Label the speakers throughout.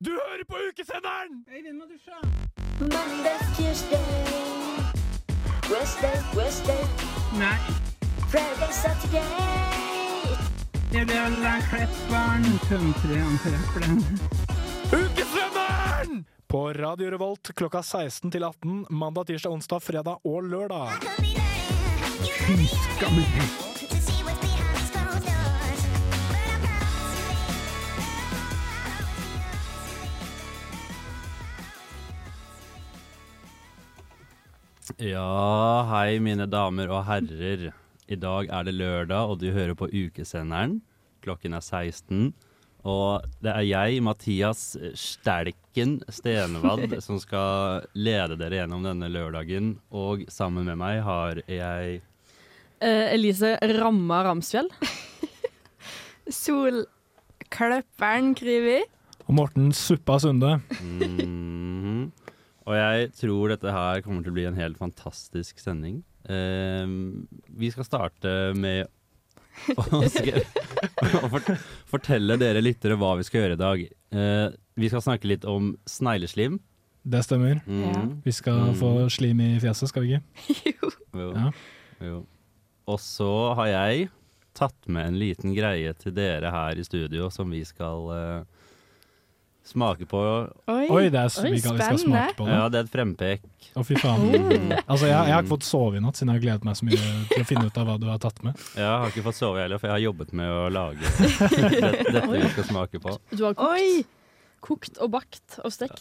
Speaker 1: Du hører på ukesenderen!
Speaker 2: Mondays, Tuesday, Wednesday, Wednesday,
Speaker 3: Nei,
Speaker 2: Friday, Saturday.
Speaker 3: det blir alle klepperen. Tømtre, antreppelen.
Speaker 1: Ukesenderen! På Radio Revolt klokka 16 til 18 mandag, tirsdag, onsdag, fredag og lørdag.
Speaker 3: Skammel.
Speaker 4: Ja, hei mine damer og herrer. I dag er det lørdag, og du hører på ukesenderen. Klokken er 16. Og det er jeg, Mathias Stelken Stenevad, som skal lede dere gjennom denne lørdagen. Og sammen med meg har jeg
Speaker 5: Eh, Elise Ramma Ramsfjell.
Speaker 6: Solkløpperen Kryvi.
Speaker 1: Og Morten Suppa Sunde.
Speaker 4: Mhm. Og jeg tror dette her kommer til å bli en helt fantastisk sending. Eh, vi skal starte med å, sk- å fort- fortelle dere lyttere hva vi skal gjøre i dag. Eh, vi skal snakke litt om snegleslim.
Speaker 1: Det stemmer.
Speaker 4: Mhm.
Speaker 1: Vi skal
Speaker 4: Mm.
Speaker 1: få slim i fjeset, skal vi ikke?
Speaker 4: Jo.
Speaker 1: Ja.
Speaker 4: Jo. Og så har jeg tatt med en liten greie til dere her i studio som vi skal eh, smake på.
Speaker 1: Oi, det er, s-
Speaker 6: Oi,
Speaker 1: vi, kan, vi skal
Speaker 6: spennende.
Speaker 1: smake på det.
Speaker 4: Ja, det er et frempek.
Speaker 1: Å, fy faen. Altså, jeg, jeg har ikke fått sove i natt, siden jeg har gledet meg så mye til å finne ut av hva du har tatt med.
Speaker 4: Jeg har ikke fått sove heller, for jeg har jobbet med å lage det- dette vi skal smake på.
Speaker 5: Du har kokt,
Speaker 6: Oi!
Speaker 5: kokt og bakt og stekt.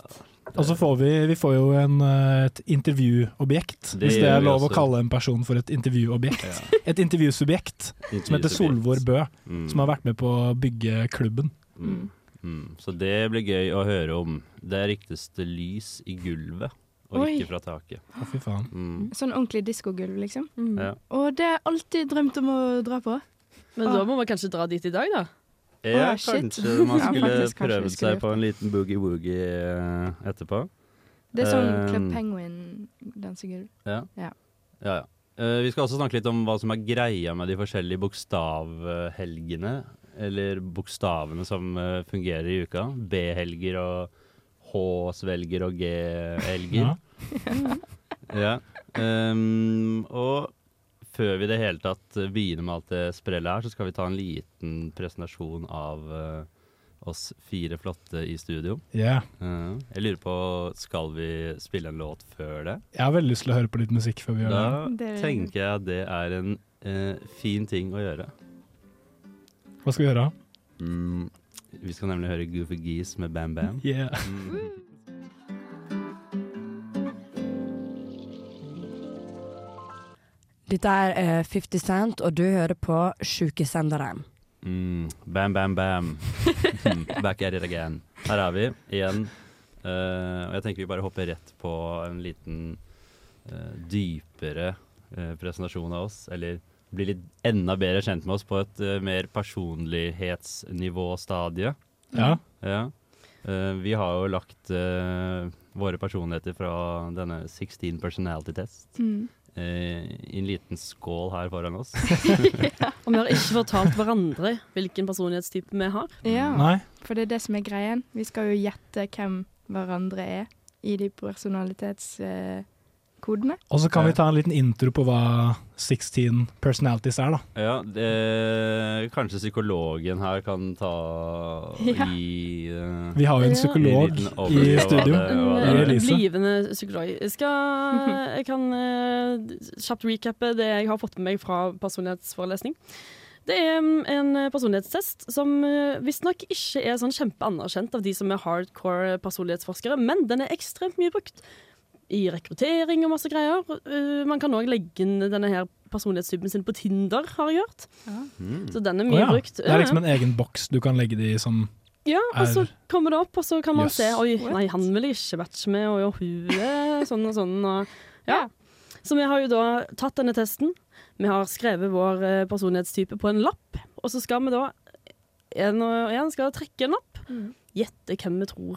Speaker 1: Og så får vi, vi får jo en, eh, et intervjuobjekt,
Speaker 4: Det
Speaker 1: hvis det
Speaker 4: gjør
Speaker 1: er
Speaker 4: vi
Speaker 1: lov å
Speaker 4: også.
Speaker 1: kalle en person for et intervjuobjekt. Et intervjusubjekt som heter Solvor Bø,
Speaker 4: Mm,
Speaker 1: som har vært med på å bygge klubben.
Speaker 4: mm, mm. Så det blir gøy å høre om. Det ryktes det lys i gulvet, og
Speaker 6: Oi.
Speaker 4: ikke fra taket.
Speaker 1: Å, fy faen.
Speaker 4: Mm.
Speaker 6: Sånn ordentlig diskogulv, liksom.
Speaker 5: Mm.
Speaker 4: Ja.
Speaker 6: Og det har jeg alltid drømt om å dra på.
Speaker 5: Men da må vi kanskje dra dit i dag, da.
Speaker 4: Ja,
Speaker 6: Å, shit.
Speaker 4: kanskje man
Speaker 6: Ja,
Speaker 4: skulle
Speaker 6: faktisk, kanskje vi
Speaker 4: prøvd
Speaker 6: skulle
Speaker 4: seg på en liten boogie-woogie eh, etterpå.
Speaker 6: Det er sånn
Speaker 4: Um,
Speaker 6: Club Penguin-dansegulv.
Speaker 4: Ja.
Speaker 6: Ja.
Speaker 4: Ja, ja. Eh, vi skal også snakke litt om hva som er greia med de forskjellige bokstavhelgene. Eller bokstavene som eh, fungerer i uka. B-helger og H-svelger og G-helger.
Speaker 1: Ja.
Speaker 4: Ja. Ehm, og før vi i det hele tatt begynner med alt det sprellet her, så skal vi ta en liten presentasjon av eh, oss fire flotte i studio.
Speaker 1: Yeah.
Speaker 4: Eh, jeg lurer på, skal vi spille en låt før det?
Speaker 1: Jeg har veldig lyst til å høre på litt musikk før vi gjør det.
Speaker 4: Da
Speaker 6: Det-
Speaker 4: tenker jeg at det er en eh, fin ting å gjøre.
Speaker 1: Hva skal vi gjøre?
Speaker 4: Mm. Vi skal nemlig høre Goofy Geese med Bam Bam.
Speaker 1: Yeah.
Speaker 7: Dette er eh, 50 Cent, og du hører på Sjukesenderen.
Speaker 4: Mm. Bam, bam, bam. Back at it again. Her er vi igjen. Eh, og jeg tenker vi bare hopper rett på en liten eh, dypere eh, presentasjon av oss. Eller blir litt enda bedre kjent med oss på et eh, mer personlighetsnivå-stadie.
Speaker 1: Ja.
Speaker 4: Ja. Eh, vi har jo lagt eh, våre personligheter fra denne 16 personality test
Speaker 6: Mm.
Speaker 4: eh, i en liten skål her foran oss.
Speaker 5: Og vi har ikke fortalt hverandre hvilken personlighetstype vi har.
Speaker 6: Ja,
Speaker 1: Nei?
Speaker 6: for det er det som er greien. Vi skal jo gjette hvem hverandre er i de personalitetskodene.
Speaker 1: Og så kan vi ta en liten intro på hva 16 personalities er, da.
Speaker 4: Ja, det, kanskje psykologen her kan ta
Speaker 6: Ja.
Speaker 4: i eh,
Speaker 1: Vi har jo en
Speaker 5: Ja.
Speaker 1: psykolog
Speaker 4: En liten
Speaker 1: i
Speaker 4: overview av
Speaker 1: studio.
Speaker 4: det.
Speaker 5: En
Speaker 4: var
Speaker 5: eh,
Speaker 1: Elise.
Speaker 5: blivende psykolog. Jeg, skal, jeg kan eh, kjapt recappe det jeg har fått med meg fra personlighetsforelesning. Det er mm, en personlighetstest som eh, visstnok ikke er sånn kjempeanerkjent av de som er hardcore personlighetsforskere, men den er ekstremt mye brukt i rekruttering og masse greier. Eh, Man kan òg legge inn denne her personlighetstypen sin på Tinder, har jeg hørt.
Speaker 4: Mm.
Speaker 5: Så den er
Speaker 1: Å,
Speaker 5: mye
Speaker 1: ja.
Speaker 5: brukt.
Speaker 1: Det er liksom en egen boks du kan legge de som
Speaker 5: Ja, og så
Speaker 1: er-
Speaker 5: kommer det opp, og så kan man
Speaker 1: Jøss.
Speaker 5: se Oi,
Speaker 6: What?
Speaker 5: nei, han vil jeg ikke matche med, og jo, hun er sånn og sånn. Og, ja. Så vi har jo da tatt denne testen. Vi har skrevet vår eh, personlighetstype på en lapp, og så skal vi da en og en skal trekke en lapp.
Speaker 6: Mhm.
Speaker 5: Gjette hvem vi tror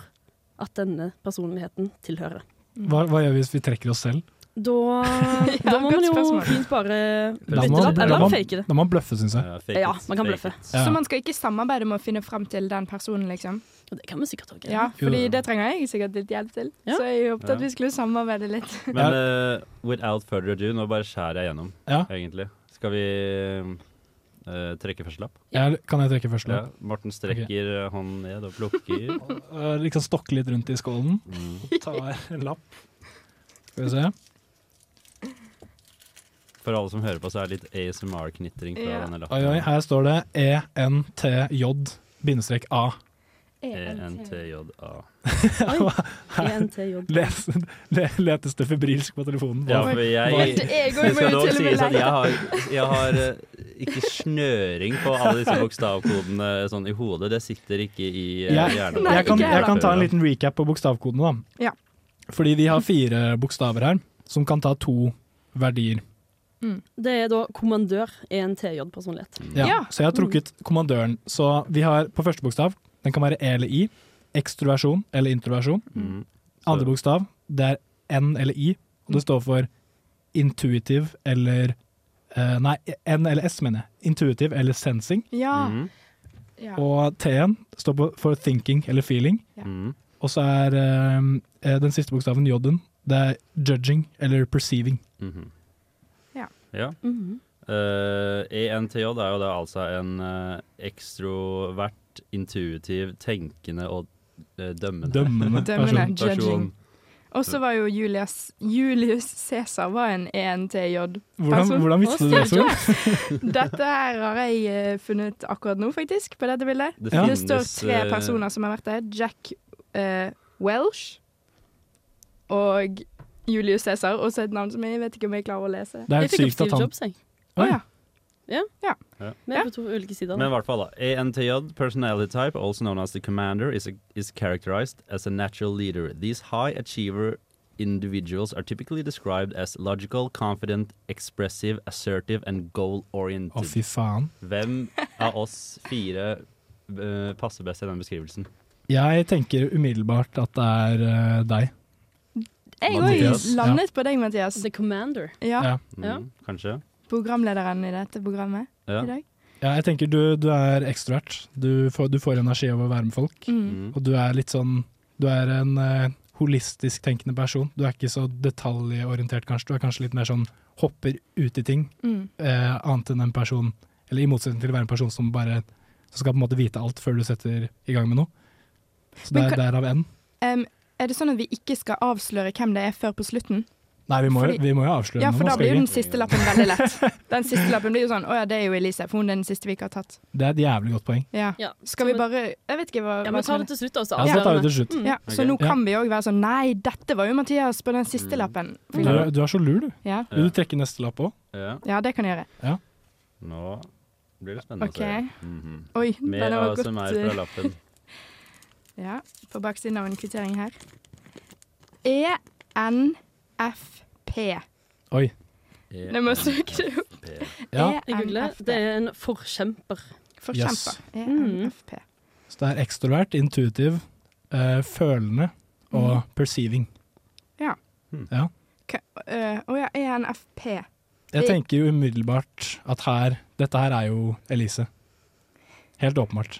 Speaker 5: at denne personligheten tilhører.
Speaker 1: hva, hva gjør vi hvis vi trekker oss selv?
Speaker 5: Da, da må
Speaker 6: godt
Speaker 5: man jo
Speaker 6: spørsmål.
Speaker 5: fint bare
Speaker 1: Da
Speaker 5: bytte
Speaker 1: må-
Speaker 5: lapp,
Speaker 1: da
Speaker 5: eller
Speaker 1: må-
Speaker 5: fake det.
Speaker 1: Da må man bløffe, syns jeg.
Speaker 4: Ja, fake
Speaker 5: Ja,
Speaker 4: it,
Speaker 5: man kan
Speaker 4: fake
Speaker 5: bløffe.
Speaker 4: it.
Speaker 1: Ja.
Speaker 6: Så man skal ikke samarbeide med å finne fram til den personen, liksom?
Speaker 5: Og Det kan vi sikkert òg.
Speaker 6: Ja,
Speaker 1: Jo,
Speaker 6: fordi
Speaker 1: jo.
Speaker 6: det trenger jeg sikkert litt hjelp til.
Speaker 5: Ja.
Speaker 6: Så jeg håpet
Speaker 4: Ja.
Speaker 6: at vi skulle samarbeide litt.
Speaker 4: Men eh, without further ado, nå bare skjærer jeg gjennom,
Speaker 1: Ja.
Speaker 4: egentlig. Skal vi eh, trekke første lapp?
Speaker 1: Jeg, kan jeg trekke første
Speaker 4: Ja.
Speaker 1: lapp?
Speaker 4: Morten strekker eh, hånden ned og plukker.
Speaker 1: Eh, Liksom stokke litt rundt i skålen.
Speaker 4: Mm.
Speaker 1: Ta en lapp. Skal vi se.
Speaker 4: For alle som hører på, så er det litt ASMR-knitring fra
Speaker 6: Ja.
Speaker 4: denne
Speaker 1: Oi, oi,
Speaker 4: lappen.
Speaker 1: her står det E ENTJ-A.
Speaker 4: E ENTJA.
Speaker 5: E
Speaker 1: Les, le, letes det febrilsk på telefonen?
Speaker 4: Ja,
Speaker 1: Hva-
Speaker 4: for jeg,
Speaker 6: Helt jeg
Speaker 4: det
Speaker 6: òg må
Speaker 4: skal
Speaker 6: jo
Speaker 4: dog
Speaker 6: til og
Speaker 4: sies
Speaker 6: med
Speaker 4: at sånn, jeg
Speaker 6: leie.
Speaker 4: har, jeg har eh, ikke snøring på alle disse bokstavkodene sånn i hodet. Det sitter ikke i eh,
Speaker 1: Jeg-
Speaker 4: hjernen.
Speaker 6: Nei,
Speaker 1: jeg, kan,
Speaker 6: ikke jeg
Speaker 1: jeg kan ta en
Speaker 4: da.
Speaker 1: liten recap på bokstavkodene, da.
Speaker 6: Ja.
Speaker 1: Fordi de har fire bokstaver her, som kan ta to verdier.
Speaker 5: Det er da kommandør E ENTJ-personlighet.
Speaker 1: Ja.
Speaker 6: Ja.
Speaker 1: Så jeg har trukket kommandøren. Så vi har på første bokstav, den kan være E eller I. Ekstroversjon eller introversjon.
Speaker 4: Mm.
Speaker 1: Andre bokstav, det er N eller I. Og det står for intuitive eller eh, Nei, N eller S, mener jeg. Intuitive eller sensing.
Speaker 6: Ja.
Speaker 4: Mm.
Speaker 6: ja.
Speaker 1: Og T-en står på- for thinking eller feeling.
Speaker 4: Mm.
Speaker 1: Og så er eh, den siste bokstaven, J-en, det er judging eller perceiving.
Speaker 4: Mhm.
Speaker 6: Ja.
Speaker 4: ja.
Speaker 6: Mhm.
Speaker 4: Eh, ENTJ er jo da altså en eh, ekstrovert, intuitiv, tenkende og eh, dømmende,
Speaker 1: Dømmende
Speaker 6: Dømmende.
Speaker 1: person.
Speaker 6: Judging.
Speaker 4: person.
Speaker 6: Og så var jo Julius, Julius Cæsar var en E ENTJ.
Speaker 1: Hvordan,
Speaker 6: Person.
Speaker 1: hvordan visste du det, Sol?
Speaker 6: Dette her har jeg eh, funnet akkurat nå, faktisk, på dette bildet.
Speaker 4: Det,
Speaker 1: Ja.
Speaker 6: Det står tre
Speaker 4: eh,
Speaker 6: personer som har vært der. Jack eh, Welsh og Julius Cæsar, og så et navn som jeg vet ikke om jeg klarer å lese.
Speaker 1: Det er
Speaker 5: Jeg
Speaker 1: helt
Speaker 5: fikk opp
Speaker 1: sykt at
Speaker 5: Steve
Speaker 1: han
Speaker 5: Jobs, jeg.
Speaker 1: Oi.
Speaker 6: Å ja.
Speaker 5: Vi er på to ulike
Speaker 6: Sånn.
Speaker 5: sider.
Speaker 4: Men i hvert fall, da. ANTJ, personality type, also known as the commander, is, is characterized as a natural leader. These high achiever individuals are typically described as logical, confident, expressive, assertive and goal-oriented.
Speaker 1: Å, fy faen.
Speaker 4: Hvem av oss fire eh, passer best i den beskrivelsen?
Speaker 1: Jeg tenker umiddelbart at det er eh, deg.
Speaker 6: Jeg
Speaker 4: Mathias.
Speaker 6: òg landet på deg, Mathias.
Speaker 5: The Commander.
Speaker 6: Ja,
Speaker 1: Ja.
Speaker 4: Mm,
Speaker 5: Ja.
Speaker 4: Kanskje?
Speaker 6: Programlederen i dette programmet
Speaker 4: Ja.
Speaker 6: i dag.
Speaker 1: Ja, jeg tenker du, du er ekstrovert. Du, får- du får energi av å være med folk.
Speaker 6: Mm.
Speaker 4: Mm.
Speaker 1: Og du er litt sånn Du er en eh, holistisk tenkende person. Du er ikke så detaljorientert, kanskje. Du er kanskje litt mer sånn hopper ut i ting.
Speaker 6: Mm.
Speaker 1: eh, annet enn en person Eller i motsetning til å være en person som bare Som skal på en måte vite alt før du setter i gang med noe. Så det
Speaker 6: Men
Speaker 1: er
Speaker 6: kan-
Speaker 1: derav N.
Speaker 6: Em, er det sånn at vi ikke skal avsløre hvem det er før på slutten?
Speaker 1: Nei, vi må, jo-
Speaker 6: Fordi-
Speaker 1: vi må jo avsløre
Speaker 6: Ja,
Speaker 1: noe.
Speaker 6: for da
Speaker 1: skal
Speaker 6: blir jo
Speaker 1: vi
Speaker 6: den siste lappen veldig lett. Den siste lappen blir jo sånn Å ja, det er jo Elise, for hun er den siste vi ikke har tatt.
Speaker 1: ikke? Det er et jævlig godt poeng.
Speaker 6: Ja.
Speaker 5: Ja,
Speaker 6: Skal vi bare Jeg vet ikke hva,
Speaker 5: Ja,
Speaker 6: hva
Speaker 5: men ta
Speaker 6: som
Speaker 5: det
Speaker 6: er det.
Speaker 5: til slutt, da.
Speaker 1: Ja, så
Speaker 5: så
Speaker 1: tar vi
Speaker 5: avslører
Speaker 1: det til slutt.
Speaker 5: Mm.
Speaker 6: Ja, så
Speaker 4: Ok.
Speaker 6: nå
Speaker 1: Ja.
Speaker 6: kan vi òg være sånn Nei, dette var jo Mathias på den
Speaker 5: Mm.
Speaker 6: siste lappen.
Speaker 1: Du, du er så lur, du.
Speaker 6: Ja.
Speaker 1: Vil du trekke neste lapp òg?
Speaker 4: Ja.
Speaker 6: ja, det kan jeg gjøre.
Speaker 4: Nå blir det spennende å
Speaker 6: Ok.
Speaker 4: se. Mhm.
Speaker 6: Oi,
Speaker 4: Mer
Speaker 6: den var godt
Speaker 4: ASMR fra
Speaker 6: eh,
Speaker 4: lappen.
Speaker 6: Ja, på baksiden av en kvittering her. E ENFP.
Speaker 1: Oi.
Speaker 6: Nå må jeg søke
Speaker 4: E
Speaker 6: det opp.
Speaker 1: Ja,
Speaker 6: E
Speaker 5: Jeg googler. Det er en forkjemper.
Speaker 6: Forkjemper.
Speaker 5: Mm.
Speaker 6: ENFP.
Speaker 1: så det er ekstrovert, intuitiv, eh, følende
Speaker 6: Mm.
Speaker 1: og perceiving.
Speaker 6: K- øh, Å ja, ENFP.
Speaker 1: Jeg
Speaker 6: Det-
Speaker 1: tenker jo umiddelbart at her Dette her er jo Elise. Helt åpenbart.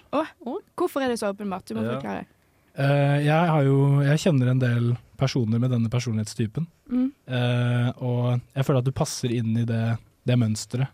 Speaker 6: Hvorfor er det så åpenbart? Du må
Speaker 4: Ja.
Speaker 6: forklare.
Speaker 1: Eh, jeg har jo Jeg kjenner en del personer med denne personlighetstypen.
Speaker 6: Mm.
Speaker 1: Eh, og jeg føler at du passer inn i det, det mønsteret.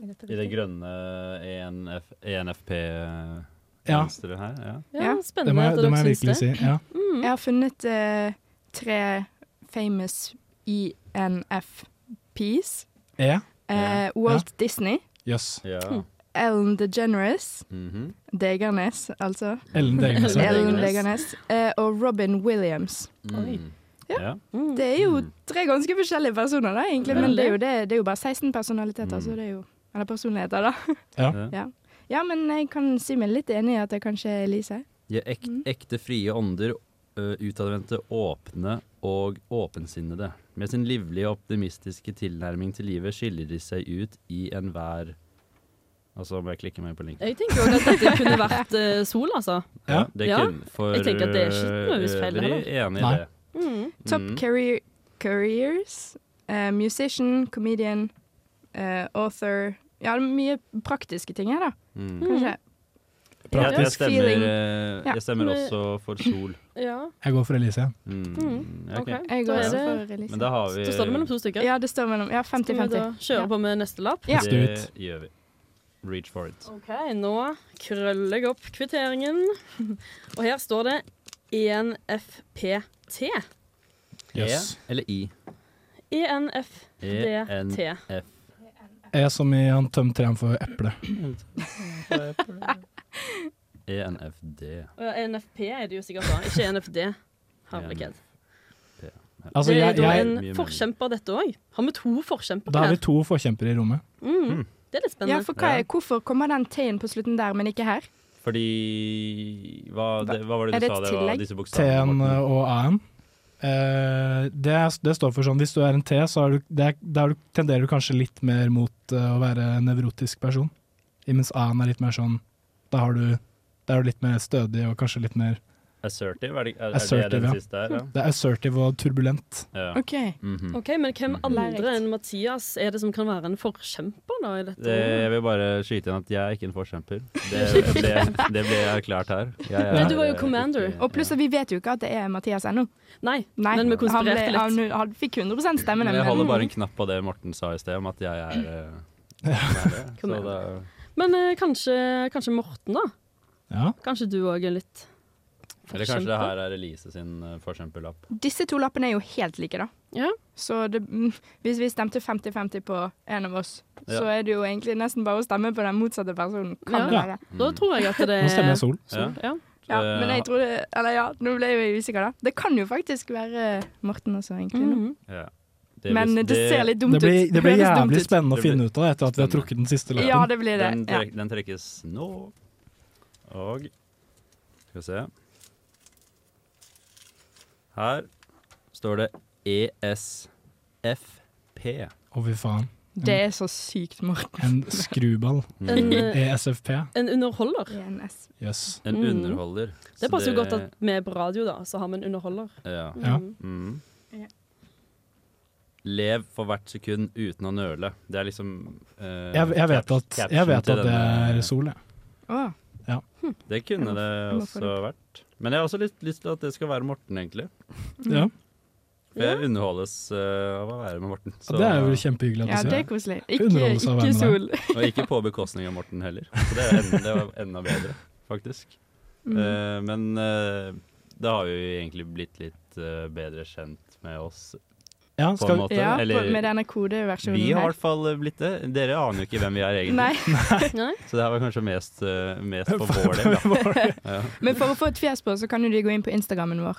Speaker 4: I det grønne E ENF, ENFP-mønsteret
Speaker 1: Ja,
Speaker 4: eh, her. Ja.
Speaker 5: Ja,
Speaker 6: Ja.
Speaker 1: det
Speaker 5: spennende
Speaker 1: må
Speaker 5: at
Speaker 1: jeg, det
Speaker 5: dere
Speaker 1: må jeg
Speaker 5: syns
Speaker 1: virkelig
Speaker 5: det. Mm.
Speaker 1: si. Ja.
Speaker 6: Jeg har funnet eh, tre famous E ENFPs.
Speaker 1: E?
Speaker 6: Eh,
Speaker 4: Ja.
Speaker 6: Walt Disney,
Speaker 1: Jøss.
Speaker 4: ja.
Speaker 6: Ellen DeGeneres,
Speaker 4: Mhm.
Speaker 6: Degernes altså,
Speaker 1: Ellen Degernes.
Speaker 5: Ellen
Speaker 1: ja.
Speaker 6: Ellen
Speaker 5: DeGeneres.
Speaker 6: Degernes, eh, og Robin Williams.
Speaker 5: Oi.
Speaker 4: Mm.
Speaker 6: Ja.
Speaker 4: Ja.
Speaker 5: Mm.
Speaker 6: Det er jo
Speaker 4: Mm.
Speaker 6: tre ganske forskjellige personer, da,
Speaker 4: Ja.
Speaker 6: egentlig, men det er jo, det, det er jo bare 16 personaliteter,
Speaker 4: Mm.
Speaker 6: så det er jo Eller personligheter, da.
Speaker 4: Ja.
Speaker 6: Ja, men jeg kan si meg litt enig i at det kanskje er Elise.
Speaker 4: De er ek
Speaker 1: Mhm.
Speaker 6: Mm.
Speaker 4: ekte frie ånder, ø, utadvendte, åpne og åpensinnede. Med sin livlige og optimistiske tilnærming til livet skiller de seg ut i enhver Og så må jeg klikke meg på linken.
Speaker 5: Jeg tenker òg at dette kunne vært eh, Sol, altså.
Speaker 1: Ja.
Speaker 4: det
Speaker 5: Ja.
Speaker 4: kunne for
Speaker 5: Jeg tenker at det er ikke nødvendigvis feil heller.
Speaker 4: øvrig enig i
Speaker 1: Nei.
Speaker 4: det.
Speaker 5: Mm.
Speaker 6: Top
Speaker 4: Mm.
Speaker 6: career, careers. eh, musician, comedian, eh, author Ja, det er mye praktiske ting her, da.
Speaker 4: Mm.
Speaker 6: Kanskje.
Speaker 4: Jeg, jeg,
Speaker 6: Praktisk
Speaker 4: stemmer,
Speaker 6: feeling.
Speaker 4: eh,
Speaker 6: Ja.
Speaker 4: jeg stemmer også for Sol.
Speaker 5: Ja,
Speaker 1: Jeg går for Elise.
Speaker 4: Mm.
Speaker 5: OK.
Speaker 4: ok.
Speaker 6: Jeg
Speaker 5: Da
Speaker 6: går
Speaker 5: er
Speaker 6: også
Speaker 5: det-
Speaker 6: for Elise.
Speaker 4: Men da har vi
Speaker 5: Så står det mellom to stykker.
Speaker 6: Ja, det står mellom Ja,
Speaker 5: Skal vi da
Speaker 6: 50-50.
Speaker 5: kjøre
Speaker 6: Ja.
Speaker 5: på med neste lapp?
Speaker 6: Ja.
Speaker 1: Puste
Speaker 4: Det
Speaker 1: ut.
Speaker 4: gjør vi. Reach for it.
Speaker 5: OK, nå krøller jeg opp kvitteringen. Og her står det E 1FPT.
Speaker 1: Yes.
Speaker 4: E eller I?
Speaker 5: E
Speaker 4: E
Speaker 5: ENFDT.
Speaker 1: Jeg E som i han tømte trærne for eple.
Speaker 4: E ENFD.
Speaker 5: Og E ja, NFP er det jo sikkert da, ikke E NFD. Herlighet.
Speaker 1: Altså,
Speaker 5: det er
Speaker 1: jeg,
Speaker 5: da
Speaker 1: jeg,
Speaker 4: Mye
Speaker 5: en forkjemper, dette òg. Har vi to forkjempere
Speaker 1: da har
Speaker 5: her?
Speaker 1: vi to forkjempere i rommet.
Speaker 5: Mm. Det er litt
Speaker 6: Ja,
Speaker 5: spennende.
Speaker 6: for hva er, hvorfor kommer den T-en på slutten der, men ikke her?
Speaker 4: Fordi hva, det, hva var det
Speaker 6: Er
Speaker 4: du
Speaker 6: det
Speaker 4: sa det
Speaker 6: et
Speaker 4: var
Speaker 6: tillegg?
Speaker 4: disse bokstavene?
Speaker 1: T-en
Speaker 4: Morten?
Speaker 1: og A-en. Eh, det, det står for sånn Hvis du er en T, så er du, det er, da er du, tenderer du kanskje litt mer mot eh, å være en nevrotisk person. Mens A-en er litt mer sånn Da har du da er du litt mer stødig og kanskje litt mer
Speaker 4: Assertive, er det, er, er det
Speaker 1: Assertive,
Speaker 4: den
Speaker 1: ja.
Speaker 4: siste her? Ja.
Speaker 1: Det er assertive og turbulent.
Speaker 4: ja.
Speaker 6: OK.
Speaker 4: Mhm.
Speaker 5: Mm. OK, men hvem
Speaker 6: Mm.
Speaker 5: andre enn Mathias er det som kan være en forkjemper da i dette?
Speaker 4: det, jeg vil bare skyte inn at jeg er ikke en forkjemper. Det ble, det ble erklært her. Jeg er,
Speaker 5: Men du var jo
Speaker 4: eh,
Speaker 5: commander.
Speaker 4: ikke-
Speaker 6: Og pluss at vi vet jo ikke at det er Mathias ennå.
Speaker 5: Nei, men vi
Speaker 6: Nei, han, ble,
Speaker 5: konspirerte litt.
Speaker 6: han, han fikk 100 stemmene.
Speaker 4: Men jeg holder
Speaker 6: Men
Speaker 4: bare en knapp på det Morten sa i sted, om at jeg er eh, commander. Så
Speaker 5: Commander.
Speaker 4: da,
Speaker 5: Men eh, kanskje, kanskje Morten, da?
Speaker 1: Ja.
Speaker 5: Kanskje du òg er litt
Speaker 4: eller kanskje det her er Elise sin eh, forkjemperlapp.
Speaker 6: disse to lappene er jo helt like, da.
Speaker 5: Ja.
Speaker 6: Så det, mm, hvis vi stemte 50-50 på en av oss,
Speaker 4: Ja.
Speaker 6: så er det jo egentlig nesten bare å stemme på den motsatte personen. Kan det
Speaker 5: Ja.
Speaker 6: være.
Speaker 4: Mm.
Speaker 5: Da tror jeg at det
Speaker 1: Mm. Nå stemmer jeg Sol.
Speaker 5: Sol, ja.
Speaker 6: Ja,
Speaker 4: Eh,
Speaker 6: men jeg tror det Eller ja, nå ble jeg jo usikker, da. Det kan jo faktisk være Morten også, egentlig. nå.
Speaker 5: Mhm.
Speaker 4: Ja.
Speaker 6: Men det ser litt dumt
Speaker 1: Det
Speaker 6: ut.
Speaker 1: blir, det blir
Speaker 6: Høres dumt
Speaker 1: jævlig
Speaker 6: ut.
Speaker 1: spennende
Speaker 4: Det
Speaker 1: å
Speaker 4: blir
Speaker 1: finne ut av det etter at vi har
Speaker 4: spennende.
Speaker 1: trukket den siste lappen.
Speaker 6: Ja, det blir det.
Speaker 4: Den,
Speaker 6: Ja.
Speaker 4: trek, den trekkes nå. Og Skal vi se Her står det E ESFP.
Speaker 1: Å, fy faen.
Speaker 6: Det er så sykt, Morten.
Speaker 1: En skruball.
Speaker 6: Mm.
Speaker 1: E
Speaker 5: En, eh,
Speaker 1: ESFP.
Speaker 5: en underholder.
Speaker 6: ENS.
Speaker 1: Jøss. Yes.
Speaker 4: En
Speaker 5: Mm.
Speaker 4: underholder. Så
Speaker 5: Det passer jo godt at vi er på radio, da, så har vi en underholder.
Speaker 4: ja.
Speaker 1: Ja.
Speaker 5: Mhm.
Speaker 4: Mm.
Speaker 6: Ja.
Speaker 4: Lev for hvert sekund uten å nøle. Det er liksom eh,
Speaker 1: Jeg, jeg, vet
Speaker 4: caps-
Speaker 1: at, jeg vet
Speaker 4: caption
Speaker 1: at
Speaker 4: til
Speaker 1: det
Speaker 4: denne-
Speaker 1: er Sol, jeg.
Speaker 6: Å,
Speaker 4: Det kunne det
Speaker 6: Jeg må få
Speaker 4: også vært. Men jeg har også litt lyst til at det skal være Morten, egentlig.
Speaker 6: Mm.
Speaker 1: Ja.
Speaker 4: For jeg underholdes eh, av å være med Morten.
Speaker 1: Det er jo kjempehyggelig
Speaker 6: ja,
Speaker 1: at du
Speaker 6: det er
Speaker 1: sier.
Speaker 6: koselig. Ikke,
Speaker 1: Underholdelse av
Speaker 6: ikke sol.
Speaker 1: verden,
Speaker 4: Og ikke på bekostning av Morten heller. Så det, er enda, det var enda bedre, faktisk.
Speaker 6: Mm.
Speaker 4: Eh, men eh, da har vi jo egentlig blitt litt eh, bedre kjent med oss,
Speaker 1: Ja,
Speaker 4: på en
Speaker 1: skal,
Speaker 4: måte.
Speaker 6: Ja,
Speaker 4: Eller
Speaker 6: på- med denne
Speaker 4: vi
Speaker 6: kodeversjonen
Speaker 4: har i
Speaker 6: her.
Speaker 4: hvert fall eh, blitt det. Dere aner jo ikke hvem vi er egentlig.
Speaker 6: Nei,
Speaker 5: Nei?
Speaker 4: Så det her var kanskje mest, eh, mest på vår del. Da. Ja.
Speaker 6: men for å få et fjes på, så kan jo de gå inn på Instagrammen vår.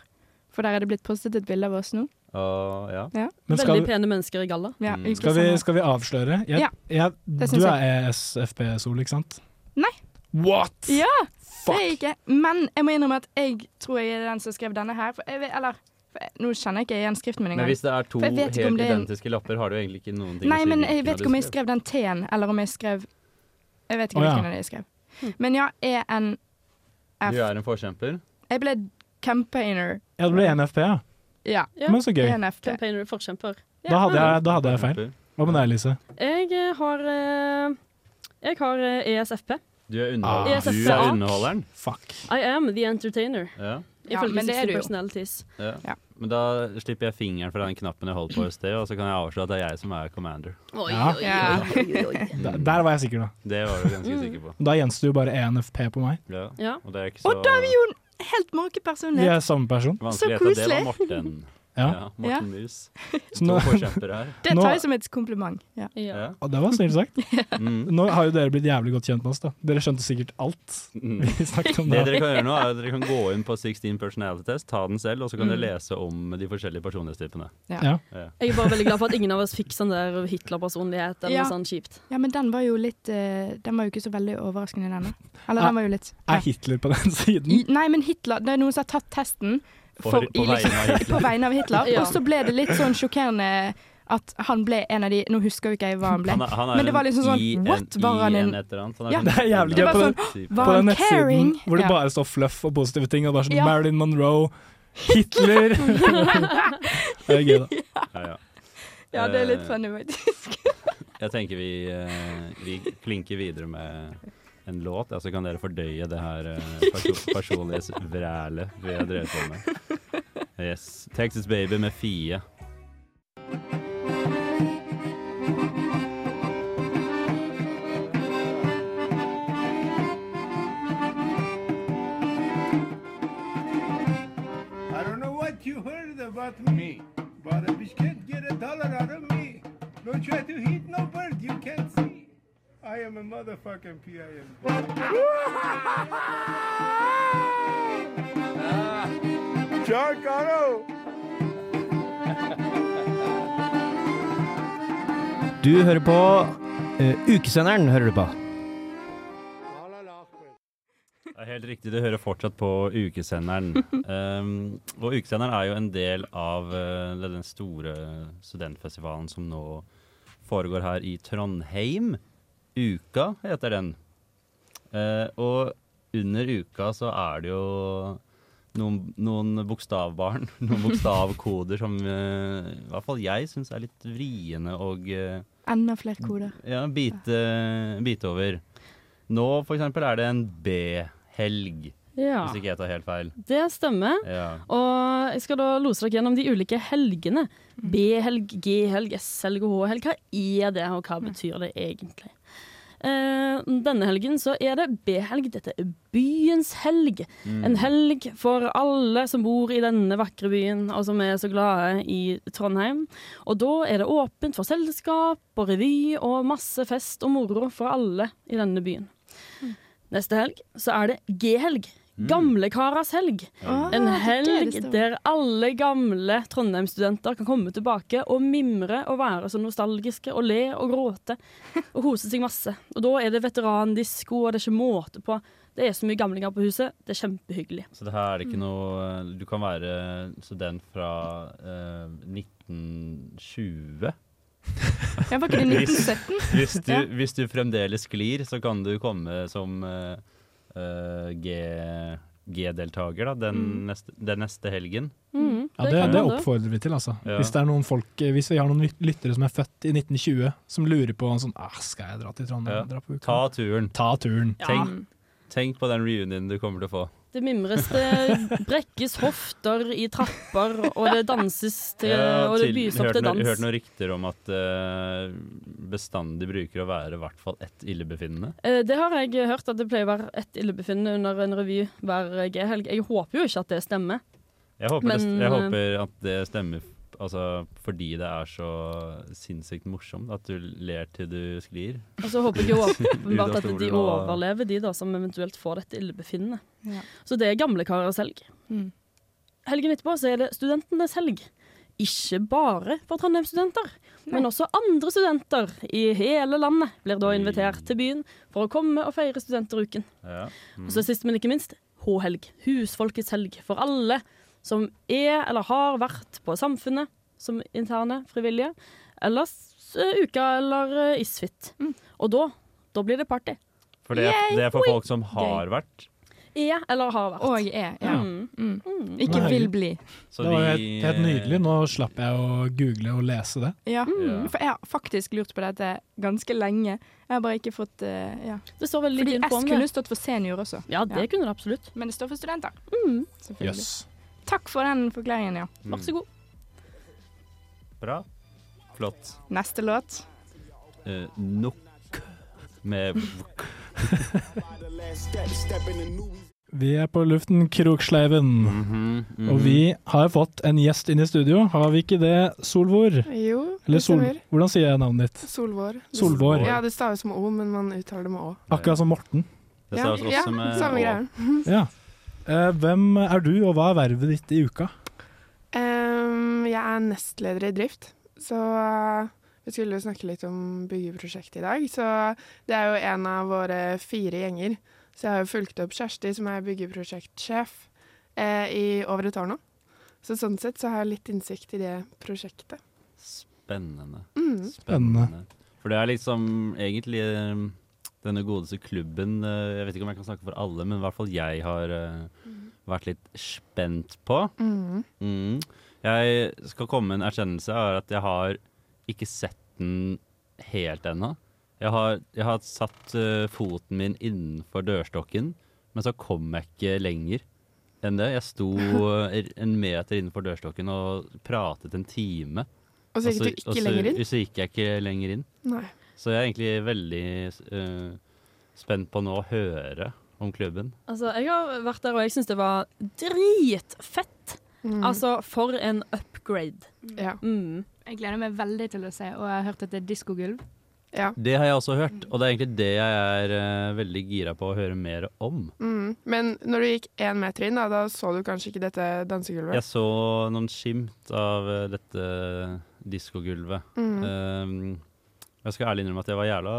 Speaker 6: For der er det blitt postet et bilde av oss nå.
Speaker 4: Og, ja.
Speaker 1: men skal,
Speaker 5: Veldig pene mennesker i galla.
Speaker 6: Ja,
Speaker 4: Mm.
Speaker 6: ikke
Speaker 1: Skal vi,
Speaker 6: sant?
Speaker 1: skal vi avsløre?
Speaker 6: liksom. Ja,
Speaker 1: jeg,
Speaker 6: det
Speaker 1: du
Speaker 6: syns
Speaker 1: er E ESFP-sol, ikke sant?
Speaker 6: Nei.
Speaker 1: What?!
Speaker 6: Ja, det er jeg
Speaker 1: Fuck!
Speaker 6: ikke. Men jeg må innrømme at jeg tror jeg er den som skrev denne her. For jeg vet, eller for jeg, Nå kjenner jeg ikke igjen skriften min
Speaker 4: Men
Speaker 6: engang.
Speaker 4: hvis det er to
Speaker 6: For jeg vet
Speaker 4: helt
Speaker 6: ikke om det er en-
Speaker 4: identiske lapper, har det jo egentlig ikke noen ting
Speaker 6: Nei,
Speaker 4: å si.
Speaker 6: men
Speaker 4: hvilken
Speaker 6: jeg
Speaker 4: av
Speaker 6: vet
Speaker 4: de
Speaker 6: ikke om jeg skrev den T-en, eller om jeg skrev Jeg vet ikke
Speaker 1: Å, ja.
Speaker 6: hvilken av de jeg skrev. Men ja, ENF.
Speaker 4: Du er en forkjemper.
Speaker 6: Jeg ble campaigner.
Speaker 1: Ja, det E ble NFP, ja.
Speaker 6: Ja. E
Speaker 5: Ja.
Speaker 1: Men så gøy.
Speaker 6: ENFP.
Speaker 5: Campaigner forkjemper.
Speaker 1: Da hadde jeg, da
Speaker 4: E
Speaker 1: hadde jeg feil.
Speaker 4: Forkjemper.
Speaker 1: Hva med deg, Elise?
Speaker 5: Jeg eh, har eh, Jeg har eh, ESFP.
Speaker 4: Du er,
Speaker 1: Ah.
Speaker 4: underholder.
Speaker 5: ESFP.
Speaker 4: du er underholderen.
Speaker 1: Fuck.
Speaker 5: I am the entertainer,
Speaker 4: Ja.
Speaker 6: Ja,
Speaker 5: ifølge
Speaker 6: men det er
Speaker 5: Sixty
Speaker 6: du jo.
Speaker 5: Personalities.
Speaker 4: Ja.
Speaker 6: Ja.
Speaker 4: Men da slipper jeg fingeren fra den knappen jeg holdt på i sted, og så kan jeg avsløre at det er jeg som er commander.
Speaker 5: Oi,
Speaker 1: Ja.
Speaker 5: oi,
Speaker 6: Ja.
Speaker 5: oi, oi.
Speaker 1: Der, der var jeg sikker, da.
Speaker 4: Det var du ganske sikker på.
Speaker 1: Da gjenstår jo bare E ENFP på meg.
Speaker 4: Ja.
Speaker 5: Ja.
Speaker 4: Og det er ikke så
Speaker 6: Og da er vi jo en helt makepersonlighet.
Speaker 1: Vi er samme person.
Speaker 4: vanskelig
Speaker 6: så
Speaker 4: å vite at det var
Speaker 6: koselig.
Speaker 4: Morten.
Speaker 1: Ja.
Speaker 4: Ja, Morten Mus.
Speaker 1: Så
Speaker 4: To
Speaker 1: nå,
Speaker 4: forkjempere her.
Speaker 6: Det
Speaker 1: Nå-
Speaker 6: tar jeg som et kompliment. Ja.
Speaker 5: Ja.
Speaker 4: Ja.
Speaker 1: Å, det var snilt sagt.
Speaker 4: Mm.
Speaker 1: Nå har jo dere blitt jævlig godt kjent med oss, da. Dere skjønte sikkert alt
Speaker 4: Mm.
Speaker 1: vi snakket om
Speaker 4: Det
Speaker 1: da.
Speaker 4: dere kan gjøre nå, er at dere kan gå inn på 16 personality test, ta den selv, og så kan dere
Speaker 6: Mm.
Speaker 4: lese om de forskjellige personlighetstypene.
Speaker 1: Ja.
Speaker 5: Jeg er bare veldig glad for at ingen av oss fikk sånn der Hitler-personlighet eller
Speaker 6: Ja.
Speaker 5: noe sånt kjipt.
Speaker 6: ja, men den var jo litt eh, Den var jo ikke så veldig overraskende, denne. Eller
Speaker 1: Er-
Speaker 6: den var jo litt
Speaker 1: Er Hitler på den siden?
Speaker 6: I, nei, men Hitler Det er noen som har tatt testen
Speaker 4: For-
Speaker 6: for,
Speaker 4: på
Speaker 6: i, liksom,
Speaker 4: vegne av Hitler.
Speaker 6: på vegne av Hitler.
Speaker 5: Ja.
Speaker 6: Og så ble det litt sånn sjokkerende at han ble en av de Nå husker jo ikke jeg hva han ble.
Speaker 4: Han er, han er
Speaker 6: Men det var liksom sånn,
Speaker 4: en
Speaker 6: what,
Speaker 4: I,
Speaker 6: var
Speaker 4: en,
Speaker 6: han en-
Speaker 4: I en et eller annet. Han
Speaker 6: Ja, sånn,
Speaker 4: sånn-
Speaker 1: det er jævlig gøy
Speaker 6: på
Speaker 4: type.
Speaker 6: Var
Speaker 1: på
Speaker 6: han
Speaker 1: den nettsiden
Speaker 6: caring?
Speaker 1: hvor det
Speaker 6: Ja.
Speaker 1: bare står fluff og positive ting, og det er sånn
Speaker 6: Ja.
Speaker 1: Marilyn Monroe, Hitler. det er gøy, da.
Speaker 4: Ja, ja.
Speaker 6: Ja, det er litt
Speaker 4: Eh,
Speaker 6: funny, faktisk.
Speaker 4: Jeg tenker vi, eh, vi klinker videre med en låt, ja, så kan dere fordøye det her eh, perso personlige vrælet vi har drevet på med. Yes. Texas Baby med Fie.
Speaker 8: I don't know what you heard about me, but a biscuit get a dollar out of me. Don't try to hit no bird you can't see. I am a motherfucking PIMP. John Caro!
Speaker 9: Du hører på eh, Ukesenderen, hører du på.
Speaker 4: Det er helt riktig, du hører fortsatt på ukesenderen. Um, og ukesenderen er jo en del av eh, den store studentfestivalen som nå foregår her i Trondheim. Uka heter den. Eh, og under uka så er det jo noen, noen bokstavbarn, noen bokstavkoder som eh, i hvert fall jeg syns er litt vriene og eh,
Speaker 6: Enda flere koder.
Speaker 4: ja, bite, bite over. Nå for eksempel er det en B-helg,
Speaker 5: Ja,
Speaker 4: hvis ikke jeg tar helt feil.
Speaker 5: det stemmer.
Speaker 4: Ja.
Speaker 5: Og jeg skal da lose dere gjennom de ulike helgene. B-helg, G-helg, S-helg og H-helg. Hva er det, og hva betyr det egentlig? Eh, denne helgen så er det B-helg. Dette er byens helg. En helg for alle som bor i denne vakre byen, og som er så glade i Trondheim. Og da er det åpent for selskap og revy og masse fest og moro for alle i denne byen. Neste helg så er det G-helg. Gamlekaras helg.
Speaker 4: Mm.
Speaker 5: En helg der alle gamle Trondheim-studenter kan komme tilbake og mimre og være så nostalgiske og le og gråte og kose seg masse. Og da er det veterandisko, og det er ikke måte på. Det er så mye gamlinger på huset. Det er kjempehyggelig.
Speaker 4: Så det her er det ikke noe eh, Du kan være student fra eh, 1920.
Speaker 6: Ja, var ikke det 1917?
Speaker 4: Hvis du,
Speaker 6: Ja.
Speaker 4: hvis du fremdeles sklir, så kan du komme som eh, eh, G... G-deltaker da, den,
Speaker 5: Mm.
Speaker 4: neste, den neste helgen.
Speaker 1: Ja, det, det oppfordrer vi til, altså.
Speaker 4: Ja.
Speaker 1: Hvis, det er noen folk, eh, hvis vi har noen lyt- lyttere som er født i 1920, som lurer på sånn, ah, skal jeg dra til Trondheim?
Speaker 4: Ja.
Speaker 1: Dra på uka?
Speaker 4: Ta turen.
Speaker 1: Ta turen.
Speaker 4: Tenk, tenk på den reunionen du kommer til å få.
Speaker 5: Det mimres, det brekkes hofter i trapper, og det danses til,
Speaker 4: Ja,
Speaker 5: og det
Speaker 4: til-
Speaker 5: bys opp
Speaker 4: hørt
Speaker 5: til
Speaker 4: noe- Hørt
Speaker 5: dans.
Speaker 4: noen rykter om at eh, bestandig bruker å være i hvert fall ett illebefinnende.
Speaker 5: Eh, Det har jeg hørt at det pleier å være ett illebefinnende under en revy hver G-helg. Jeg håper jo ikke at det stemmer.
Speaker 4: Jeg håper, det,
Speaker 5: Men,
Speaker 4: jeg
Speaker 5: eh,
Speaker 4: håper at det stemmer f- altså, fordi det er så sinnssykt morsomt at du ler til du sklir.
Speaker 5: Og så håper jeg jo åpenbart at
Speaker 4: stolen
Speaker 5: de
Speaker 4: og-
Speaker 5: overlever, de da, som eventuelt får dette illebefinnende.
Speaker 6: Ja.
Speaker 5: Så det er gamlekarers helg.
Speaker 6: Mm.
Speaker 5: Helgen etterpå så er det studentenes helg. Ikke bare for Trondheim-studenter, men også andre studenter i hele landet blir da invitert til byen for å komme og feire studenteruken.
Speaker 4: Ja. Mm.
Speaker 5: Og så sist, men ikke minst, H-helg. Husfolkets helg for alle som er eller har vært på Samfunnet som interne frivillige, eller s- Uka eller eh, Isfit. Og da, da blir det party.
Speaker 4: For det, er- det er for folk som har vært.
Speaker 5: Er eller har vært.
Speaker 6: Og er, ja.
Speaker 5: Mm.
Speaker 6: Mm. Ikke vil bli.
Speaker 4: Så
Speaker 1: Det var jo helt,
Speaker 4: vi-
Speaker 1: helt nydelig. Nå slapp jeg å google og lese det.
Speaker 6: Ja.
Speaker 4: Ja.
Speaker 6: For jeg har faktisk lurt på dette ganske lenge. Jeg har bare ikke fått eh, ja.
Speaker 5: Det står veldig
Speaker 6: Fordi
Speaker 5: lite info
Speaker 6: S
Speaker 5: om
Speaker 6: kunne
Speaker 5: det.
Speaker 6: stått for senior også.
Speaker 5: Ja, det
Speaker 6: Ja.
Speaker 5: kunne det absolutt.
Speaker 6: Men det står for studenter.
Speaker 1: Mm. Jøss.
Speaker 6: Selvfølgelig. Takk for den forklaringen, ja.
Speaker 4: Mm.
Speaker 5: Vær så god.
Speaker 4: Bra. Flott.
Speaker 6: Neste låt.
Speaker 4: Eh, nok med
Speaker 1: Vi er på luften, Kroksleiven.
Speaker 4: Mm-hmm,
Speaker 1: Og vi har fått en gjest inn i studio. Har vi ikke det, Solvor?
Speaker 10: Jo,
Speaker 1: Eller
Speaker 10: det
Speaker 1: Sol
Speaker 10: stemmer.
Speaker 1: Hvordan sier jeg navnet ditt?
Speaker 10: Solvår. Det-
Speaker 1: Solvår.
Speaker 10: Ja, det staves med O, men man uttaler det med Å.
Speaker 1: Akkurat som Morten.
Speaker 4: Det
Speaker 10: ja,
Speaker 4: sa oss også
Speaker 10: ja,
Speaker 4: med
Speaker 10: samme
Speaker 4: å-
Speaker 10: greien.
Speaker 1: Ja. Eh, hvem er du, og hva er vervet ditt i uka?
Speaker 10: Ehm, jeg er nestleder i drift, så eh, vi skulle jo snakke litt om byggeprosjektet i dag. Så det er jo en av våre fire gjenger. Så jeg har jo fulgt opp Kjersti, som er byggeprosjektsjef, eh, i over et år nå. Så sånn sett så har jeg litt innsikt i det prosjektet.
Speaker 4: Spennende.
Speaker 10: Mm.
Speaker 1: Spennende.
Speaker 4: For det er liksom egentlig eh, denne godeste klubben eh, Jeg vet ikke om jeg kan snakke for alle, men i hvert fall jeg har eh, vært litt spent på.
Speaker 10: Mm.
Speaker 4: Mm. Jeg skal komme med en erkjennelse av at jeg har ikke sett den helt ennå. Jeg har, jeg har satt eh, foten min innenfor dørstokken, men så kom jeg ikke lenger enn det. Jeg sto eh, en meter innenfor dørstokken og pratet en time.
Speaker 10: Og så gikk
Speaker 4: og
Speaker 10: du ikke
Speaker 4: så-
Speaker 10: lenger inn?
Speaker 4: Så gikk jeg ikke lenger inn.
Speaker 10: Nei.
Speaker 4: Så jeg er egentlig veldig eh, spent på nå å høre om klubben.
Speaker 5: Altså, jeg har vært der, og jeg syns det var dritfett.
Speaker 10: Mm.
Speaker 5: Altså, for en upgrade.
Speaker 10: ja.
Speaker 5: Mm.
Speaker 11: Jeg gleder meg veldig til å se, og jeg har hørt at det er diskogulv.
Speaker 10: ja.
Speaker 4: Det har jeg også hørt, og det er egentlig det jeg er eh, veldig gira på å høre mer om.
Speaker 10: Mm. Men når du gikk én meter inn, da, da så du kanskje ikke dette dansegulvet?
Speaker 4: Jeg så noen skimt av eh, dette diskogulvet.
Speaker 10: Mm.
Speaker 4: Um, jeg skal ærlig innrømme at jeg var jævla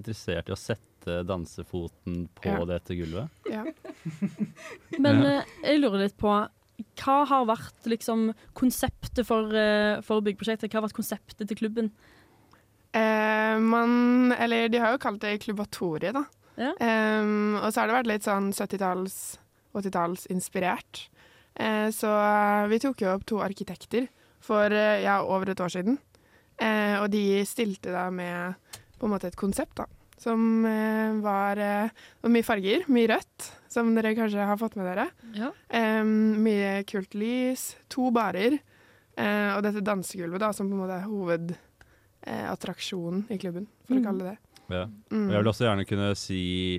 Speaker 4: interessert i å sette dansefoten på
Speaker 10: Ja.
Speaker 4: dette gulvet.
Speaker 10: Ja.
Speaker 5: Men
Speaker 4: Ja.
Speaker 5: eh, jeg lurer litt på hva har vært liksom, konseptet for, eh, for byggeprosjektet? Hva har vært konseptet til klubben?
Speaker 10: Eh, man Eller de har jo kalt det klubbatoriet, da.
Speaker 5: Ja.
Speaker 10: Em, og så har det vært litt sånn 70-talls, 80-talls inspirert. Eh, så eh, vi tok jo opp to arkitekter for eh, ja, over et år siden. Eh, og de stilte da med på en måte et konsept, da. Som eh, var eh, det var mye farger, mye rødt, som dere kanskje har fått med dere.
Speaker 5: Ja.
Speaker 10: Em, mye kult lys, to barer, eh, og dette dansegulvet, da, som på en måte er hovedattraksjonen i klubben, for å kalle det det.
Speaker 4: Ja.
Speaker 10: Mm.
Speaker 4: Og Jeg vil også gjerne kunne si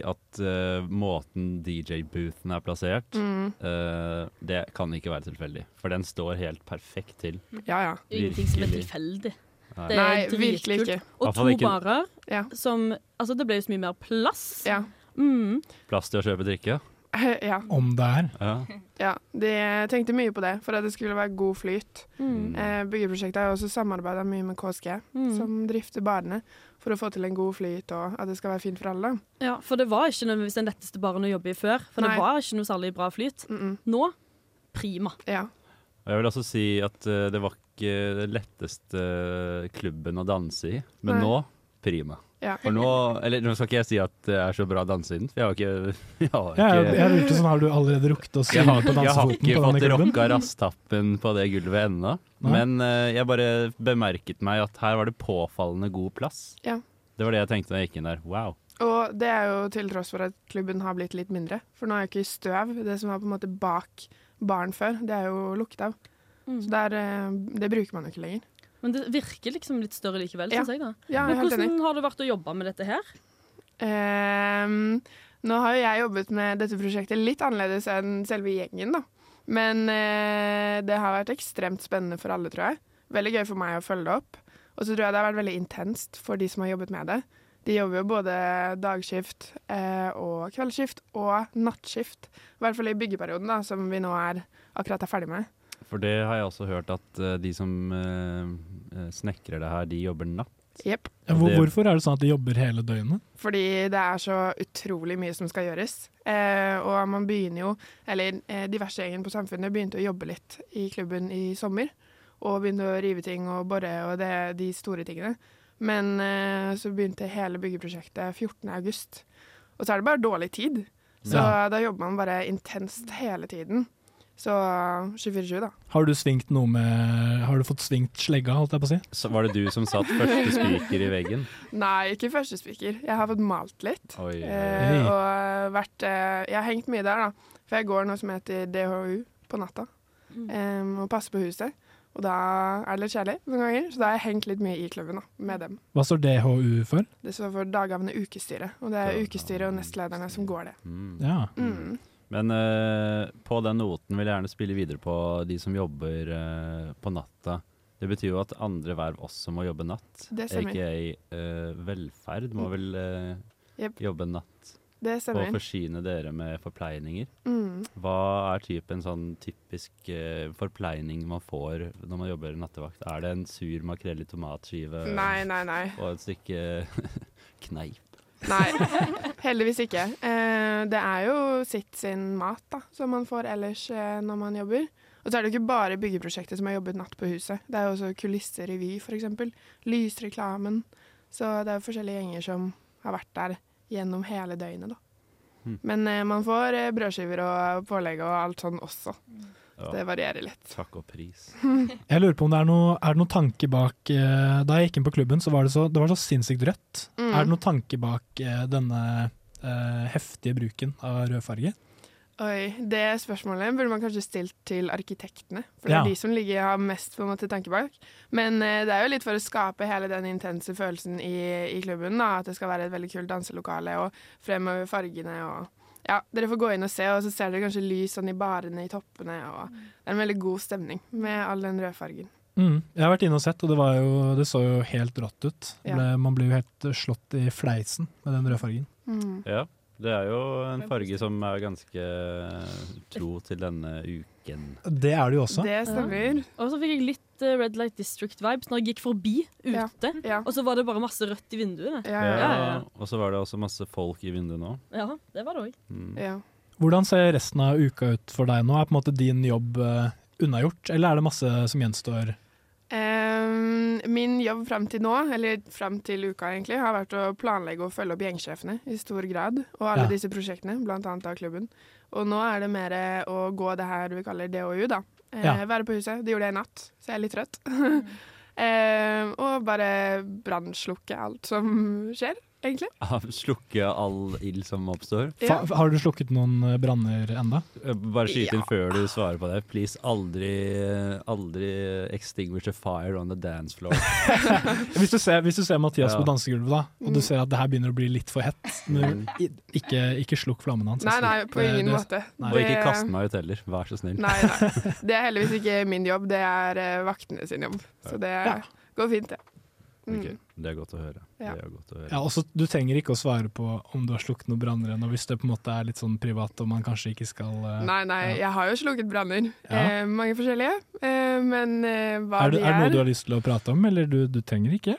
Speaker 4: at eh, måten DJ-boothen er plassert,
Speaker 10: Mm.
Speaker 4: eh, det kan ikke være tilfeldig. For den står helt perfekt til.
Speaker 10: Ja, ja.
Speaker 5: Det er jo ingenting som er
Speaker 4: Virkelig.
Speaker 5: tilfeldig.
Speaker 4: Nei.
Speaker 5: Det
Speaker 10: Nei,
Speaker 5: er
Speaker 10: virkelig
Speaker 5: dritkult.
Speaker 10: ikke.
Speaker 5: Og
Speaker 4: Hvertfall
Speaker 5: to
Speaker 4: ikke-
Speaker 5: barer
Speaker 10: Ja.
Speaker 5: som Altså, det ble jo så mye mer plass.
Speaker 10: Ja.
Speaker 5: Mm.
Speaker 4: Plass til å kjøpe drikke.
Speaker 10: ja.
Speaker 1: Om det er.
Speaker 4: Ja.
Speaker 10: ja. De tenkte mye på det, for at det skulle være god flyt.
Speaker 5: Mm.
Speaker 10: Eh, byggeprosjektet har jo også samarbeida mye med KSG,
Speaker 5: Mm.
Speaker 10: som drifter barene, for å få til en god flyt, og at det skal være fint for alle.
Speaker 5: Ja, for det var ikke nødvendigvis den letteste baren å jobbe i før. For
Speaker 10: Nei.
Speaker 5: det var ikke noe særlig bra flyt.
Speaker 10: Mm -mm.
Speaker 5: Nå prima.
Speaker 10: Ja.
Speaker 4: Og Jeg vil også si at eh, det var ikke den letteste klubben å danse i, men
Speaker 10: Nei.
Speaker 4: nå prima.
Speaker 10: Ja.
Speaker 4: For nå, eller nå skal ikke jeg si at det er så bra å danse i den, for jeg har ikke Jeg har
Speaker 1: Ja, jeg,
Speaker 4: ikke,
Speaker 1: jeg lurte sånn, har du allerede rukket å
Speaker 4: jeg
Speaker 1: synge
Speaker 4: har,
Speaker 1: på
Speaker 4: jeg har
Speaker 1: dansefoten
Speaker 4: ikke
Speaker 1: på denne
Speaker 4: fått
Speaker 1: klubben?
Speaker 4: rocka rasstappen på det gulvet ennå.
Speaker 1: Nei.
Speaker 4: Men eh, jeg bare bemerket meg at her var det påfallende god plass.
Speaker 10: Ja.
Speaker 4: Det var det jeg tenkte da jeg gikk inn der. Wow.
Speaker 10: Og det er jo til tross for at klubben har blitt litt mindre, for nå er jo ikke støv det som var på en måte bak baren før, det er jo lukket av. Så der, eh, det bruker man jo ikke lenger.
Speaker 5: Men det virker liksom litt større likevel,
Speaker 10: Ja.
Speaker 5: syns jeg. da.
Speaker 10: Ja, jeg
Speaker 5: Men
Speaker 10: er helt enig.
Speaker 5: hvordan har det vært å jobbe med dette her?
Speaker 10: Ehm, nå har jo jeg jobbet med dette prosjektet litt annerledes enn selve gjengen, da. Men eh, det har vært ekstremt spennende for alle, tror jeg. Veldig gøy for meg å følge det opp. Og så tror jeg det har vært veldig intenst for de som har jobbet med det. De jobber jo både dagskift eh, og kveldsskift og nattskift. I hvert fall i byggeperioden, da, som vi nå er akkurat er ferdig med.
Speaker 4: For det har jeg også hørt at eh, de som eh, eh, snekrer det her, de jobber natt.
Speaker 10: Jepp.
Speaker 1: Ja, hvor, hvorfor er det sånn at de jobber hele døgnet?
Speaker 10: Fordi det er så utrolig mye som skal gjøres. Eh, og man begynner jo, eller eh, diverse gjengen på samfunnet begynte å jobbe litt i klubben i sommer. Og begynte å rive ting og bore og det, de store tingene. Men eh, så begynte hele byggeprosjektet 14. august. Og så er det bare dårlig tid. Så
Speaker 1: Ja.
Speaker 10: da jobber man bare intenst hele tiden. Så eh, 24-7, da.
Speaker 1: Har du svingt noe med Har du fått svingt slegga, holdt jeg på å si?
Speaker 4: Så var det du som satt første spiker i veggen?
Speaker 10: Nei, ikke første spiker. Jeg har fått malt litt.
Speaker 4: Oi, oi,
Speaker 10: Eh,
Speaker 1: oi.
Speaker 10: og vært eh, Jeg har hengt mye der, da. For jeg går noe som heter DHU på natta. Mm.
Speaker 5: Eh,
Speaker 10: em, og passer på huset. Og da er det litt kjedelig noen ganger, så da har jeg hengt litt mye i klubben da, med dem.
Speaker 1: Hva står DHU for?
Speaker 10: Det står for Dagavne ukestyret, og det er
Speaker 4: Dagavne
Speaker 10: ukestyret og nestlederne som går det.
Speaker 4: Mm.
Speaker 1: Ja.
Speaker 10: Mm.
Speaker 4: Men eh, på den noten vil jeg gjerne spille videre på de som jobber eh, på natta. Det betyr jo at andre verv også må jobbe natt.
Speaker 10: Det stemmer. Mm.
Speaker 4: Aka eh, velferd må vel eh,
Speaker 10: Jep.
Speaker 4: jobbe natt
Speaker 10: Det
Speaker 4: og
Speaker 10: stemmer.
Speaker 4: forsyne dere med forpleininger.
Speaker 10: Mm.
Speaker 4: Hva er typ en sånn typisk eh, forpleining man får når man jobber nattevakt? Er det en sur makrell i tomatskive
Speaker 10: Nei, nei, nei.
Speaker 4: og et stykke kneip?
Speaker 10: nei. Heldigvis ikke. Eh, det er jo sitt sin mat da, som man får ellers eh, når man jobber. Og så er det jo ikke bare byggeprosjektet som har jobbet natt på huset. Det er jo også kulisserevy, f.eks. Lysreklamen. Så det er jo forskjellige gjenger som har vært der gjennom hele døgnet, da. Men eh, man får eh, brødskiver og pålegg og alt sånn også.
Speaker 4: Ja.
Speaker 10: Det varierer litt.
Speaker 4: Takk og pris.
Speaker 1: Jeg lurer på om det er noe, er det noe tanke bak eh, Da jeg gikk inn på klubben, så var det så, det var så sinnssykt rødt.
Speaker 10: Mm.
Speaker 1: Er det noe tanke bak eh, denne eh, heftige bruken av rød farge?
Speaker 10: Oi, det spørsmålet burde man kanskje stilt til arkitektene, for
Speaker 1: Ja.
Speaker 10: det er de som ligger har mest på en måte tanke bak. Men eh, det er jo litt for å skape hele den intense følelsen i, i klubben, da, at det skal være et veldig kult danselokale, og fremover fargene og Ja, dere får gå inn og se, og så ser dere kanskje lys sånn i barene i toppene, og det er en veldig god stemning med all den rødfargen.
Speaker 1: Mm. Jeg har vært inne og sett, og det, var jo, det så jo helt rått ut. Det Ble,
Speaker 10: Ja.
Speaker 1: man blir jo helt slått i fleisen med den røde fargen.
Speaker 4: Ja, det er jo en farge som er ganske eh, tro til denne uken.
Speaker 1: Det er det jo også.
Speaker 10: stemmer.
Speaker 5: Og så fikk jeg litt eh, Red Light District-vibes når jeg gikk forbi ute. Og så var det bare masse rødt i vinduene.
Speaker 4: Ja,
Speaker 5: ja,
Speaker 4: Og så var det også masse folk i vinduet nå.
Speaker 5: ja. Ja, det var det òg.
Speaker 4: Mm.
Speaker 1: Hvordan ser resten av uka ut for deg nå? Er på en måte din jobb eh, unnagjort, eller er det masse som gjenstår?
Speaker 10: Ehm, min jobb fram til nå, eller fram til uka egentlig, har vært å planlegge og følge opp gjengsjefene i stor grad, og alle
Speaker 1: Ja.
Speaker 10: disse prosjektene, blant annet av klubben. Og nå er det mer eh, å gå det her vi kaller DOU, da. Eh,
Speaker 1: Ja.
Speaker 10: Være på huset. Det gjorde jeg i natt, så jeg er litt trøtt. Ehm, og bare brannslukke alt som skjer, egentlig.
Speaker 4: Slukke all ild som oppstår.
Speaker 1: Fa har du slukket noen eh, branner enda?
Speaker 4: Bare skyt inn før du svarer på det. Please, aldri, aldri extinguish a fire on the dance floor.
Speaker 1: Hvis du ser, hvis du ser Mathias
Speaker 4: Ja.
Speaker 1: på dansegulvet, da,
Speaker 10: Mm.
Speaker 1: og du ser at det her begynner å bli litt for hett, men i- ikke, ikke slukk flammen hans.
Speaker 10: Nei,
Speaker 1: altså.
Speaker 10: nei, på
Speaker 1: Det-
Speaker 10: ingen
Speaker 1: det-
Speaker 10: måte.
Speaker 1: nei.
Speaker 4: Og ikke kaste meg ut heller, vær så snill.
Speaker 10: Nei, nei. Det er heldigvis ikke min jobb, det er eh, vaktene sin jobb. Så det går fint, det. Mm.
Speaker 4: Ok, Det er godt å høre.
Speaker 10: Ja.
Speaker 4: Det er godt å høre.
Speaker 1: Ja, også, du trenger ikke å svare på om du har slukket noen branner ennå, hvis det på en måte er litt sånn privat og man kanskje ikke skal eh,
Speaker 10: Nei, nei, jeg har jo slukket branner.
Speaker 1: Ja.
Speaker 10: Eh, mange forskjellige. Eh, men eh, hva
Speaker 1: er, det,
Speaker 10: de
Speaker 1: er det noe
Speaker 10: er
Speaker 1: du har lyst til å prate om, eller du, du trenger ikke?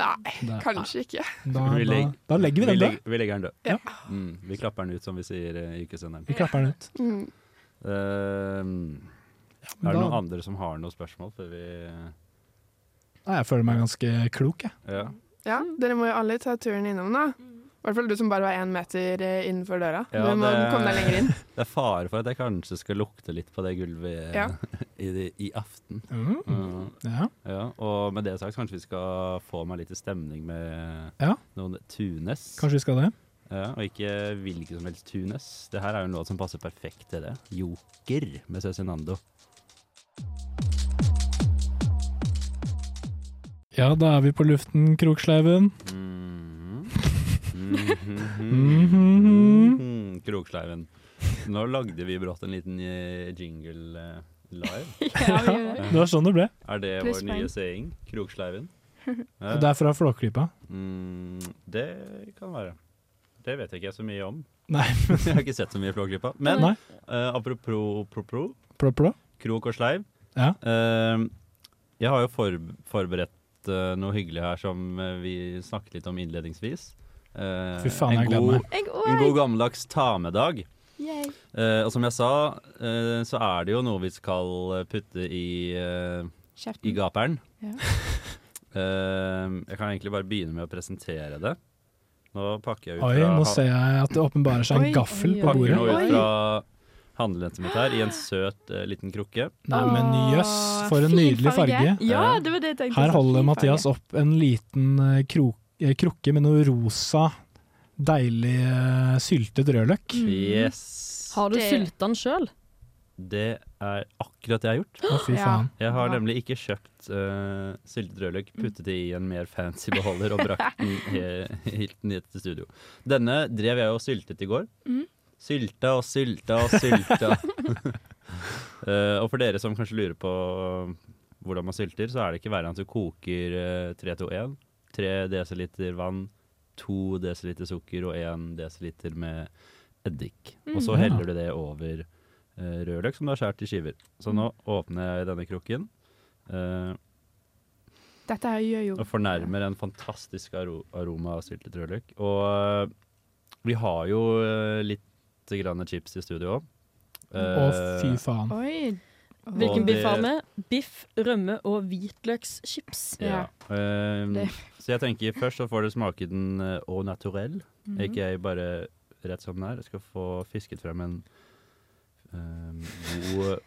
Speaker 10: Nei,
Speaker 1: Nei.
Speaker 10: kanskje ikke.
Speaker 1: Da,
Speaker 4: Vi
Speaker 1: da,
Speaker 4: legger-
Speaker 1: da legger vi den død.
Speaker 4: legger- Vi legger den død.
Speaker 10: Ja.
Speaker 4: Mm, vi klapper den ut, som vi sier eh, i ukesenderen.
Speaker 1: Vi klapper den ut.
Speaker 10: Mm.
Speaker 4: Ehm,
Speaker 1: da-
Speaker 4: er det noen andre som har noen spørsmål før vi
Speaker 1: Nei, jeg føler meg ganske klok, jeg.
Speaker 4: Ja.
Speaker 10: Ja, dere må jo alle ta turen innom, da. I hvert fall du som bare var én meter eh, innenfor døra.
Speaker 4: Ja,
Speaker 10: du må komme deg lenger inn.
Speaker 4: Det er fare for at jeg kanskje skal lukte litt på det gulvet
Speaker 10: Ja.
Speaker 4: i, i aften.
Speaker 1: Mm.
Speaker 4: Mm.
Speaker 1: Ja.
Speaker 4: Ja, og med det sagt, kanskje vi skal få meg litt i stemning med
Speaker 1: Ja.
Speaker 4: noen Tunes.
Speaker 1: Kanskje vi skal det?
Speaker 4: Ja, og ikke hvilken som helst Tunes. Det her er jo en låt som passer perfekt til det. Joker med Cezinando.
Speaker 1: Ja, da er vi på luften, Kroksleiven. Mm-hmm.
Speaker 4: Mhm. Kroksleiven. Nå lagde vi brått en liten eh, jingle eh, live.
Speaker 1: det var sånn det ble.
Speaker 4: Er det
Speaker 1: Pluss
Speaker 4: vår nye
Speaker 1: poeng.
Speaker 4: saying? Kroksleiven? Ja.
Speaker 1: Og det er fra Flåklypa.
Speaker 4: Mm, det kan være. Det vet jeg ikke så mye om.
Speaker 1: Nei.
Speaker 4: jeg har ikke sett så mye Flåklypa. Men
Speaker 1: Nei.
Speaker 4: eh, apropos propro,
Speaker 1: Plå, plå.
Speaker 4: krok og sleiv.
Speaker 1: Ja.
Speaker 4: Eh, jeg har jo for, forberedt eh, noe hyggelig her som eh, vi snakket litt om innledningsvis. Eh,
Speaker 1: Fy faen, jeg
Speaker 4: en,
Speaker 1: gleder
Speaker 4: god,
Speaker 1: meg.
Speaker 11: Jeg
Speaker 4: en god gammeldags ta-med-dag.
Speaker 11: Yay.
Speaker 4: Eh, og som jeg sa, eh, så er det jo noe vi skal putte i, eh,
Speaker 11: Kjeften.
Speaker 4: i gaperen.
Speaker 11: Ja.
Speaker 4: Eh, jeg kan egentlig bare begynne med å presentere det. Nå pakker jeg ut
Speaker 1: Oi,
Speaker 4: fra
Speaker 1: nå ser jeg at det åpenbarer seg en
Speaker 11: Oi,
Speaker 1: gaffel
Speaker 11: oi,
Speaker 1: på
Speaker 11: oi,
Speaker 4: pakker
Speaker 1: bordet.
Speaker 4: nå ut fra handlenettet mitt her i en søt eh, liten krukke.
Speaker 1: Nei, men jøss, for en
Speaker 11: Fin
Speaker 1: nydelig
Speaker 11: farge.
Speaker 1: farge.
Speaker 11: Ja, det var det jeg tenkte.
Speaker 1: Her
Speaker 11: Så
Speaker 1: holder
Speaker 11: fin
Speaker 1: Mathias
Speaker 11: farge.
Speaker 1: opp en liten eh, kro eh, krukke med noe rosa, deilig eh, syltet rødløk.
Speaker 11: Mm.
Speaker 4: Yes.
Speaker 5: Har du
Speaker 11: Det-
Speaker 5: sylta den sjøl?
Speaker 4: Det er akkurat det jeg har gjort.
Speaker 6: Mm.
Speaker 1: Å, fy faen.
Speaker 4: Jeg har nemlig ikke kjøpt uh, syltet
Speaker 11: Mm.
Speaker 4: rødløk, puttet det i en mer fancy beholder og brakt den he- helt ned til studio. Denne drev jeg og syltet i går.
Speaker 11: Mm.
Speaker 4: Sylta og sylta og sylta. Eh, og for dere som kanskje lurer på eh, hvordan man sylter, så er det ikke verre enn at du koker eh, 3-2-1. 3 dl vann, 2 dl sukker og 1 dl med eddik. Og så
Speaker 1: Mm.
Speaker 4: heller du det over eh, rødløk som du har skåret i skiver. Så nå åpner jeg denne krukken eh,
Speaker 11: Dette her gjør jo
Speaker 4: og fornærmer en fantastisk aro aroma av syltet rødløk. Og eh, vi har jo eh, litt grann chips i studio òg.
Speaker 1: Å,
Speaker 4: Eh.
Speaker 1: fy faen.
Speaker 11: Oi.
Speaker 5: Hvilken
Speaker 4: Og
Speaker 5: biff
Speaker 4: det-
Speaker 5: har vi? Biff, rømme og hvitløkschips.
Speaker 4: Ja. Ehm,
Speaker 11: Det-
Speaker 6: Mm.
Speaker 4: så jeg tenker først så får dere smake den eh, au naturel,
Speaker 11: Mhm.
Speaker 4: ikke bare rett som den er. Jeg skal få fisket frem en eh, god,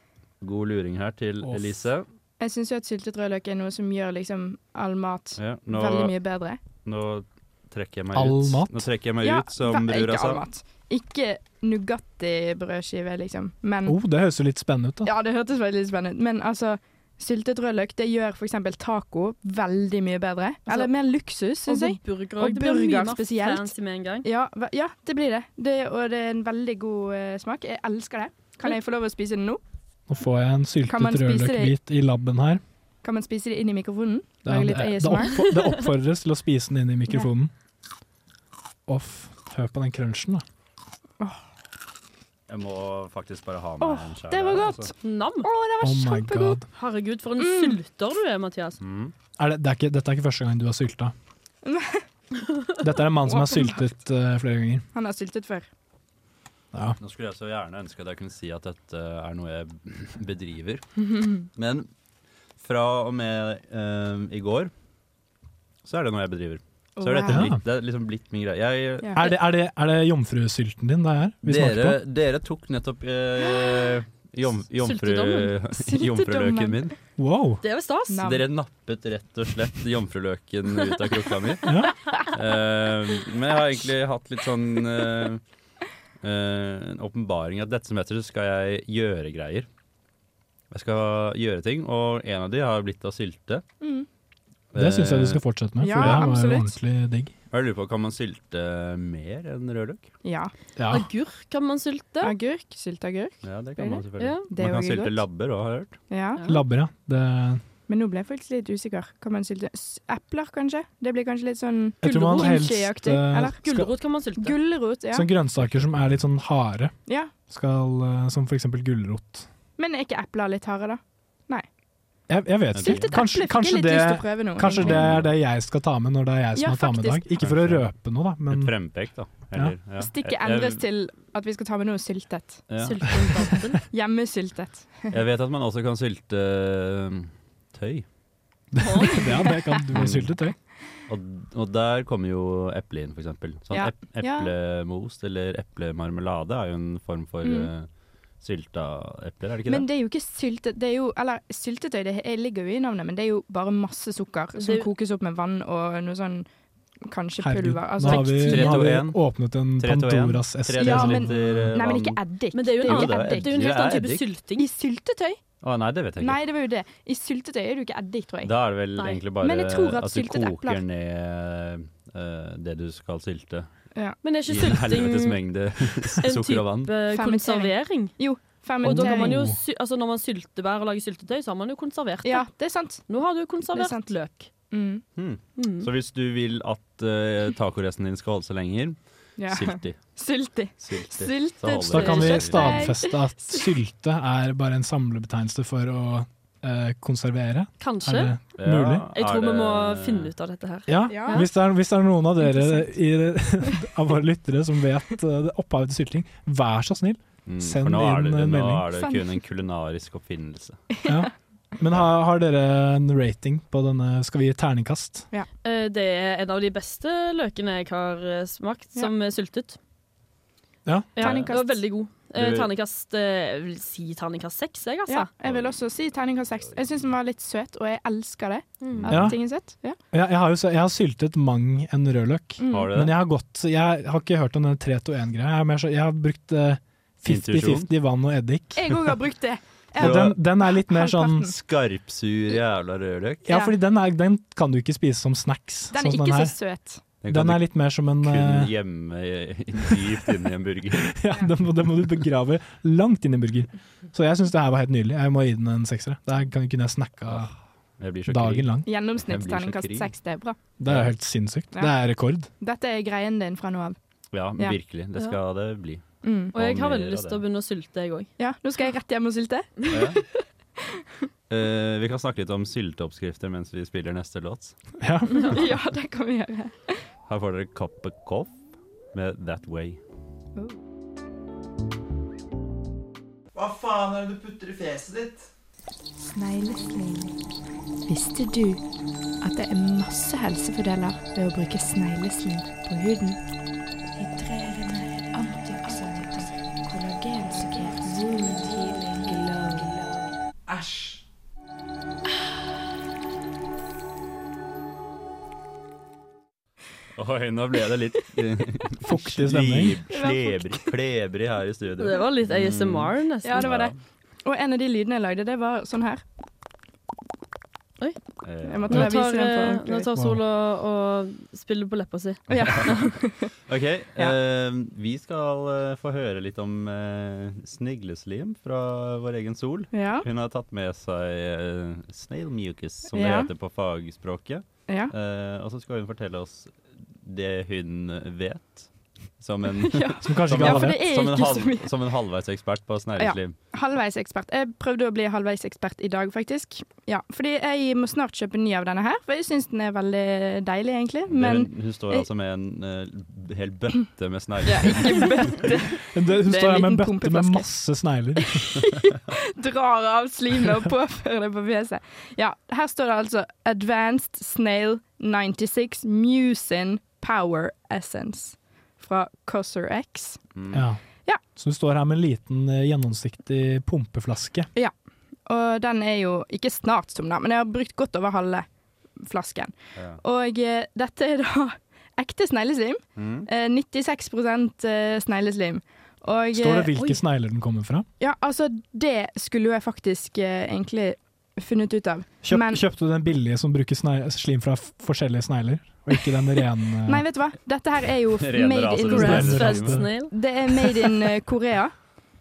Speaker 4: god luring her til
Speaker 6: Åh.
Speaker 4: Elise.
Speaker 6: Jeg syns jo at syltet rødløk er noe som gjør liksom all mat
Speaker 4: Ja, nå-
Speaker 6: veldig mye bedre.
Speaker 4: Nå trekker jeg meg
Speaker 1: All
Speaker 4: ut.
Speaker 1: mat?
Speaker 4: Nå trekker jeg meg
Speaker 6: Ja,
Speaker 4: ut, som
Speaker 6: ve-
Speaker 4: brura
Speaker 6: ikke
Speaker 4: sa.
Speaker 6: all mat. Ikke Nugatti-brødskive, liksom. Men
Speaker 1: Oh, det høres jo litt spennende ut, da.
Speaker 6: Ja, det hørtes veldig spennende ut. Men altså, syltet rødløk det gjør f.eks. taco veldig mye bedre.
Speaker 1: Altså,
Speaker 6: Eller mer luksus,
Speaker 5: og
Speaker 6: syns jeg.
Speaker 5: burger,
Speaker 6: og
Speaker 5: det blir mye
Speaker 6: burger
Speaker 5: mer
Speaker 6: spesielt.
Speaker 5: fancy med en gang.
Speaker 6: Ja, ve- ja, det blir det. det. Og det er en veldig god eh, smak. Jeg elsker det. Kan jeg få lov å spise det nå?
Speaker 1: Nå får jeg en
Speaker 6: Kan man
Speaker 1: syltet
Speaker 6: spise det i-
Speaker 1: rødløkbit i labben her.
Speaker 6: Kan man spise det inn i mikrofonen?
Speaker 1: Det, er,
Speaker 6: Lage
Speaker 1: det,
Speaker 6: litt
Speaker 1: er- det,
Speaker 6: ASMR?
Speaker 1: oppfor- det oppfordres til å spise den inn i mikrofonen. Off. Hør på den crunchen, da.
Speaker 4: Jeg må faktisk bare ha med
Speaker 5: Åh,
Speaker 4: en skjær.
Speaker 5: det var
Speaker 4: der,
Speaker 5: godt.
Speaker 4: altså.
Speaker 5: Nam.
Speaker 6: det
Speaker 1: var Oh my kjempegodt. God.
Speaker 5: Herregud, for en sylter du er, Mathias.
Speaker 4: Mhm.
Speaker 1: Er det, det er ikke, dette er ikke første gang du har sylta. Dette er en mann som har syltet eh, flere ganger.
Speaker 6: Han har syltet før.
Speaker 1: Ja.
Speaker 4: Nå skulle jeg så gjerne ønske at jeg kunne si at dette er noe jeg bedriver.
Speaker 6: Mhm.
Speaker 4: Men fra og med eh, i går så er det noe jeg bedriver. Så er dette
Speaker 1: Wow.
Speaker 4: blitt, det er liksom blitt min greie. Jeg,
Speaker 1: Er det, er det, er det jomfrusylten din det er? Vi
Speaker 4: dere,
Speaker 1: smaker på?
Speaker 4: dere tok nettopp eh, jom, jomfru,
Speaker 5: Syltedommen.
Speaker 4: jomfruløken min.
Speaker 1: Wow.
Speaker 5: Det er vel stas.
Speaker 4: Så dere nappet rett og slett jomfruløken ut av krukka mi. Eh, men jeg har egentlig hatt litt sånn eh, eh, en åpenbaring at dette semesteret skal jeg gjøre greier. Jeg skal gjøre ting, og en av de har blitt å sylte.
Speaker 6: Mm.
Speaker 1: Det syns jeg du
Speaker 4: Eh,
Speaker 1: skal fortsette med, for
Speaker 6: Ja,
Speaker 1: det her var jo
Speaker 6: absolutt.
Speaker 1: ordentlig digg.
Speaker 4: og Jeg lurer på, Kan man sylte mer enn rødløk?
Speaker 6: Ja.
Speaker 1: Ja.
Speaker 5: Agurk kan man sylte.
Speaker 6: Agurk. Sylteagurk.
Speaker 4: Ja, det kan man selvfølgelig.
Speaker 6: Ja. Det er
Speaker 4: man kan
Speaker 6: jo
Speaker 4: sylte
Speaker 6: godt.
Speaker 4: labber òg, har jeg hørt.
Speaker 6: Ja.
Speaker 1: Labber, ja. Det,
Speaker 6: Men nå ble jeg faktisk litt usikker. Kan man sylte s- Epler, kanskje? Det blir kanskje litt sånn
Speaker 1: Jeg tror man helst,
Speaker 6: kimchi-aktig,
Speaker 1: eh,
Speaker 6: eller?
Speaker 1: skal- Gulrot
Speaker 5: kan man sylte.
Speaker 6: Gulrot, ja.
Speaker 1: Sånne grønnsaker som er litt sånn harde,
Speaker 6: ja.
Speaker 1: skal, eh, som for eksempel gulrot.
Speaker 6: Men er ikke epler litt harde, da? Nei.
Speaker 1: Jeg, jeg vet
Speaker 6: Syltet
Speaker 1: ikke. Kanskje,
Speaker 6: eple fikk jeg
Speaker 1: kanskje,
Speaker 6: litt
Speaker 1: det,
Speaker 6: lyst til å prøve nå,
Speaker 1: kanskje
Speaker 6: egentlig.
Speaker 1: det er det jeg skal ta med når det er jeg som
Speaker 6: Ja,
Speaker 1: har ta med i dag.
Speaker 6: faktisk.
Speaker 1: Ikke for å røpe noe, da, men
Speaker 4: Et frempek, da. Eller, ja.
Speaker 6: Stikket
Speaker 4: Jeg- jeg-
Speaker 6: endres til at vi skal ta med noe syltet.
Speaker 4: Ja.
Speaker 6: Hjemmesyltet.
Speaker 4: Jeg vet at man også kan sylte um, tøy.
Speaker 1: ja, det kan du sylte tøy.
Speaker 4: Og, og der kommer jo eple inn, for eksempel. Sånn
Speaker 1: Ja.
Speaker 4: ep eplemost eller eplemarmelade er jo en form for
Speaker 6: Mm.
Speaker 4: uh, sylta epler, er det ikke
Speaker 6: Men
Speaker 4: det?
Speaker 6: det er jo ikke syltet det er jo, Eller syltetøy det he- ligger jo i navnet, men det er jo bare masse sukker som
Speaker 5: Det-
Speaker 6: kokes opp med vann og noe sånn kanskje
Speaker 1: Herregud,
Speaker 6: pulver. Altså,
Speaker 1: nå har vi, nå har vi
Speaker 4: 3-2-1.
Speaker 1: åpnet en
Speaker 4: 3-2-1.
Speaker 1: Pandoras eske.
Speaker 4: 3-2-1.
Speaker 6: ja, men,
Speaker 4: desiliter, eh,
Speaker 6: nei, men
Speaker 4: vann.
Speaker 6: ikke eddik.
Speaker 5: Men det er jo en,
Speaker 4: Jo,
Speaker 5: annen-
Speaker 4: det
Speaker 5: det er jo
Speaker 4: er
Speaker 5: en
Speaker 4: eddik.
Speaker 5: helt annen
Speaker 4: Det er
Speaker 5: type
Speaker 4: eddik.
Speaker 5: sylting.
Speaker 6: I syltetøy?
Speaker 4: Å nei, det vet jeg ikke.
Speaker 6: Nei, det var jo det. I syltetøy er det jo ikke eddik, tror jeg.
Speaker 4: da er det vel
Speaker 6: Nei.
Speaker 4: egentlig bare
Speaker 6: Men jeg tror at
Speaker 4: at, du
Speaker 6: syltet
Speaker 4: koker
Speaker 6: epler-
Speaker 4: ned eh, det du skal sylte.
Speaker 6: Ja.
Speaker 5: Men er ikke
Speaker 4: I en
Speaker 5: sylting
Speaker 6: mm.
Speaker 4: helvetes mengde
Speaker 5: en
Speaker 4: sukker og vann.
Speaker 5: type konservering?
Speaker 6: Jo,
Speaker 5: Og da kan man jo,
Speaker 4: Oh.
Speaker 5: sy- altså når man syltebær og lager syltetøy, så har man jo konservert det.
Speaker 6: Ja, det er sant.
Speaker 5: Nå har du konservert løk.
Speaker 4: Hmm.
Speaker 5: Mm.
Speaker 4: Så hvis du vil at uh, tacoresten din skal holde seg lenger,
Speaker 6: Ja.
Speaker 4: sylt i.
Speaker 6: Sylti.
Speaker 4: Sylte.
Speaker 6: Sylte.
Speaker 4: Så holder
Speaker 1: Så da kan vi
Speaker 4: det seg.
Speaker 1: stadfeste at sylte er bare en samlebetegnelse for å eh, konservere.
Speaker 5: Kanskje.
Speaker 1: Er det mulig?
Speaker 5: Jeg tror vi må finne ut av dette her.
Speaker 1: Ja, Hvis, det er, hvis det er noen av dere i, av våre lyttere som vet eh, det opphavet til sylting, vær så snill,
Speaker 4: Mm, for
Speaker 1: send
Speaker 4: nå er
Speaker 1: inn
Speaker 4: det,
Speaker 1: en
Speaker 4: nå
Speaker 1: melding.
Speaker 4: er det kun en kulinarisk oppfinnelse.
Speaker 1: Ja. Men har, har dere en rating på denne? Skal vi gi terningkast?
Speaker 5: Eh, Det er en av de beste løkene jeg har eh, smakt, som er syltet.
Speaker 1: Ja.
Speaker 5: Ja, det var veldig god. Eh,
Speaker 1: Du-
Speaker 5: Terningkast eh, Jeg vil si terningkast seks, jeg, altså.
Speaker 6: Ja, jeg vil også si terningkast seks. Jeg syns den var litt søt, og jeg elsker det. At
Speaker 1: Ja.
Speaker 6: ting er søtt. Ja.
Speaker 1: Jeg, jeg, har jo, så- jeg har syltet mang en rødløk,
Speaker 6: Mm. Har du det?
Speaker 1: men jeg har, gått, jeg har ikke hørt om den 3-2-1-greia. Jeg, er mer så- jeg har brukt eh, 50-50 vann og eddik.
Speaker 6: Jeg òg har brukt det. Jeg-
Speaker 1: Og den, den er litt mer sånn
Speaker 4: Skarpsur jævla rødløk.
Speaker 1: Ja, fordi den, er, den kan du ikke spise som snacks.
Speaker 6: Den er
Speaker 1: sånn
Speaker 6: ikke
Speaker 1: her.
Speaker 6: så søt.
Speaker 4: Den kan
Speaker 1: Den
Speaker 4: du
Speaker 1: er litt mer som en
Speaker 4: Kun
Speaker 1: eh,
Speaker 4: hjemme i- i- dypt inni en burger.
Speaker 1: ja, den, må, den må du begrave langt inn i en burger. Så jeg syns det her var helt nydelig. Jeg må gi den en seksere. Det her kan kunne jeg snakka
Speaker 4: Jeg blir så krig.
Speaker 1: dagen lang.
Speaker 4: Jeg blir så
Speaker 6: Gjennomsnittsterningkast
Speaker 4: krig.
Speaker 6: seks, det er bra.
Speaker 1: Det er jo helt sinnssykt.
Speaker 6: Ja.
Speaker 1: Det er rekord.
Speaker 6: Dette er greien din fra nå av.
Speaker 4: Ja,
Speaker 6: Ja.
Speaker 4: virkelig. Det skal det bli.
Speaker 6: Mm.
Speaker 5: Og jeg har
Speaker 4: mer
Speaker 5: veldig
Speaker 4: av
Speaker 5: lyst til å
Speaker 4: det.
Speaker 5: begynne å sylte, jeg òg.
Speaker 6: Ja, nå skal jeg rett hjem og sylte.
Speaker 4: Eh, vi kan snakke litt om sylteoppskrifter mens vi spiller neste låt.
Speaker 1: Ja.
Speaker 6: ja, det kan vi gjøre.
Speaker 4: Her får dere Cup of Coff med That Way.
Speaker 12: Hva faen er det du putter i fjeset ditt?
Speaker 11: Snegleslimer. Visste du at det er masse helsefordeler ved å bruke snegleslim på huden? Hydrerende,
Speaker 4: Oi, nå ble det litt
Speaker 1: Fuktig stemning.
Speaker 4: Slib- Slebrig, klebrig her i studio.
Speaker 5: Det var litt ASMR, nesten.
Speaker 6: Ja, det var det. Og en av de lydene jeg lagde, det var sånn her.
Speaker 4: Eh,
Speaker 6: Jeg måtte
Speaker 5: Nå
Speaker 6: bare vise
Speaker 5: tar,
Speaker 6: den
Speaker 5: eh,
Speaker 6: på
Speaker 5: nå tar Sol og, og spiller på leppa si.
Speaker 4: OK, eh, vi skal eh, få høre litt om eh, snegleslim fra vår egen Sol.
Speaker 6: Ja.
Speaker 4: Hun har tatt med seg eh, snail mucus, som det
Speaker 6: Ja.
Speaker 4: heter på fagspråket.
Speaker 6: Ja.
Speaker 4: Eh, og så skal hun fortelle oss det hun vet. Som en,
Speaker 6: Ja.
Speaker 1: Som kanskje ikke
Speaker 4: en-
Speaker 1: alle vet.
Speaker 6: Ja, for det er
Speaker 4: som en,
Speaker 6: ikke så
Speaker 4: halv,
Speaker 6: mye.
Speaker 4: som en halvveisekspert på snegleslim.
Speaker 6: Ja, halvveisekspert. Jeg prøvde å bli halvveisekspert i dag, faktisk. Ja, fordi jeg må snart kjøpe ny av denne her, for jeg syns den er veldig deilig, egentlig.
Speaker 4: Det-
Speaker 6: Men
Speaker 4: hun, hun står
Speaker 6: Eh,
Speaker 4: altså med en eh, hel bøtte med snegler.
Speaker 6: Ja, ikke
Speaker 1: Hun det-
Speaker 6: bøtte.
Speaker 1: hun
Speaker 6: Det er
Speaker 1: står her
Speaker 6: en
Speaker 1: med en
Speaker 6: liten
Speaker 1: bøtte med
Speaker 6: pumpeflaske.
Speaker 1: masse snegler.
Speaker 6: drar av slimet og påfører det på fjeset. Ja, her står det altså Advanced Snail 96 Mucin Power Essence fra Cosser X.
Speaker 4: Mm.
Speaker 1: Ja.
Speaker 6: Mm. Ja.
Speaker 1: Så hun står her med en liten eh, gjennomsiktig pumpeflaske.
Speaker 6: Ja, og den er jo ikke snart tom, da, men jeg har brukt godt over halve flasken.
Speaker 1: Ja.
Speaker 6: Og eh, dette er da ekte snegleslim.
Speaker 1: Mm.
Speaker 6: Eh, 96 eh, snegleslim. Og,
Speaker 1: Står det
Speaker 6: eh,
Speaker 1: hvilke
Speaker 6: oi.
Speaker 1: snegler den kommer fra?
Speaker 6: Ja, altså, det skulle jo jeg faktisk eh, egentlig funnet ut av.
Speaker 1: Kjøp,
Speaker 6: Men-
Speaker 1: kjøpte du den billige som bruker sne- slim fra f- forskjellige snegler, og ikke den eh, rene
Speaker 6: Nei, vet du hva? Dette her er jo f-
Speaker 1: Rene
Speaker 6: made
Speaker 1: raser
Speaker 6: in
Speaker 1: og Grass-fed
Speaker 6: Grass-fed
Speaker 1: snegler. snail.
Speaker 6: Det er made in eh, Korea.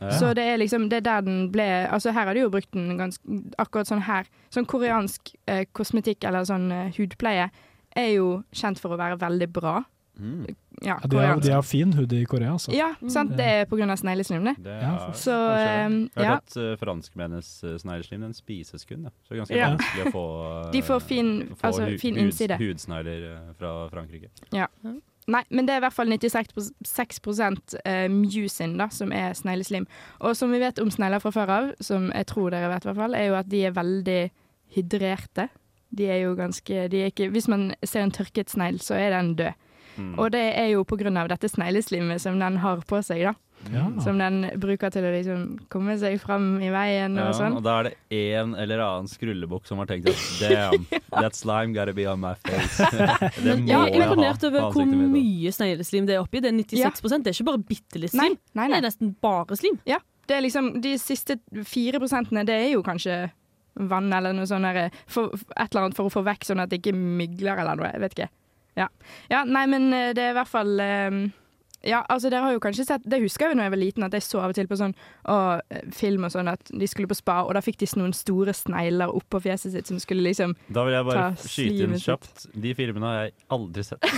Speaker 1: Ja.
Speaker 6: Så det er liksom Det er der den ble Altså, her har de jo brukt den ganske Akkurat sånn her. Sånn koreansk eh, kosmetikk eller sånn eh, hudpleie er jo kjent for å være veldig bra.
Speaker 4: Mm.
Speaker 1: Ja,
Speaker 6: Ja,
Speaker 1: de, har,
Speaker 6: koreansk.
Speaker 1: de har fin hud i Korea, altså.
Speaker 6: Ja, sant. Det er på grunn av snegleslim, det.
Speaker 4: Det er-
Speaker 6: Så
Speaker 4: kanskje.
Speaker 6: eh,
Speaker 4: Jeg har
Speaker 6: ja.
Speaker 4: hørt at eh, franskmennenes eh, snegleslim den spises kun, da. så det er ganske
Speaker 6: Ja.
Speaker 4: vanskelig å få eh,
Speaker 6: De får fin-
Speaker 4: å
Speaker 6: altså,
Speaker 4: hu-
Speaker 6: fin
Speaker 4: hud-
Speaker 6: innside.
Speaker 4: Hudsnegler eh, fra Frankrike.
Speaker 6: ja. Nei, men det er i hvert fall 96 pros- eh, mucin, da, som er snegleslim. Og som vi vet om snegler fra før av, som jeg tror dere vet, i hvert fall, er jo at de er veldig hydrerte. De er jo ganske de er ikke, Hvis man ser en tørket snegl, så er den død.
Speaker 2: Mm.
Speaker 6: Og det er jo på grunn av dette snegleslimet som den har på seg, da.
Speaker 4: Ja.
Speaker 6: Som den bruker til å liksom komme seg fram i veien
Speaker 4: Ja,
Speaker 6: og sånn.
Speaker 4: og da er det en eller annen skrullebukk som har tenkt at damn, that slime gotta be on my face. det
Speaker 5: Men
Speaker 4: må
Speaker 5: jeg er
Speaker 4: jeg ha
Speaker 5: imponert over
Speaker 4: på
Speaker 5: hvor
Speaker 4: ansiktet mitt.
Speaker 5: mye snegleslim det er oppi. Det er 96 Det er ikke bare bitte litt slim. Det er nesten bare slim.
Speaker 6: Ja, det er liksom de siste fire prosentene, det er jo kanskje vann eller noe sånn der, for, et eller annet for å få vekk sånn at det ikke mygler eller noe, jeg vet ikke. Ja, ja nei, men eh, det er i hvert fall... eh, Ja, altså dere har jo kanskje sett, det husker jeg jo når jeg var liten, at jeg så av og til på sånn å, eh, film og sånn, at de skulle på spa, og da fikk de sånn noen store snegler opp på fjeset sitt som skulle liksom
Speaker 4: Da vil jeg bare
Speaker 6: ta
Speaker 4: skyte inn
Speaker 6: slimet sitt.
Speaker 4: kjapt. De filmene har jeg aldri sett.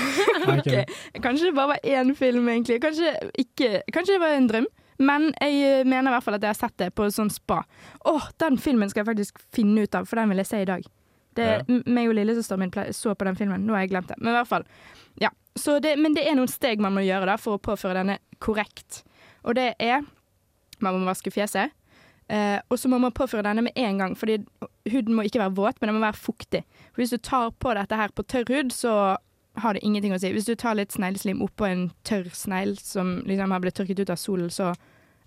Speaker 6: Ok. eh, Kanskje det bare var én film, egentlig. Kanskje, ikke, kanskje det var en drøm. Men jeg eh, mener i hvert fall at jeg har sett det på sånn spa. Åh, den filmen skal jeg faktisk finne ut av, for den vil jeg se i dag. Det,
Speaker 2: Ja.
Speaker 6: m- Meg og lillesøsteren min ple- så på den filmen. Nå har jeg glemt det. Men i hvert fall. Ja. Så det, men det er noen steg man må gjøre da, for å påføre denne korrekt. Og det er Man må vaske fjeset. Eh, og så må man påføre denne med en gang, fordi huden må ikke være våt, men den må være fuktig. For hvis du tar på dette her på tørr hud, så har det ingenting å si. Hvis du tar litt snegleslim oppå en tørr snegl som liksom har blitt tørket ut av solen, så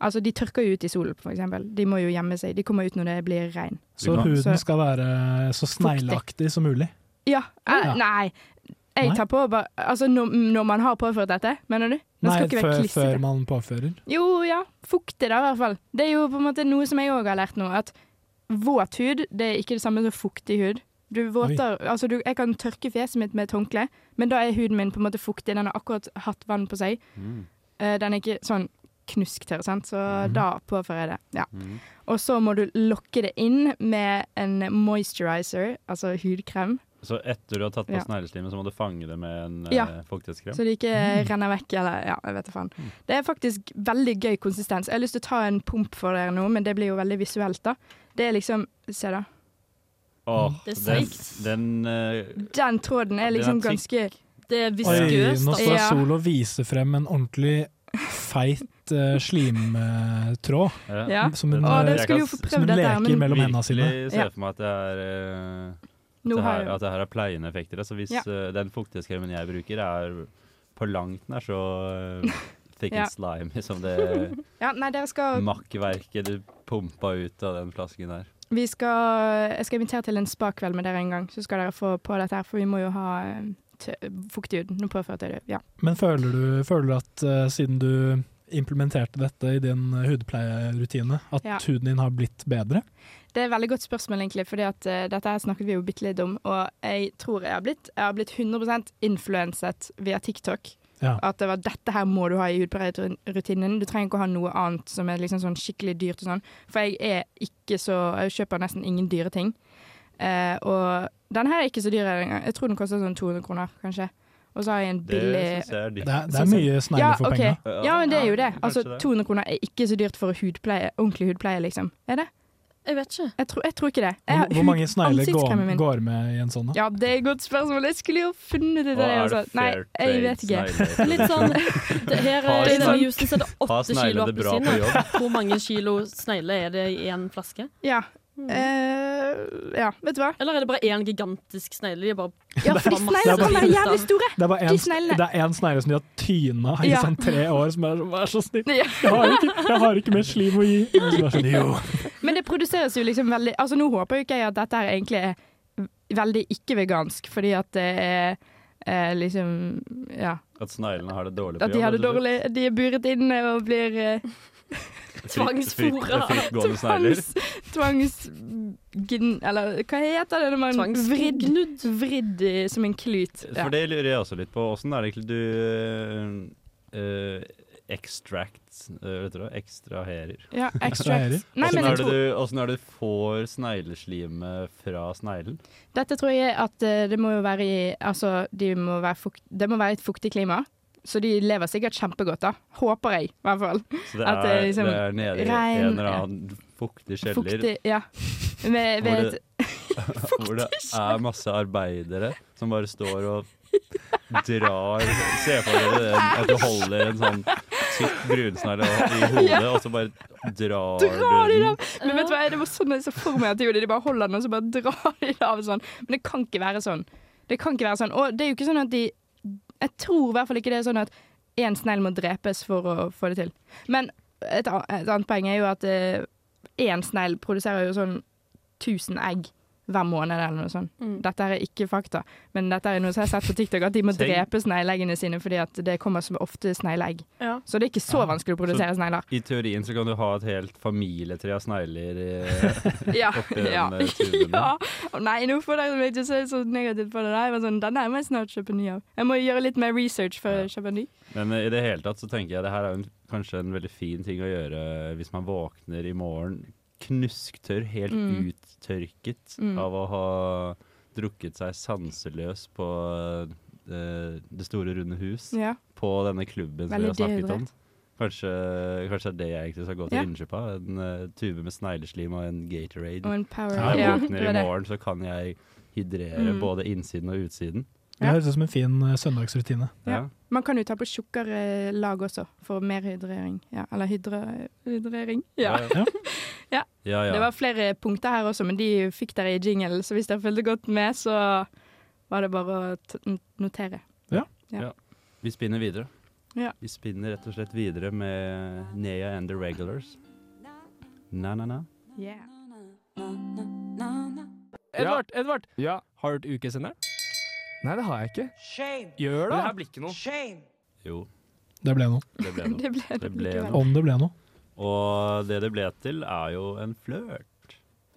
Speaker 6: Altså, de tørker jo ut i solen, for eksempel. De må jo gjemme seg. De kommer ut når det blir regn.
Speaker 1: Så huden skal være så snegleaktig som mulig.
Speaker 6: Ja. eh,
Speaker 1: Ja.
Speaker 6: Nei. Jeg tar på bare Altså, når, når man har påført dette, mener du? Den
Speaker 1: Nei,
Speaker 6: skal ikke være
Speaker 1: før,
Speaker 6: klissete.
Speaker 1: før man påfører.
Speaker 6: Jo, ja. Fuktig, da, i hvert fall. Det er jo på en måte noe som jeg òg har lært nå, at våt hud det er ikke det samme som fuktig hud. Du våter, altså du, jeg kan tørke fjeset mitt med et håndkle, men da er huden min på en måte fuktig. Den har akkurat hatt vann på seg.
Speaker 4: Mm,
Speaker 6: Eh, Den er ikke sånn knusktørr, sant? så
Speaker 1: Mhm.
Speaker 6: da påfører jeg det. Ja.
Speaker 4: mm.
Speaker 6: Og så må du lokke det inn med en moisturizer, altså hudkrem,
Speaker 4: Så etter du har tatt på
Speaker 6: Ja.
Speaker 4: snegleslimet, så må du fange det med en
Speaker 6: Ja.
Speaker 4: eh, fuktighetskrem?
Speaker 6: så det ikke
Speaker 4: Mm.
Speaker 6: renner vekk. Eller, ja, jeg vet da faen. Det er faktisk veldig gøy konsistens. Jeg har lyst til å ta en pump for dere nå, men det blir jo veldig visuelt, da. Det er liksom Se, da.
Speaker 4: Åh,
Speaker 6: Det er
Speaker 4: den,
Speaker 6: seigt.
Speaker 4: den eh,
Speaker 6: Den tråden er
Speaker 4: Den er
Speaker 6: liksom
Speaker 4: tykk.
Speaker 6: ganske
Speaker 5: Det er
Speaker 1: Oi, nå står
Speaker 6: sånn. Ja.
Speaker 1: Sol og viser frem en ordentlig feit eh, slimtråd.
Speaker 6: Ja.
Speaker 1: Som hun,
Speaker 6: Å, den
Speaker 1: eh,
Speaker 6: skulle jo få prøvd
Speaker 1: som hun
Speaker 6: dette her,
Speaker 1: leker
Speaker 6: men-
Speaker 1: mellom hendene sine.
Speaker 4: Virkelig ser for meg at det er eh,
Speaker 6: Nå
Speaker 4: det
Speaker 6: har
Speaker 4: her,
Speaker 6: jeg-
Speaker 4: At det her er pleiende effekter. Altså hvis
Speaker 6: Ja.
Speaker 4: eh, den fuktighetskremen jeg bruker, er på langt nær så eh, thick
Speaker 6: Ja.
Speaker 4: and slimy som det
Speaker 6: Ja, nei, dere skal
Speaker 4: makkverket du pumpa ut av den flasken der.
Speaker 6: Vi skal Jeg skal invitere til en spakveld med dere en gang, så skal dere få på dette her, for vi må jo ha eh, tø- fuktig ut. Nå påførte jeg det. Ja.
Speaker 1: Men føler du, føler du at eh, siden du implementerte dette i din eh, hudpleierutine, at
Speaker 6: Ja.
Speaker 1: huden din har blitt bedre?
Speaker 6: Det er et veldig godt spørsmål, egentlig, fordi at eh, dette her snakket vi jo bitte litt om, og jeg tror jeg har blitt, jeg har blitt 100 influenset via TikTok.
Speaker 1: Ja.
Speaker 6: At det var dette her må du ha i hudpleierrutinen. Du trenger ikke å ha noe annet som er liksom sånn skikkelig dyrt og sånn. For jeg er ikke så Jeg kjøper nesten ingen dyre ting. Eh, og den her er ikke så dyr engang. Jeg tror den koster sånn 200 kroner, kanskje. Og så har jeg en
Speaker 1: Det
Speaker 6: billig
Speaker 1: synes jeg er dyrt. Det er- det er mye snegler
Speaker 6: ja,
Speaker 1: for
Speaker 6: ok.
Speaker 1: penger.
Speaker 6: Ja, men det er jo det.
Speaker 1: Ja,
Speaker 6: Altså,
Speaker 1: kanskje det.
Speaker 6: 200 kroner er ikke så dyrt for hudpleie, ordentlig hudpleie, liksom. Er det?
Speaker 5: Jeg vet ikke.
Speaker 6: Jeg tror, jeg tror ikke det. Jeg har
Speaker 1: Hvor, hvor mange
Speaker 6: hud-
Speaker 1: snegler går,
Speaker 6: ansiktskremen min.
Speaker 1: går med i en sånn? da?
Speaker 6: Ja, det er et godt spørsmål. Jeg skulle jo funnet ut av
Speaker 1: Og
Speaker 6: det.
Speaker 1: er
Speaker 6: Altså.
Speaker 1: det
Speaker 6: Nei,
Speaker 1: fair
Speaker 6: jeg vet ikke.
Speaker 1: trade?
Speaker 5: Litt sånn det Her
Speaker 4: Har
Speaker 5: er denne
Speaker 4: snegle-
Speaker 5: jusen så er det
Speaker 4: har
Speaker 5: åtte
Speaker 4: sneglene
Speaker 5: kilo
Speaker 4: det bra på
Speaker 5: appelsiner.
Speaker 4: jobb?
Speaker 5: Hvor mange kilo snegler er det i én flaske?
Speaker 6: Ja.
Speaker 5: Mm. Eh.
Speaker 6: eh, ja, vet du hva?
Speaker 5: Eller er det bare én gigantisk snegle? De er bare
Speaker 6: Ja, for de sneglene kan være jævlig store.
Speaker 1: Det er bare
Speaker 6: De
Speaker 1: en,
Speaker 6: sneglene.
Speaker 1: det er en snegle som de har tyna i
Speaker 6: Ja.
Speaker 1: sånn tre år, som er sånn Vær så snill,
Speaker 6: Ja.
Speaker 1: jeg har ikke, jeg har ikke mer slim å gi. Og så er det sånn, jo.
Speaker 6: Men det produseres jo liksom veldig Altså Nå håper jo ikke jeg at dette her egentlig er v- veldig ikke-vegansk, fordi at det er eh, liksom Ja.
Speaker 4: At sneglene har det dårlig på altså?
Speaker 6: At de har det dårlig. De er buret inne og blir eh,
Speaker 4: Tvangsfora. Frittgående snegler.
Speaker 6: Tvangs... Tvangsgn... Eller hva heter det når man vridd, vridd i- som en klut? Ja.
Speaker 4: For det lurer jeg også litt på. Åssen er det egentlig du eh, extract eh, Vet du det? Ekstraherer.
Speaker 6: Ja, extract. Nei,
Speaker 4: Åssen
Speaker 6: men jeg
Speaker 4: er, det
Speaker 6: tror-
Speaker 4: du- åssen er det du får snegleslimet fra sneglen?
Speaker 6: Dette tror jeg at eh, det må jo være i Altså, de må være fukt, det må være et fuktig klima. Så de lever sikkert kjempegodt, da. Håper jeg, i hvert fall.
Speaker 4: Så det er,
Speaker 6: At det er liksom
Speaker 4: det er nede i
Speaker 6: regn-
Speaker 4: en eller annen fuktig kjeller
Speaker 6: Fuktig, ja.
Speaker 4: hvor,
Speaker 6: Med, ved,
Speaker 4: det, hvor det er masse arbeidere som bare står og drar Se for dere det, at du holder en sånn tykk brunsnegle i hodet,
Speaker 6: Ja.
Speaker 4: og så bare drar,
Speaker 6: drar de
Speaker 4: du
Speaker 6: det
Speaker 4: den.
Speaker 6: av! Men vet du hva, det var sånn jeg så for meg at de gjorde. De bare holder den, og så bare drar de det av sånn. Men det kan ikke være sånn. Det kan ikke være sånn. Og det er jo ikke sånn at de Jeg tror i hvert fall ikke det er sånn at én snegl må drepes for å få det til. Men et, an- et annet poeng er jo at eh, én snegl produserer jo sånn 1000 egg. Hver måned eller noe sånt.
Speaker 5: Mm.
Speaker 6: Dette her er ikke fakta, men dette er noe som jeg har sett på TikTok, at de må
Speaker 4: Tenk-
Speaker 6: drepe snegleeggene sine fordi at det kommer så ofte snegleegg.
Speaker 5: Ja.
Speaker 6: Så det er ikke så vanskelig å produsere snegler.
Speaker 4: I teorien så kan du ha et helt familietre av snegler eh, i-
Speaker 6: Ja.
Speaker 4: oppi den
Speaker 6: ja.
Speaker 4: eh, tuben.
Speaker 6: ja. Å nei, nå får dere meg til å se så negativt på det der. Men sånn, den her må jeg snart kjøpe ny av. Jeg må gjøre litt mer research før jeg kjøper ny.
Speaker 4: Men eh, i det hele tatt så tenker jeg det her er jo en, kanskje en veldig fin ting å gjøre hvis man våkner i morgen knusktørr, helt
Speaker 6: Mm.
Speaker 4: uttørket
Speaker 6: Mm.
Speaker 4: av å ha drukket seg sanseløs på eh, Det store runde hus,
Speaker 6: Ja.
Speaker 4: på denne klubben som
Speaker 6: Veldig
Speaker 4: vi har snakket om.
Speaker 6: dehydrert.
Speaker 4: Kanskje, kanskje det er det jeg egentlig skal gå til
Speaker 6: Ja.
Speaker 4: innkjøp av. En eh, tube med snegleslim og en Gatorade.
Speaker 6: Og en Powerade.
Speaker 4: Når jeg
Speaker 6: Mm. Ja,
Speaker 4: våkner
Speaker 6: det var
Speaker 4: i
Speaker 6: det.
Speaker 4: morgen, så kan jeg hydrere
Speaker 6: Mm.
Speaker 4: både innsiden og utsiden.
Speaker 1: Det høres ut som en fin eh, søndagsrutine.
Speaker 4: Ja.
Speaker 6: Man kan jo ta på tjukkere lag også, for mer hydrering. Ja, eller hydre, hydrering. Ja.
Speaker 4: Ja,
Speaker 6: ja.
Speaker 4: Ja, ja.
Speaker 6: Det var flere punkter her også, men de fikk dere i jingle, så hvis dere fulgte godt med, så var det bare å t notere. Ja.
Speaker 4: Ja. Vi spinner videre.
Speaker 6: Ja.
Speaker 4: Vi spinner rett og slett videre med Nea and the Regulars. Na, na, na.
Speaker 13: Edvard, Edvard! Har du hørt ukesenderen?
Speaker 9: Nei, det har jeg ikke.
Speaker 13: Shame!
Speaker 9: Gjør det!
Speaker 13: Det her blir ikke noe. Shame!
Speaker 4: Jo,
Speaker 1: Det ble noe.
Speaker 4: det ble noe.
Speaker 13: Det ble det likevel.
Speaker 1: Om det ble noe.
Speaker 4: Og det det ble til, er jo en flørt.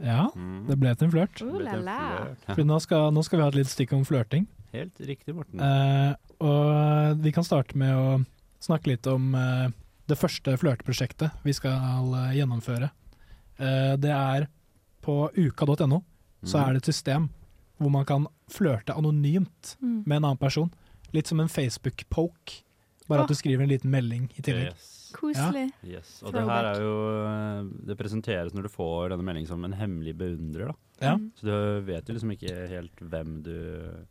Speaker 1: Ja, det ble til en flørt.
Speaker 4: Det ble til en flørt.
Speaker 1: Fordi nå skal, nå skal vi ha et lite stikk om flørting.
Speaker 4: Helt riktig, Morten.
Speaker 1: Eh, og vi kan starte med å snakke litt om eh, det første flørteprosjektet vi skal eh, gjennomføre. Eh, det er på uka.no så
Speaker 4: Mm.
Speaker 9: Mhm.
Speaker 1: er det et system hvor man kan flørte anonymt
Speaker 9: Mm.
Speaker 1: med en annen person. Litt som en Facebook-poke, bare
Speaker 9: Åh.
Speaker 1: at du skriver en liten melding i tillegg.
Speaker 4: Mm. Yes.
Speaker 1: Koselig.
Speaker 4: Yes. Og det her er jo eh, Det presenteres når du får denne meldingen som en hemmelig beundrer, da.
Speaker 1: Ja.
Speaker 6: Mm.
Speaker 4: Så du vet jo liksom ikke helt hvem du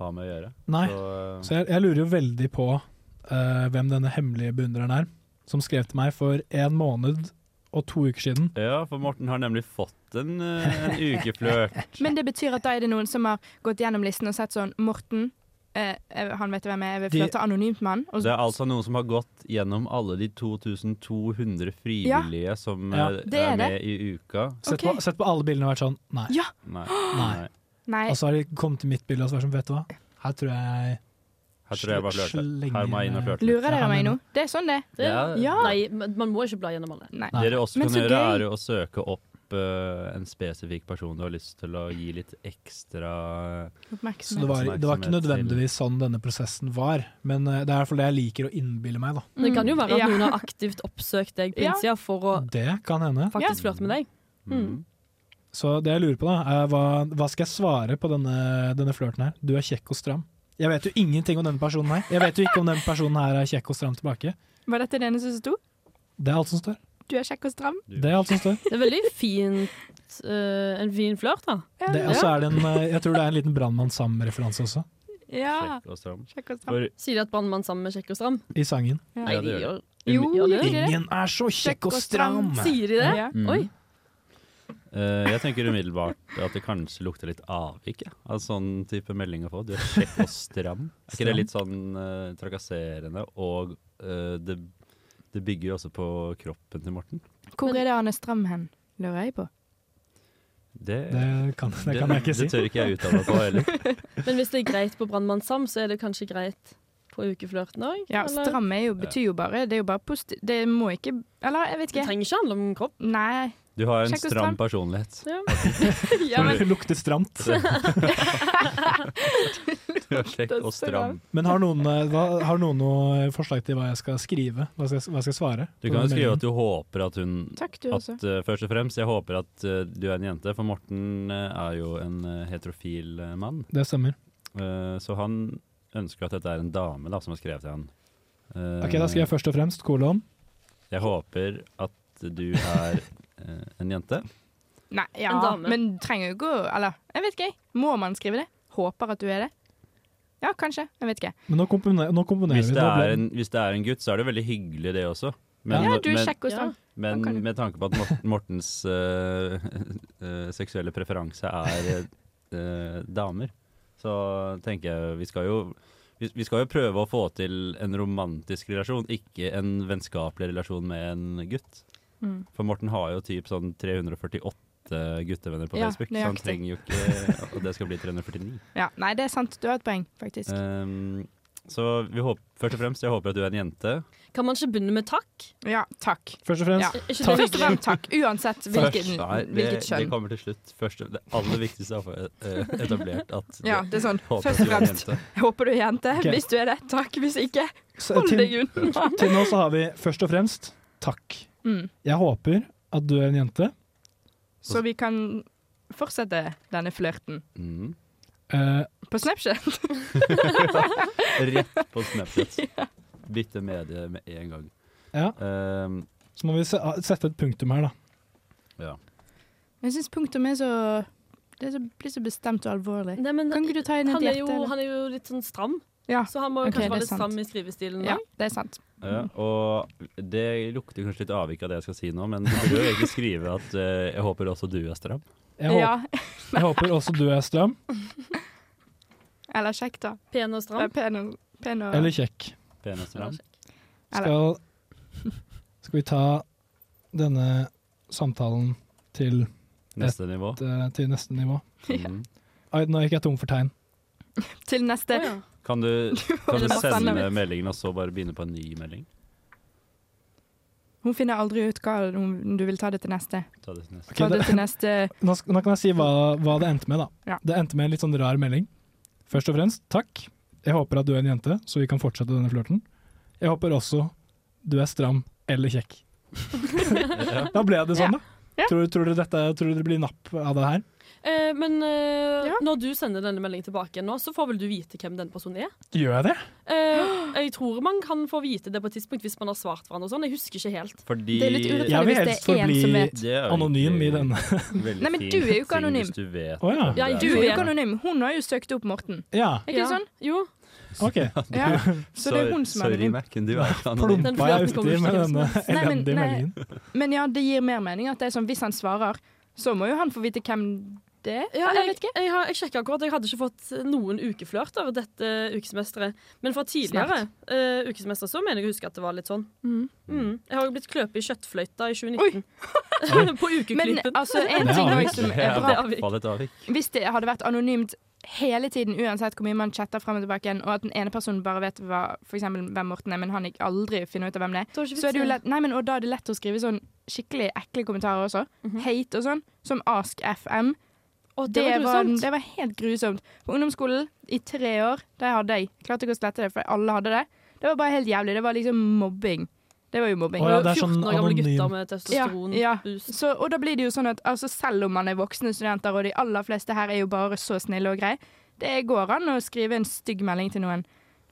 Speaker 4: har med å gjøre.
Speaker 1: Nei,
Speaker 4: Så, eh,
Speaker 1: så jeg, jeg lurer jo veldig på eh, hvem denne hemmelige beundreren er, som skrev til meg for en måned og to uker siden.
Speaker 4: Ja, for Morten har nemlig fått en, eh, en ukeflørt.
Speaker 6: Men det betyr at da er det noen som har gått gjennom listen og sett sånn Morten, eh, eh, han vet hvem jeg er, jeg vil
Speaker 4: De-
Speaker 6: flørte anonymt med han. Og
Speaker 4: Det er altså noen som har gått gjennom alle de 2200 frivillige som
Speaker 1: Ja,
Speaker 4: eh,
Speaker 6: det
Speaker 4: er,
Speaker 6: er det.
Speaker 4: med i uka.
Speaker 1: Sett, på, sett på alle bildene og vært sånn nei.
Speaker 6: Ja.
Speaker 4: Nei.
Speaker 1: Nei.
Speaker 6: Nei.
Speaker 1: Altså, Og så har de kommet til mitt bilde og så vært sånn, vet du hva, Her tror jeg
Speaker 4: Her tror jeg bare flørte.
Speaker 1: slenger
Speaker 4: Her må jeg inn og
Speaker 1: meg-
Speaker 4: flørte litt.
Speaker 6: Lurer dere meg nå? Det er sånn det.
Speaker 4: Det er-
Speaker 6: ja.
Speaker 5: Nei, men man må ikke bla gjennom alle.
Speaker 6: Nei.
Speaker 4: Dere også
Speaker 6: Men
Speaker 4: kan
Speaker 6: så
Speaker 4: gjøre,
Speaker 6: gøy.
Speaker 4: er jo å søke opp eh, en spesifikk person du har lyst til å gi litt ekstra
Speaker 6: Oppmerksomhet.
Speaker 1: Så det var, det var ikke
Speaker 4: oppmerksomhet til.
Speaker 1: nødvendigvis sånn denne prosessen var, men eh, det er i hvert fall det jeg liker å innbille meg, da.
Speaker 5: Mm. Det kan jo være at
Speaker 6: Mm. Ja.
Speaker 5: noen har aktivt oppsøkt deg på
Speaker 6: Ja.
Speaker 5: innsida for å
Speaker 1: Det kan hende.
Speaker 5: faktisk flørte med deg. Mm.
Speaker 1: Så det jeg lurer på, da, er hva, hva skal jeg svare på denne, denne flørten her? Du er kjekk og stram. Jeg vet jo ingenting om denne personen her. Jeg vet jo ikke om den personen her er kjekk og stram tilbake.
Speaker 6: Var dette det eneste som sto?
Speaker 1: Det er alt som står.
Speaker 6: Du er kjekk og stram.
Speaker 1: Det er alt som står.
Speaker 5: Det er veldig fint, eh, en fin flørt, da.
Speaker 1: Det, og så er det en, eh, jeg tror det er en liten Brannmann Sam-referanse også,
Speaker 5: Ja.
Speaker 4: Kjekk og stram.
Speaker 6: Kjekk og
Speaker 4: stram. For-
Speaker 5: Sier de at brannmann sammen med kjekk og stram?
Speaker 1: i sangen.
Speaker 5: Nei,
Speaker 4: Ja, det
Speaker 5: de
Speaker 4: gjør
Speaker 5: gjør
Speaker 4: Jo,
Speaker 5: gjør de det?
Speaker 1: Ingen er så kjekk og stram!
Speaker 5: Sier de det?
Speaker 4: Mm.
Speaker 5: Oi.
Speaker 4: Eh, jeg tenker umiddelbart at det kanskje lukter litt avvik ja, av sånn type melding å få. Du er kjekk og stram. Er ikke det litt sånn eh, trakasserende? Og eh, det, det bygger jo også på kroppen til Morten.
Speaker 6: Hvor er det han er stram hen, lurer jeg på.
Speaker 4: Det,
Speaker 1: Det kan- det kan jeg ikke si.
Speaker 4: Det tør ikke jeg uttale meg på heller.
Speaker 5: Men hvis det er greit på Brannmann Sam, så er det kanskje greit på ukeflørten òg?
Speaker 6: Ja, stram er jo, betyr jo bare Det er jo bare positivt. Det må ikke Eller jeg vet
Speaker 5: Det
Speaker 6: ikke.
Speaker 5: trenger ikke handle om kropp.
Speaker 6: Nei.
Speaker 4: Du har en
Speaker 6: Kjekk og
Speaker 4: stram
Speaker 6: stram.
Speaker 4: personlighet.
Speaker 5: Ja.
Speaker 6: Ja, men-
Speaker 1: Det lukter stramt.
Speaker 4: Du er kjekk og stram.
Speaker 1: Men har noen, eh, hva- har noen noe forslag til hva jeg skal skrive? Hva skal, jeg- hva skal jeg svare?
Speaker 4: Du kan jo skrive at du håper at hun
Speaker 6: Takk, du
Speaker 4: at,
Speaker 6: også.
Speaker 4: eh, Først og fremst, jeg håper at eh, du er en jente, for Morten eh, er jo en eh, heterofil eh, mann.
Speaker 1: Det stemmer.
Speaker 4: Eh, så han ønsker at dette er en dame da, som har skrevet til han. Eh,
Speaker 1: Ok, Da skriver jeg først og fremst kolon.
Speaker 4: Jeg håper at du er eh, en jente.
Speaker 6: Nei, ja,
Speaker 5: En dame.
Speaker 6: men trenger jo ikke å Eller, jeg vet ikke. jeg. Må man skrive det? Håper at du er det. Ja, kanskje. Jeg vet ikke.
Speaker 1: Men nå komponerer, nå komponerer
Speaker 4: Hvis
Speaker 1: vi.
Speaker 4: det,
Speaker 1: Nå ble-
Speaker 4: er en, hvis det er en gutt, så er det veldig hyggelig, det også.
Speaker 6: ja, du er
Speaker 4: men,
Speaker 6: kjekk og stram.
Speaker 4: men med tanke på at Morten, Mortens eh, eh, seksuelle preferanse er eh, damer, så tenker jeg vi skal jo vi, vi skal jo prøve å få til en romantisk relasjon, ikke en vennskapelig relasjon med en gutt.
Speaker 6: Mm.
Speaker 4: For Morten har jo typ sånn 348 guttevenner på
Speaker 6: Ja,
Speaker 4: Facebook, så han
Speaker 6: nøyaktig.
Speaker 4: trenger jo ikke Og det skal bli 349.
Speaker 6: Ja, nei, det er sant. Du har et poeng, faktisk.
Speaker 4: Ehm, så vi håper, først og fremst, jeg håper at du er en jente.
Speaker 5: Kan man ikke begynne med takk?
Speaker 6: Ja, takk.
Speaker 1: Først og fremst,
Speaker 6: Ja.
Speaker 5: Er ikke det
Speaker 6: Takk. Først og fremst takk, uansett hvilken,
Speaker 4: Først- nei, det,
Speaker 6: hvilket
Speaker 4: det
Speaker 6: kjønn.
Speaker 4: kommer til slutt. Først, det aller viktigste er å få eh, etablert at
Speaker 6: Ja, det er sånn.
Speaker 4: håper at
Speaker 6: Først og
Speaker 4: du er en
Speaker 6: fremst,
Speaker 4: jente.
Speaker 6: jeg håper du er jente.
Speaker 1: Ok.
Speaker 6: Hvis du er det, takk. Hvis ikke,
Speaker 1: Så eh,
Speaker 6: hold
Speaker 1: til-
Speaker 6: deg unna.
Speaker 1: Til nå så har vi først og fremst takk.
Speaker 6: Mm.
Speaker 1: Jeg håper at du er en jente.
Speaker 6: Så vi kan fortsette denne flørten
Speaker 4: Mm.
Speaker 1: Eh,
Speaker 6: på Snapchat.
Speaker 4: Rett på Snapchat. Bytte medie med en gang.
Speaker 1: ja.
Speaker 4: Ehm,
Speaker 1: Så må vi se, ah, sette et punktum her, da.
Speaker 4: ja.
Speaker 6: Jeg syns punktum er så Det er så, blir så bestemt og alvorlig.
Speaker 5: Nei, men
Speaker 6: Kan ikke du ta inn et
Speaker 5: han, er jo,
Speaker 6: hjerte? eller?
Speaker 5: han er jo litt sånn stram,
Speaker 6: Ja.
Speaker 5: så han må jo
Speaker 6: Ok, det
Speaker 5: kanskje
Speaker 6: er
Speaker 5: være litt
Speaker 6: sant.
Speaker 5: stram i skrivestilen.
Speaker 6: ja,
Speaker 5: også.
Speaker 6: det er sant.
Speaker 4: Ja, og det lukter kanskje litt avvik av det jeg skal si nå, men du burde jo egentlig skrive at eh, jeg håper også du er stram.
Speaker 1: Jeg, håper,
Speaker 6: Ja.
Speaker 1: jeg håper også du er stram
Speaker 6: Eller kjekk, da.
Speaker 5: Pen og
Speaker 6: Eller
Speaker 5: stram.
Speaker 6: pen og, pen og
Speaker 1: eller kjekk.
Speaker 4: Pen og stram.
Speaker 6: eller,
Speaker 1: Skal, skal vi ta denne samtalen til,
Speaker 4: Neste nivå.
Speaker 1: eh, til neste nivå?
Speaker 4: Mm.
Speaker 1: Ai, nå gikk jeg tom for tegn.
Speaker 6: Til neste.
Speaker 5: Å, ja.
Speaker 4: Kan du, kan du
Speaker 6: Eller bare
Speaker 4: sende
Speaker 6: sende.
Speaker 4: meldingen og så bare begynne på en ny melding?
Speaker 6: Hun finner aldri ut hva hun, du vil ta det til neste.
Speaker 4: Ta det til neste.
Speaker 1: Ok,
Speaker 6: Ta det
Speaker 1: det-
Speaker 6: til neste
Speaker 1: Nå, sk- nå kan jeg si hva, hva det endte med, da.
Speaker 6: Ja.
Speaker 1: Det endte med en litt sånn rar melding. Først og fremst, takk. Jeg håper at du er en jente, så vi kan fortsette denne flørten. Jeg håper også du er stram eller kjekk.
Speaker 4: Ja.
Speaker 1: Da ble det sånn, da.
Speaker 6: Ja.
Speaker 1: Tror, tror, dere dette, tror dere det blir napp av det her?
Speaker 5: Eh, men eh,
Speaker 6: Ja.
Speaker 5: når du sender denne meldingen tilbake igjen nå, så får vel du vite hvem den personen er?
Speaker 1: Gjør jeg det?
Speaker 5: Eh, jeg tror man kan få vite det på et tidspunkt hvis man har svart hverandre og sånn. Jeg husker ikke helt.
Speaker 4: Fordi
Speaker 6: Det er litt urettferdig.
Speaker 1: Jeg vil
Speaker 6: hvis det
Speaker 1: helst
Speaker 6: er en
Speaker 1: forbli
Speaker 6: som vet.
Speaker 4: Det er jo
Speaker 1: anonym
Speaker 4: egentlig
Speaker 1: i denne.
Speaker 4: en veldig
Speaker 6: Nei, men
Speaker 4: fin
Speaker 6: du er jo ikke
Speaker 4: ting
Speaker 6: anonym.
Speaker 4: Hvis du vet
Speaker 1: Å, ja.
Speaker 4: hvem
Speaker 5: Ja,
Speaker 4: det
Speaker 6: Du
Speaker 5: Du
Speaker 6: er jo
Speaker 5: er-
Speaker 6: ikke anonym. Hun har jo søkt opp Morten.
Speaker 1: Ja,
Speaker 6: Er ikke det sånn?
Speaker 5: Jo.
Speaker 1: OK.
Speaker 6: Ja. Så det er hun som er
Speaker 4: Sorry,
Speaker 6: anonym.
Speaker 4: Mac, du er ikke anonym.
Speaker 5: Den
Speaker 1: Plumpa jeg
Speaker 5: flørten kommer
Speaker 1: uti
Speaker 5: ikke
Speaker 1: med
Speaker 5: til å
Speaker 1: denne
Speaker 6: Nei, men-
Speaker 1: elendige
Speaker 6: nei.
Speaker 1: meldingen.
Speaker 6: Men ja, det gir mer mening at det er sånn hvis han svarer, så må jo han få vite hvem det er.
Speaker 5: Ja,
Speaker 6: Eller
Speaker 5: jeg,
Speaker 6: jeg vet ikke.
Speaker 5: jeg, har- jeg sjekket akkurat. Jeg hadde ikke fått noen ukeflørter dette ukesemesteret. Men fra tidligere uh, ukesemester så mener jeg å huske at det var litt sånn.
Speaker 6: Mhm.
Speaker 5: Mm. Jeg har jo blitt kløpet i kjøttfløyta i 2019. på
Speaker 6: Men
Speaker 5: ukeklippen.
Speaker 6: altså, en
Speaker 1: Det er
Speaker 6: ting
Speaker 1: avvik.
Speaker 6: også som
Speaker 4: Det
Speaker 6: er
Speaker 4: er i
Speaker 6: bra
Speaker 5: avvik.
Speaker 4: hvert fall et avvik.
Speaker 6: Hvis det hadde vært anonymt hele tiden, uansett hvor mye man chatter frem og tilbake, igjen, og at den ene personen bare vet hva, for eksempel, hvem Morten er, men han ikke aldri finner ut av hvem det er,
Speaker 5: Da er det ikke
Speaker 6: så er det jo
Speaker 5: vits i det.
Speaker 6: lett, nei, men, og da er det lett å skrive sånn skikkelig ekle kommentarer også. Hate og sånn, som Ask FM.
Speaker 5: Mhm. det var grusomt.
Speaker 6: det var helt grusomt. På ungdomsskolen i tre år, det hadde jeg. Klarte ikke å slette det, for alle hadde det. Det var bare helt jævlig. Det var liksom mobbing. Det var jo mobbing.
Speaker 5: Å ja, det er sånn 14 år gamle anonym. gutter med testosteron.
Speaker 6: Ja, ja. Så, og da blir det jo sånn at altså, selv om man er voksne studenter, og de aller fleste her er jo bare så snille og greie, det går an å skrive en stygg melding til noen.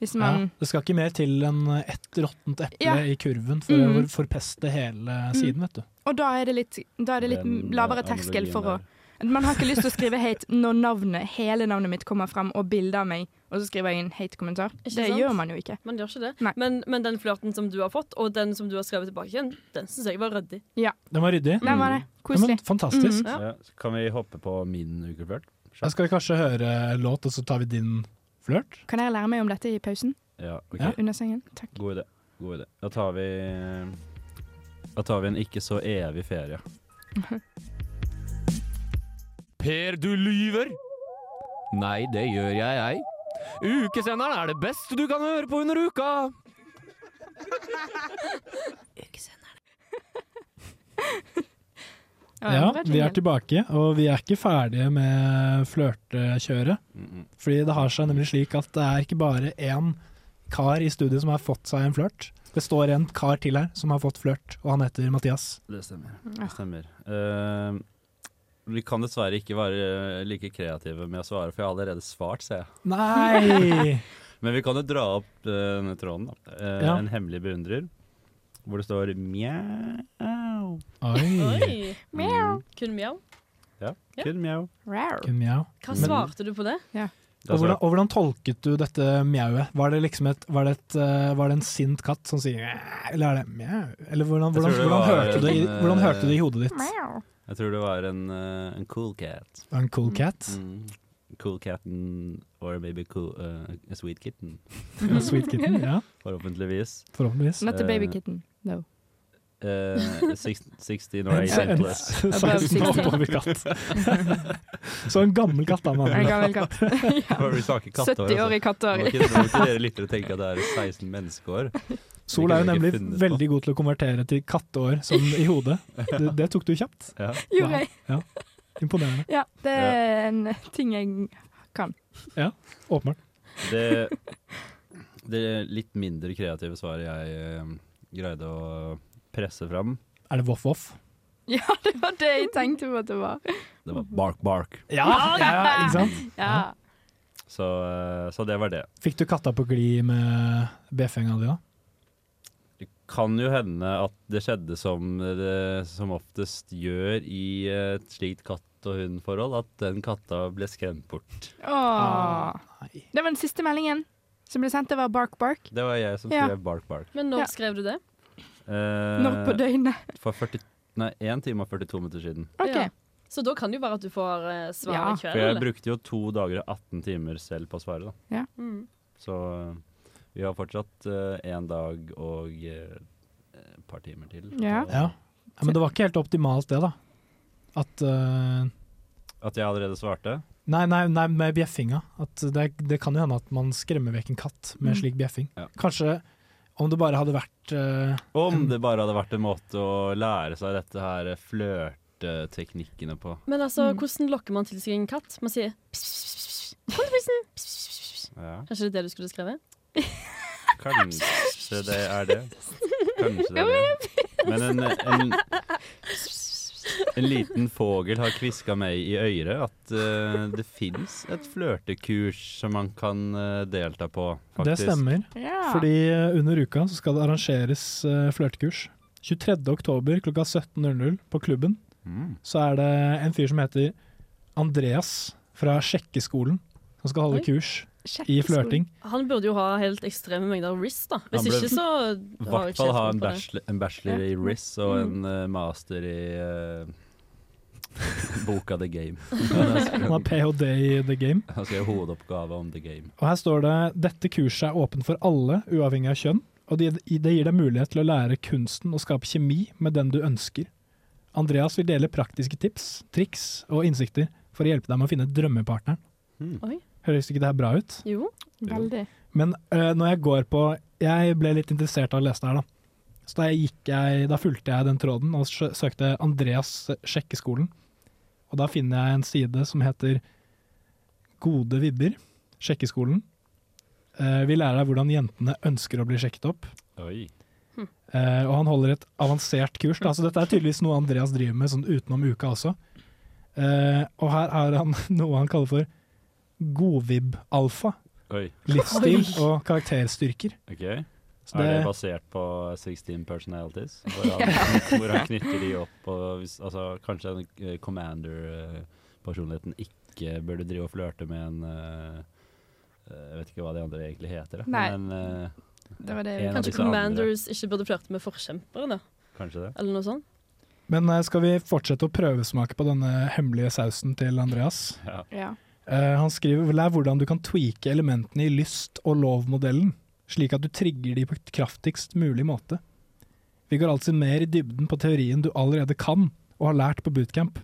Speaker 6: Hvis
Speaker 1: Ja,
Speaker 6: man
Speaker 1: det skal ikke mer til enn ett råttent eple
Speaker 6: Ja.
Speaker 1: i kurven for
Speaker 6: Mm.
Speaker 1: å forpeste hele siden, vet du.
Speaker 6: Og da er det litt, da er det litt
Speaker 1: Den, eh,
Speaker 6: lavere terskel
Speaker 1: analogien
Speaker 6: for å Man har ikke lyst til å skrive hate når navnet, hele navnet mitt kommer frem og bilde av meg, og så skriver jeg en hate-kommentar. Det
Speaker 5: Ikke sant?
Speaker 6: gjør man jo ikke.
Speaker 5: Man gjør ikke det. Men, men den flørten som du har fått, og den som du har skrevet tilbake igjen, den syns jeg var ryddig.
Speaker 6: Ja.
Speaker 1: Den var ryddig.
Speaker 5: Den var det.
Speaker 1: Mm. Ja, men,
Speaker 5: Koselig.
Speaker 1: fantastisk.
Speaker 6: Mm.
Speaker 5: Mhm. Ja.
Speaker 4: Ja. så Kan vi hoppe på min ukeflørt?
Speaker 1: Da skal vi kanskje høre en låt, og så tar vi din flørt.
Speaker 6: Mm. Kan dere lære meg om dette i pausen?
Speaker 4: Ja, ok.
Speaker 6: Under sengen? Takk.
Speaker 4: God idé. God idé. Da tar vi Da tar vi en ikke så evig ferie.
Speaker 10: Per, du lyver! Nei, det gjør jeg, jeg. Ukesenderen er det beste du kan høre på under uka!
Speaker 1: Ja, vi er tilbake, og vi er ikke ferdige med flørtekjøret. Fordi det har seg nemlig slik at det er ikke bare én kar i studio som har fått seg en flørt. Det står en kar til her som har fått flørt, og han heter Mathias.
Speaker 4: Det stemmer.
Speaker 1: Ja.
Speaker 4: Det stemmer. Eh, vi kan dessverre ikke være eh, like kreative med å svare, for jeg har allerede svart, ser jeg.
Speaker 1: Nei!
Speaker 4: Men vi kan jo dra opp eh, denne tråden. Da. Eh,
Speaker 1: Ja.
Speaker 4: En hemmelig beundrer, hvor det står mjau.
Speaker 5: Oi.
Speaker 4: Mjau.
Speaker 5: Kun mjau.
Speaker 4: Ja,
Speaker 5: Ja.
Speaker 4: kun mjau.
Speaker 1: Kun mjau.
Speaker 5: Hva
Speaker 1: Men-
Speaker 5: svarte du på det?
Speaker 1: Og hvordan, og hvordan tolket du dette mjauet? Var det liksom et, var det et eh, Var det en sint katt som sier mjau, eller er det mjau? Eller hvordan,
Speaker 4: Jeg
Speaker 1: hvordan,
Speaker 4: tror det
Speaker 1: hvordan,
Speaker 4: var
Speaker 1: hørte du det i,
Speaker 4: en, eh,
Speaker 1: hvordan hørte du det i hodet ditt?
Speaker 4: Jeg tror det var en, eh, en cool cat.
Speaker 1: En cool cat?
Speaker 4: Mm. Cool catten, or maybe cool, eh, a sweet kitten.
Speaker 1: A
Speaker 6: Mhm.
Speaker 1: sweet kitten, ja.
Speaker 4: Forhåpentligvis.
Speaker 1: Forhåpentligvis.
Speaker 6: Not a
Speaker 4: Eh,
Speaker 6: baby kitten, though.
Speaker 4: eh, six- 16 or
Speaker 1: En-
Speaker 4: 18
Speaker 1: en-
Speaker 4: plus.
Speaker 1: 16 og oppover katt. Så en gammel katt, da. med
Speaker 6: En
Speaker 1: andre
Speaker 6: gammel
Speaker 1: ord.
Speaker 6: katt. Ja.
Speaker 4: Bare vi snakker katteår,
Speaker 6: 70 år i
Speaker 4: altså.
Speaker 6: katteår.
Speaker 4: Må ikke, må ikke dere lyttere tenke at det er 16 menneskeår.
Speaker 1: Sol er jo nemlig veldig god til å konvertere til katteår sånn i hodet. Det, det tok du kjapt.
Speaker 4: Ja.
Speaker 6: Gjorde
Speaker 1: Wow.
Speaker 6: jeg.
Speaker 1: Ja. Imponerende.
Speaker 6: Ja, det er en ting jeg kan.
Speaker 1: Ja, åpenbart.
Speaker 4: Det, det litt mindre kreative svaret jeg eh, greide å presse fram,
Speaker 1: Er det voff-voff?
Speaker 6: Ja, det var det jeg tenkte på at det var.
Speaker 4: det var bark, bark.
Speaker 1: Ja, ja, ikke sant?
Speaker 6: Ja.
Speaker 4: Så, eh, så det var det.
Speaker 1: Fikk du katta på glid med bjeffenga di, da?
Speaker 4: Kan jo hende at det skjedde som det som oftest gjør i eh, et slikt katt og hund-forhold, at den katta ble skremt bort.
Speaker 6: Åh.
Speaker 1: Ah,
Speaker 6: Det var den siste meldingen som ble sendt. Det var bark, bark.
Speaker 4: Det var jeg som
Speaker 6: Ja.
Speaker 4: skrev bark, bark.
Speaker 5: Men når skrev du det?
Speaker 4: Eh,
Speaker 6: Når på døgnet?
Speaker 4: For 40, nei, 1 time og 42 minutter siden.
Speaker 5: Ja. Så da kan det jo være at du får eh, svar i kveld.
Speaker 4: For jeg
Speaker 5: eller?
Speaker 4: brukte jo to dager og 18 timer selv på å svare, da.
Speaker 6: Ja.
Speaker 5: Mm.
Speaker 4: Så eh, vi har fortsatt én dag og eh, et par timer til.
Speaker 1: Ja. Ja, Men det var ikke helt optimalt, det, da. At eh,
Speaker 4: At jeg allerede svarte?
Speaker 1: Nei, nei, nei med bjeffinga. At det, det kan jo hende at man skremmer vekk en katt med
Speaker 4: Mm.
Speaker 1: slik bjeffing. Kanskje om det bare hadde vært eh,
Speaker 4: Om det bare hadde vært en måte å lære seg dette her eh, flørteteknikkene på.
Speaker 5: Men altså, hvordan lokker man til seg en katt? Man sier pss, pss, pss, pss. Kom til prisen! Pss, pss, pss, pss.
Speaker 4: Ja.
Speaker 5: Kanskje det er det du skulle skrevet?
Speaker 4: Kanskje det er det. Kanskje det er det. Men en, en, en liten fogel har kviska meg i øret at eh, det fins et flørtekurs som man kan eh, delta på,
Speaker 1: Det
Speaker 4: faktisk.
Speaker 1: stemmer. Fordi eh, under uka så skal det arrangeres eh, flørtekurs. 23. oktober klokka 17.00 på klubben
Speaker 4: Mm.
Speaker 1: så er det en fyr som heter Andreas fra Sjekkeskolen som skal holde
Speaker 5: Oi.
Speaker 1: kurs i
Speaker 5: Sjekkeskolen.
Speaker 1: flørting.
Speaker 5: Han burde jo ha helt ekstreme mengder wrist, da. Hvis
Speaker 4: Han burde
Speaker 5: ikke, så
Speaker 4: I
Speaker 5: har jeg
Speaker 4: hvert
Speaker 5: ikke
Speaker 4: fall ha
Speaker 5: helt
Speaker 4: en
Speaker 5: tro på det. Mm.
Speaker 4: bachelor, en bachelor i RIS og en eh, master i eh, Boka The Game.
Speaker 1: Han har ph.d. i the game.
Speaker 4: Han skrev hovedoppgave om The Game.
Speaker 1: Og her står det dette kurset er åpent for alle, uavhengig av kjønn, og det det gir deg mulighet til å lære kunsten å skape kjemi med den du ønsker. Andreas vil dele praktiske tips, triks og innsikter for å hjelpe deg med å finne drømmepartneren.
Speaker 5: Oi.
Speaker 1: Høres ikke det her bra ut?
Speaker 5: Jo.
Speaker 6: Veldig.
Speaker 1: Men øh, når jeg går på Jeg ble litt interessert av å lese det her, da. Så da, gikk jeg, da fulgte jeg den tråden og sø- søkte Andreas Sjekkeskolen. Og da finner jeg en side som heter Gode vibber, Sjekkeskolen. Eh, vi lærer deg hvordan jentene ønsker å bli sjekket opp.
Speaker 4: Oi.
Speaker 1: Eh, og han holder et avansert kurs. Da. Så dette er tydeligvis noe Andreas driver med sånn utenom uka også. Eh, og her har han noe han kaller for godvib-alfa.
Speaker 4: Oi.
Speaker 1: Livsstil
Speaker 4: Oi.
Speaker 1: og karakterstyrker.
Speaker 4: Ok.
Speaker 1: Så
Speaker 4: er det
Speaker 1: det-
Speaker 4: basert på 16 personalities? Hvor han, hvor han knytter de opp og hvis, altså, Kanskje den eh, commander-personligheten ikke burde drive og flørte med en eh, eh, Jeg vet ikke hva de andre egentlig heter. da.
Speaker 5: Nei.
Speaker 4: Men, eh,
Speaker 6: Det var det
Speaker 4: en av
Speaker 5: Kanskje
Speaker 4: disse andre-
Speaker 5: Commanders ikke burde flørte med forkjempere, da?
Speaker 4: Kanskje det.
Speaker 5: Eller noe sånt?
Speaker 1: Men eh, skal vi fortsette å prøvesmake på denne hemmelige sausen til Andreas?
Speaker 4: Ja.
Speaker 6: Ja.
Speaker 1: Eh, han skriver lær hvordan du kan tweake elementene i lyst- og lovmodellen, slik at du trigger de på kraftigst mulig måte. Vi går altså mer i dybden på teorien du allerede kan og har lært på bootcamp.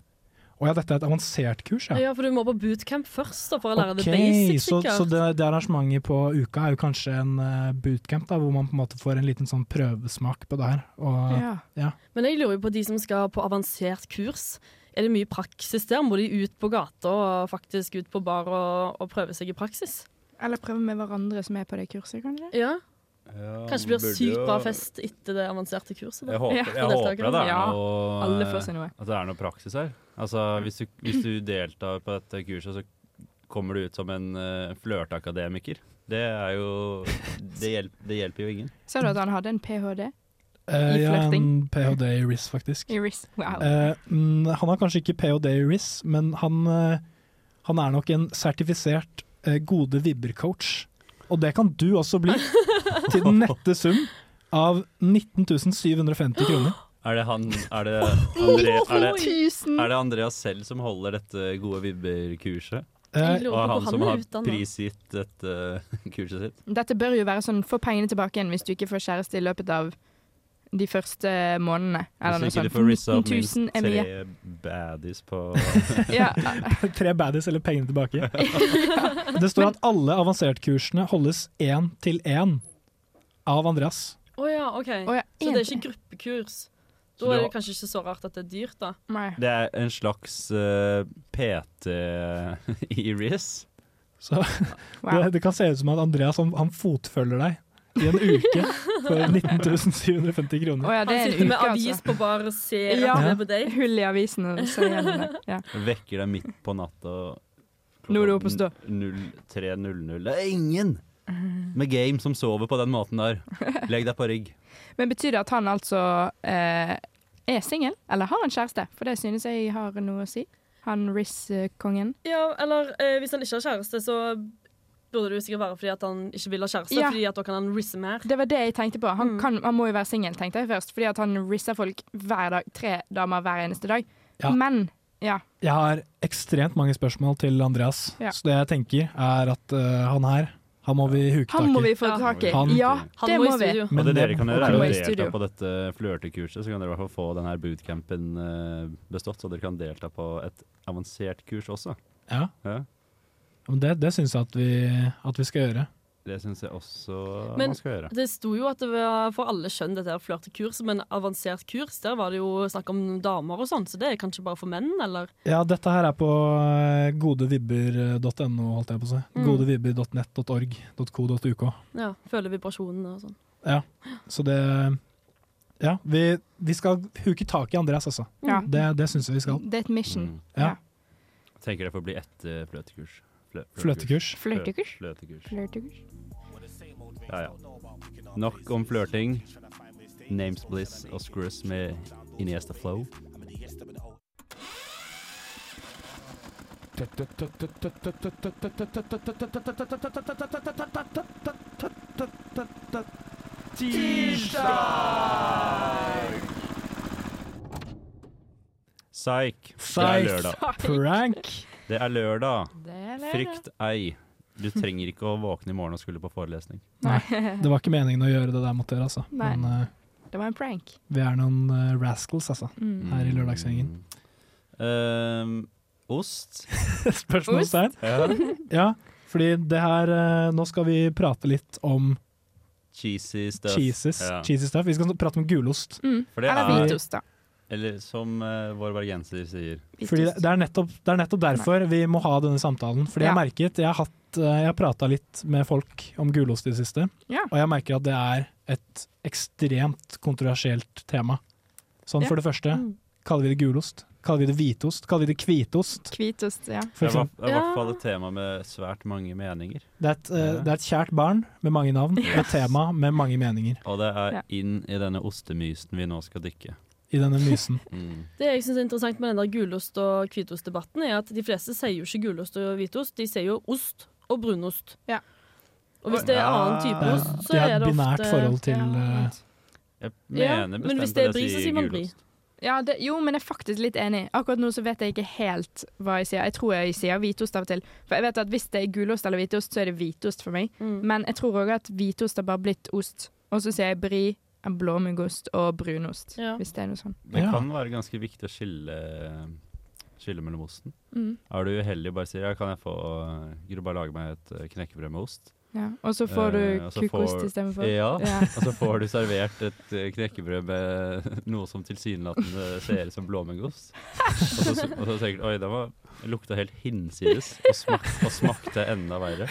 Speaker 1: Å ja, dette er et avansert kurs,
Speaker 5: Ja.
Speaker 1: ja.
Speaker 5: for du må på bootcamp først da, for å lære
Speaker 1: Ok,
Speaker 5: det basic,
Speaker 1: så,
Speaker 5: sikkert.
Speaker 1: så det, det arrangementet på uka er jo kanskje en eh, bootcamp, da, hvor man på en måte får en liten sånn prøvesmak på det her. Og,
Speaker 5: Ja. Men jeg lurer jo på de som skal på avansert kurs. Er det mye praksis der? Må de ut på gata og faktisk ut på bar og, og prøve seg i praksis?
Speaker 6: Eller prøve med hverandre som er på det kurset, kanskje?
Speaker 5: Ja. Kanskje det
Speaker 4: man burde
Speaker 5: blir sykt
Speaker 4: jo-
Speaker 5: bra fest etter det avanserte kurset. da.
Speaker 4: Jeg håper,
Speaker 5: For
Speaker 4: jeg håper
Speaker 5: deltakerne.
Speaker 4: det, er noe,
Speaker 5: Alle
Speaker 1: eh,
Speaker 5: får seg noe.
Speaker 4: at det er noe praksis her. Altså, hvis, du, hvis du deltar på dette kurset, så kommer du ut som en eh, flørteakademiker. Det er jo det, hjelp, det hjelper jo ingen.
Speaker 6: Sa du at han hadde en ph.d.?
Speaker 1: Eh,
Speaker 6: I
Speaker 1: ja,
Speaker 6: flørting?
Speaker 1: en ph.d. i RIS, faktisk.
Speaker 6: I RIS, wow.
Speaker 1: Eh, mm, han har kanskje ikke ph.d. i RIS, men han, eh, han er nok en sertifisert eh, gode vibber-coach. Og det kan du også bli, til den nette sum av 19 750 kroner.
Speaker 4: Er det han Er det, Andre, er det,
Speaker 6: Tusen!
Speaker 4: er det Andreas selv som holder dette gode vibber-kurset?
Speaker 1: Jeg
Speaker 6: lurer
Speaker 4: Og er
Speaker 6: på hvor
Speaker 4: han
Speaker 6: han
Speaker 4: som
Speaker 6: er
Speaker 4: har
Speaker 6: utdannet.
Speaker 4: prisgitt dette kurset sitt?
Speaker 6: Dette bør jo være sånn, få pengene tilbake igjen hvis du ikke får kjæreste i løpet av de første månedene. Eller noe
Speaker 4: Hvis ikke
Speaker 6: sånt.
Speaker 4: du får rissa opp
Speaker 6: 19
Speaker 4: minst
Speaker 6: 000 er mye.
Speaker 4: tre baddies på
Speaker 6: Ja.
Speaker 1: Tre baddies eller pengene tilbake. Det står at alle avansertkursene holdes én til én av Andreas.
Speaker 5: Å ja, OK. så det er ikke gruppekurs.
Speaker 4: Så
Speaker 5: Da er
Speaker 4: du
Speaker 5: det kanskje ikke så rart at det er dyrt, da.
Speaker 4: Det er en slags eh, PT i RIS.
Speaker 1: Så det, det kan se ut som at Andreas han, han fotfølger deg i en uke for 19 750 kroner.
Speaker 6: Å ja, det
Speaker 5: Han
Speaker 6: er en
Speaker 5: sitter med
Speaker 6: uke,
Speaker 5: avis
Speaker 6: altså.
Speaker 5: på bar og ser
Speaker 6: Ja.
Speaker 5: at han er på date.
Speaker 6: Hull i avisen og så gjelder det. Ja.
Speaker 4: Vekker deg midt på natta klokka
Speaker 6: Nå er du oppe og stå.
Speaker 4: 03.00. Det er ingen med game som sover på den måten der. Legg deg på rygg.
Speaker 6: Men betyr det at han altså eh, er singel, eller har han kjæreste? For det synes jeg har noe å si. Han Riz-kongen.
Speaker 5: Ja, eller eh, hvis han ikke har kjæreste, så burde det jo sikkert være fordi at han ikke vil ha kjæreste,
Speaker 6: Ja.
Speaker 5: fordi at da kan han risse mer.
Speaker 6: Det var det jeg tenkte på.
Speaker 5: Mm.
Speaker 6: Han, kan, han må jo være singel, tenkte jeg først. Fordi at han risser folk hver dag. Tre damer hver eneste dag.
Speaker 1: Ja.
Speaker 6: Men ja.
Speaker 1: Jeg har ekstremt mange spørsmål til Andreas,
Speaker 6: Ja.
Speaker 1: så det jeg tenker er at eh, han her, han må vi huke tak i.
Speaker 6: Han må vi få tak i.
Speaker 1: Han-
Speaker 6: Ja,
Speaker 5: Han
Speaker 6: det
Speaker 5: må i
Speaker 6: må vi.
Speaker 5: studio.
Speaker 1: Men
Speaker 4: og det
Speaker 1: det-
Speaker 4: dere kan gjøre,
Speaker 1: han
Speaker 4: er
Speaker 1: må
Speaker 4: å
Speaker 1: i
Speaker 4: delta
Speaker 1: studio.
Speaker 4: på dette flørtekurset, så kan dere i hvert fall få denne bootcampen eh, bestått. Så dere kan delta på et avansert kurs også.
Speaker 1: Ja. Men Det, det syns jeg at vi, at vi skal gjøre.
Speaker 4: Det syns jeg også
Speaker 5: Men
Speaker 4: man skal gjøre.
Speaker 5: det sto jo at det var for alle kjønn, dette her flørtekurs, men avansert kurs, der var det jo snakk om damer og sånn, så det er kanskje bare for menn, eller?
Speaker 1: Ja, dette her er på eh, godevibber.no, holdt jeg på å si.
Speaker 5: Mm.
Speaker 1: Godevibber.nett.org.co.uk.
Speaker 5: Ja, føler vibrasjonene og sånn.
Speaker 1: Ja, så det Ja, vi, vi skal huke tak i Andreas, altså.
Speaker 6: Ja.
Speaker 1: Det, det syns jeg vi skal.
Speaker 6: Det er et mission.
Speaker 1: Ja.
Speaker 4: Mm. Tenker det får bli etter fløtekurs. Flø-
Speaker 1: Fløtekurs?
Speaker 4: Flø- Fløtekurs. Ja, ja. Nok om flørting. Names Bliss og Scrus med Iniesta Flow. Psyk. Det er lørdag.
Speaker 1: Prank.
Speaker 4: Det er lørdag.
Speaker 6: Det er lørdag.
Speaker 4: Frykt ei. Du trenger ikke å våkne i morgen og skulle på forelesning.
Speaker 1: Nei, det var ikke meningen å gjøre det der mot dere, altså.
Speaker 6: Nei.
Speaker 1: Men eh,
Speaker 6: Det var en prank.
Speaker 1: vi er noen eh, rascals, altså,
Speaker 6: Mm.
Speaker 1: her i lørdagsgjengen.
Speaker 4: Ehm, Ost?
Speaker 1: Spørsmålstegn.
Speaker 4: Ja.
Speaker 1: Ja, fordi det her eh, Nå skal vi prate litt om
Speaker 4: Cheesy stuff.
Speaker 1: cheeses.
Speaker 4: Ja.
Speaker 1: Cheesy stuff. Vi skal prate om gulost.
Speaker 4: For det er-
Speaker 6: da.
Speaker 4: Eller som eh, vår bergenser sier.
Speaker 1: Fordi det, det, er nettopp, det er nettopp derfor vi må ha denne samtalen. Fordi
Speaker 4: Ja.
Speaker 1: jeg merket, jeg har, hatt, eh, jeg har prata litt med folk om gulost i det siste,
Speaker 6: Ja.
Speaker 1: og jeg merker at det er et ekstremt kontroversielt tema. Sånn
Speaker 6: Ja.
Speaker 1: for det første,
Speaker 6: Mm.
Speaker 1: kaller vi det gulost? Kaller vi det hvitost? Kaller vi det hvitost?
Speaker 6: Hvitost, ja.
Speaker 1: For
Speaker 4: det er i hvert-
Speaker 1: eksempel-
Speaker 4: det er i hvert fall et tema med svært mange meninger.
Speaker 1: Det er et, eh, det er et kjært barn med mange navn, med tema, med mange meninger
Speaker 4: Og det er
Speaker 5: Ja.
Speaker 4: inn i denne ostemysen vi nå skal dykke.
Speaker 1: i denne mysen.
Speaker 4: Mm.
Speaker 5: Det jeg synes er interessant med den der gulost- og hvitostdebatten, er at de fleste sier jo ikke gulost og hvitost, de sier jo ost og brunost. Og hvis det er annen type
Speaker 1: Ja.
Speaker 5: ost, så
Speaker 1: De har
Speaker 5: er
Speaker 1: et
Speaker 5: det ofte
Speaker 1: binært forhold til eh,
Speaker 4: Jeg
Speaker 5: Ja,
Speaker 4: mener
Speaker 5: men hvis
Speaker 4: bestemt
Speaker 5: det er
Speaker 4: at
Speaker 5: brie,
Speaker 4: jeg
Speaker 5: så
Speaker 4: sier
Speaker 5: sier man brie.
Speaker 4: gulost.
Speaker 6: Ja, det, jo, men jeg er faktisk litt enig. Akkurat nå så vet jeg ikke helt hva jeg sier. Jeg tror jeg sier hvitost av og til. For jeg vet at hvis det er gulost eller hvitost, så er det hvitost for meg.
Speaker 1: Mm.
Speaker 6: Men jeg tror òg at hvitost har bare blitt ost. Og så sier jeg bri, blåmuggost og brunost. Hvis det er noe sånn.
Speaker 4: Det kan være ganske viktig å skille, skille mellom osten.
Speaker 6: Mm.
Speaker 4: Er du uheldig og bare sier ja, kan jeg få Gidder du bare lage meg et eh, knekkebrød med ost?
Speaker 6: Ja, og så får du
Speaker 4: Eh, og så
Speaker 6: kukost
Speaker 4: får-
Speaker 6: istedenfor.
Speaker 4: Ja,
Speaker 6: Ja.
Speaker 4: og så får du servert et eh, knekkebrød med noe som tilsynelatende ser ut som blåmuggost. Og så, og så tenker du oi, den var, lukta helt hinsides, og, smak, og smakte enda verre.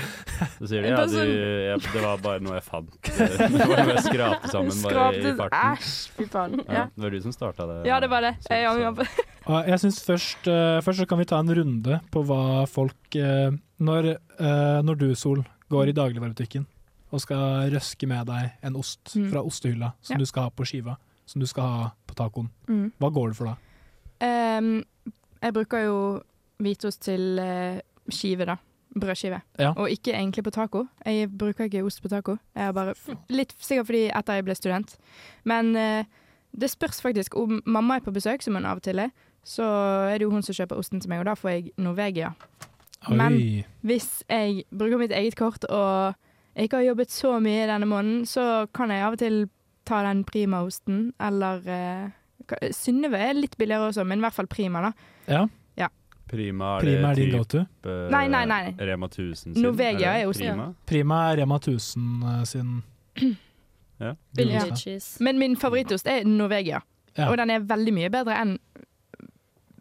Speaker 4: Så sier de ja, du,
Speaker 6: sånn
Speaker 4: jeg, det var bare noe jeg fant. Det var noe jeg skrapte sammen bare i
Speaker 6: Skrapte-
Speaker 4: farten.
Speaker 6: Æsj, fy faen.
Speaker 4: Ja,
Speaker 6: Ja.
Speaker 4: det var du som starta det.
Speaker 6: ja, det var det. Jeg angrer på
Speaker 1: Og Jeg synes først, eh, først så kan vi ta en runde på hva folk eh, når, eh, når du, Sol, går i dagligvarebutikken og skal røske med deg en ost
Speaker 6: Mm.
Speaker 1: fra ostehylla som
Speaker 6: Ja.
Speaker 1: du skal ha på skiva, som du skal ha på tacoen,
Speaker 6: Mm.
Speaker 1: hva går det for da?
Speaker 6: Ehm, jeg bruker jo hvitost til eh, skive, da. Brødskive.
Speaker 1: Ja.
Speaker 6: Og ikke egentlig på taco. Jeg bruker ikke ost på taco. Jeg er bare Litt sikkert fordi etter jeg ble student. Men eh, det spørs faktisk om mamma er på besøk, som hun av og til er. Så er det jo hun som kjøper osten til meg, og da får jeg Norvegia. Men
Speaker 1: Oi.
Speaker 6: hvis jeg bruker mitt eget kort og jeg ikke har jobbet så mye denne måneden, så kan jeg av og til ta den Prima-osten, eller eh, ka- Synnøve er litt billigere også, men i hvert fall Prima, da.
Speaker 1: Ja.
Speaker 6: Ja.
Speaker 4: Prima er,
Speaker 1: Prima er
Speaker 4: det
Speaker 1: din go-to?
Speaker 4: type
Speaker 6: Nei, nei, nei.
Speaker 4: Rema 1000 sin?
Speaker 6: Norvegia
Speaker 4: det
Speaker 6: er osten.
Speaker 4: Prima?
Speaker 1: Prima er Rema 1000 eh, sin
Speaker 4: Ja.
Speaker 1: Billig
Speaker 6: Ja.
Speaker 5: cheese.
Speaker 6: Men min favorittost er Norvegia,
Speaker 1: Ja.
Speaker 6: og den er veldig mye bedre enn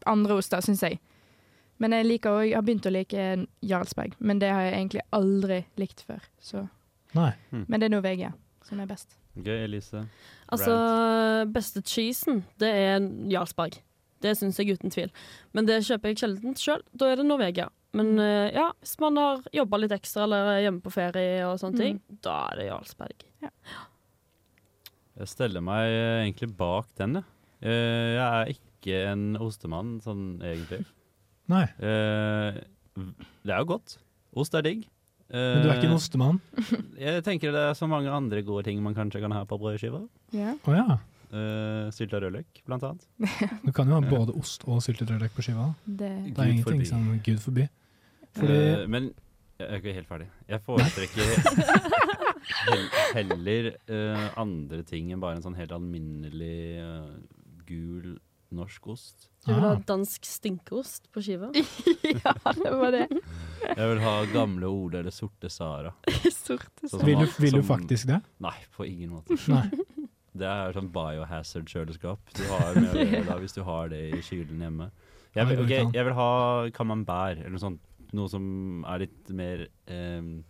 Speaker 6: andre oster, syns jeg. Men jeg liker også, jeg har begynt å like Jarlsberg, men det har jeg egentlig aldri likt før. Så.
Speaker 1: Nei.
Speaker 6: Men det er Norvegia som er best.
Speaker 4: Ok, Elise.
Speaker 5: Altså,
Speaker 4: Rant.
Speaker 5: beste cheesen, det er Jarlsberg. Det syns jeg uten tvil. Men det kjøper jeg sjelden sjøl. Da er det Norvegia. Men eh, ja, hvis man har jobba litt ekstra eller er hjemme på ferie og sånne ting, da er det Jarlsberg.
Speaker 4: Jeg steller meg eh, egentlig bak den, jeg. Eh, Jeg er ikke en ostemann, sånn egentlig.
Speaker 1: Nei.
Speaker 4: Eh, Det er jo godt. Ost er digg.
Speaker 1: Men du er
Speaker 4: Eh.
Speaker 1: ikke en ostemann?
Speaker 4: Jeg tenker det er så mange andre gode ting man kanskje kan ha på brødskiva.
Speaker 6: Ja.
Speaker 1: Å ja.
Speaker 4: Uh, Sylta rødløk, blant annet.
Speaker 1: Du kan jo ha både ost og syltet rødløk på skiva. da.
Speaker 6: Det,
Speaker 1: Det er
Speaker 4: Gud
Speaker 1: ingenting
Speaker 4: forby.
Speaker 1: som Gud forby.
Speaker 4: Eh,
Speaker 1: Fordi
Speaker 4: men jeg er ikke helt ferdig. Jeg foretrekker hel- heller eh, andre ting enn bare en sånn helt alminnelig eh, gul norsk ost.
Speaker 5: Du vil ha
Speaker 1: Ah.
Speaker 5: dansk stinkeost på skiva?
Speaker 6: ja, det var det.
Speaker 4: Jeg vil ha gamle Ole eller Sorte Sara.
Speaker 6: Sorte
Speaker 4: Sånn som
Speaker 1: Vil du-
Speaker 4: at-
Speaker 1: vil du
Speaker 4: som-
Speaker 1: faktisk det?
Speaker 4: Nei, på ingen måte.
Speaker 1: Nei.
Speaker 4: Det er sånn biohazard-kjøleskap du har med å gjøre da, hvis du har det i kylen hjemme. Jeg vil,
Speaker 1: Oi,
Speaker 4: ok,
Speaker 1: kan.
Speaker 4: jeg vil ha camembert eller noe sånt. Noe som er litt mer ehm,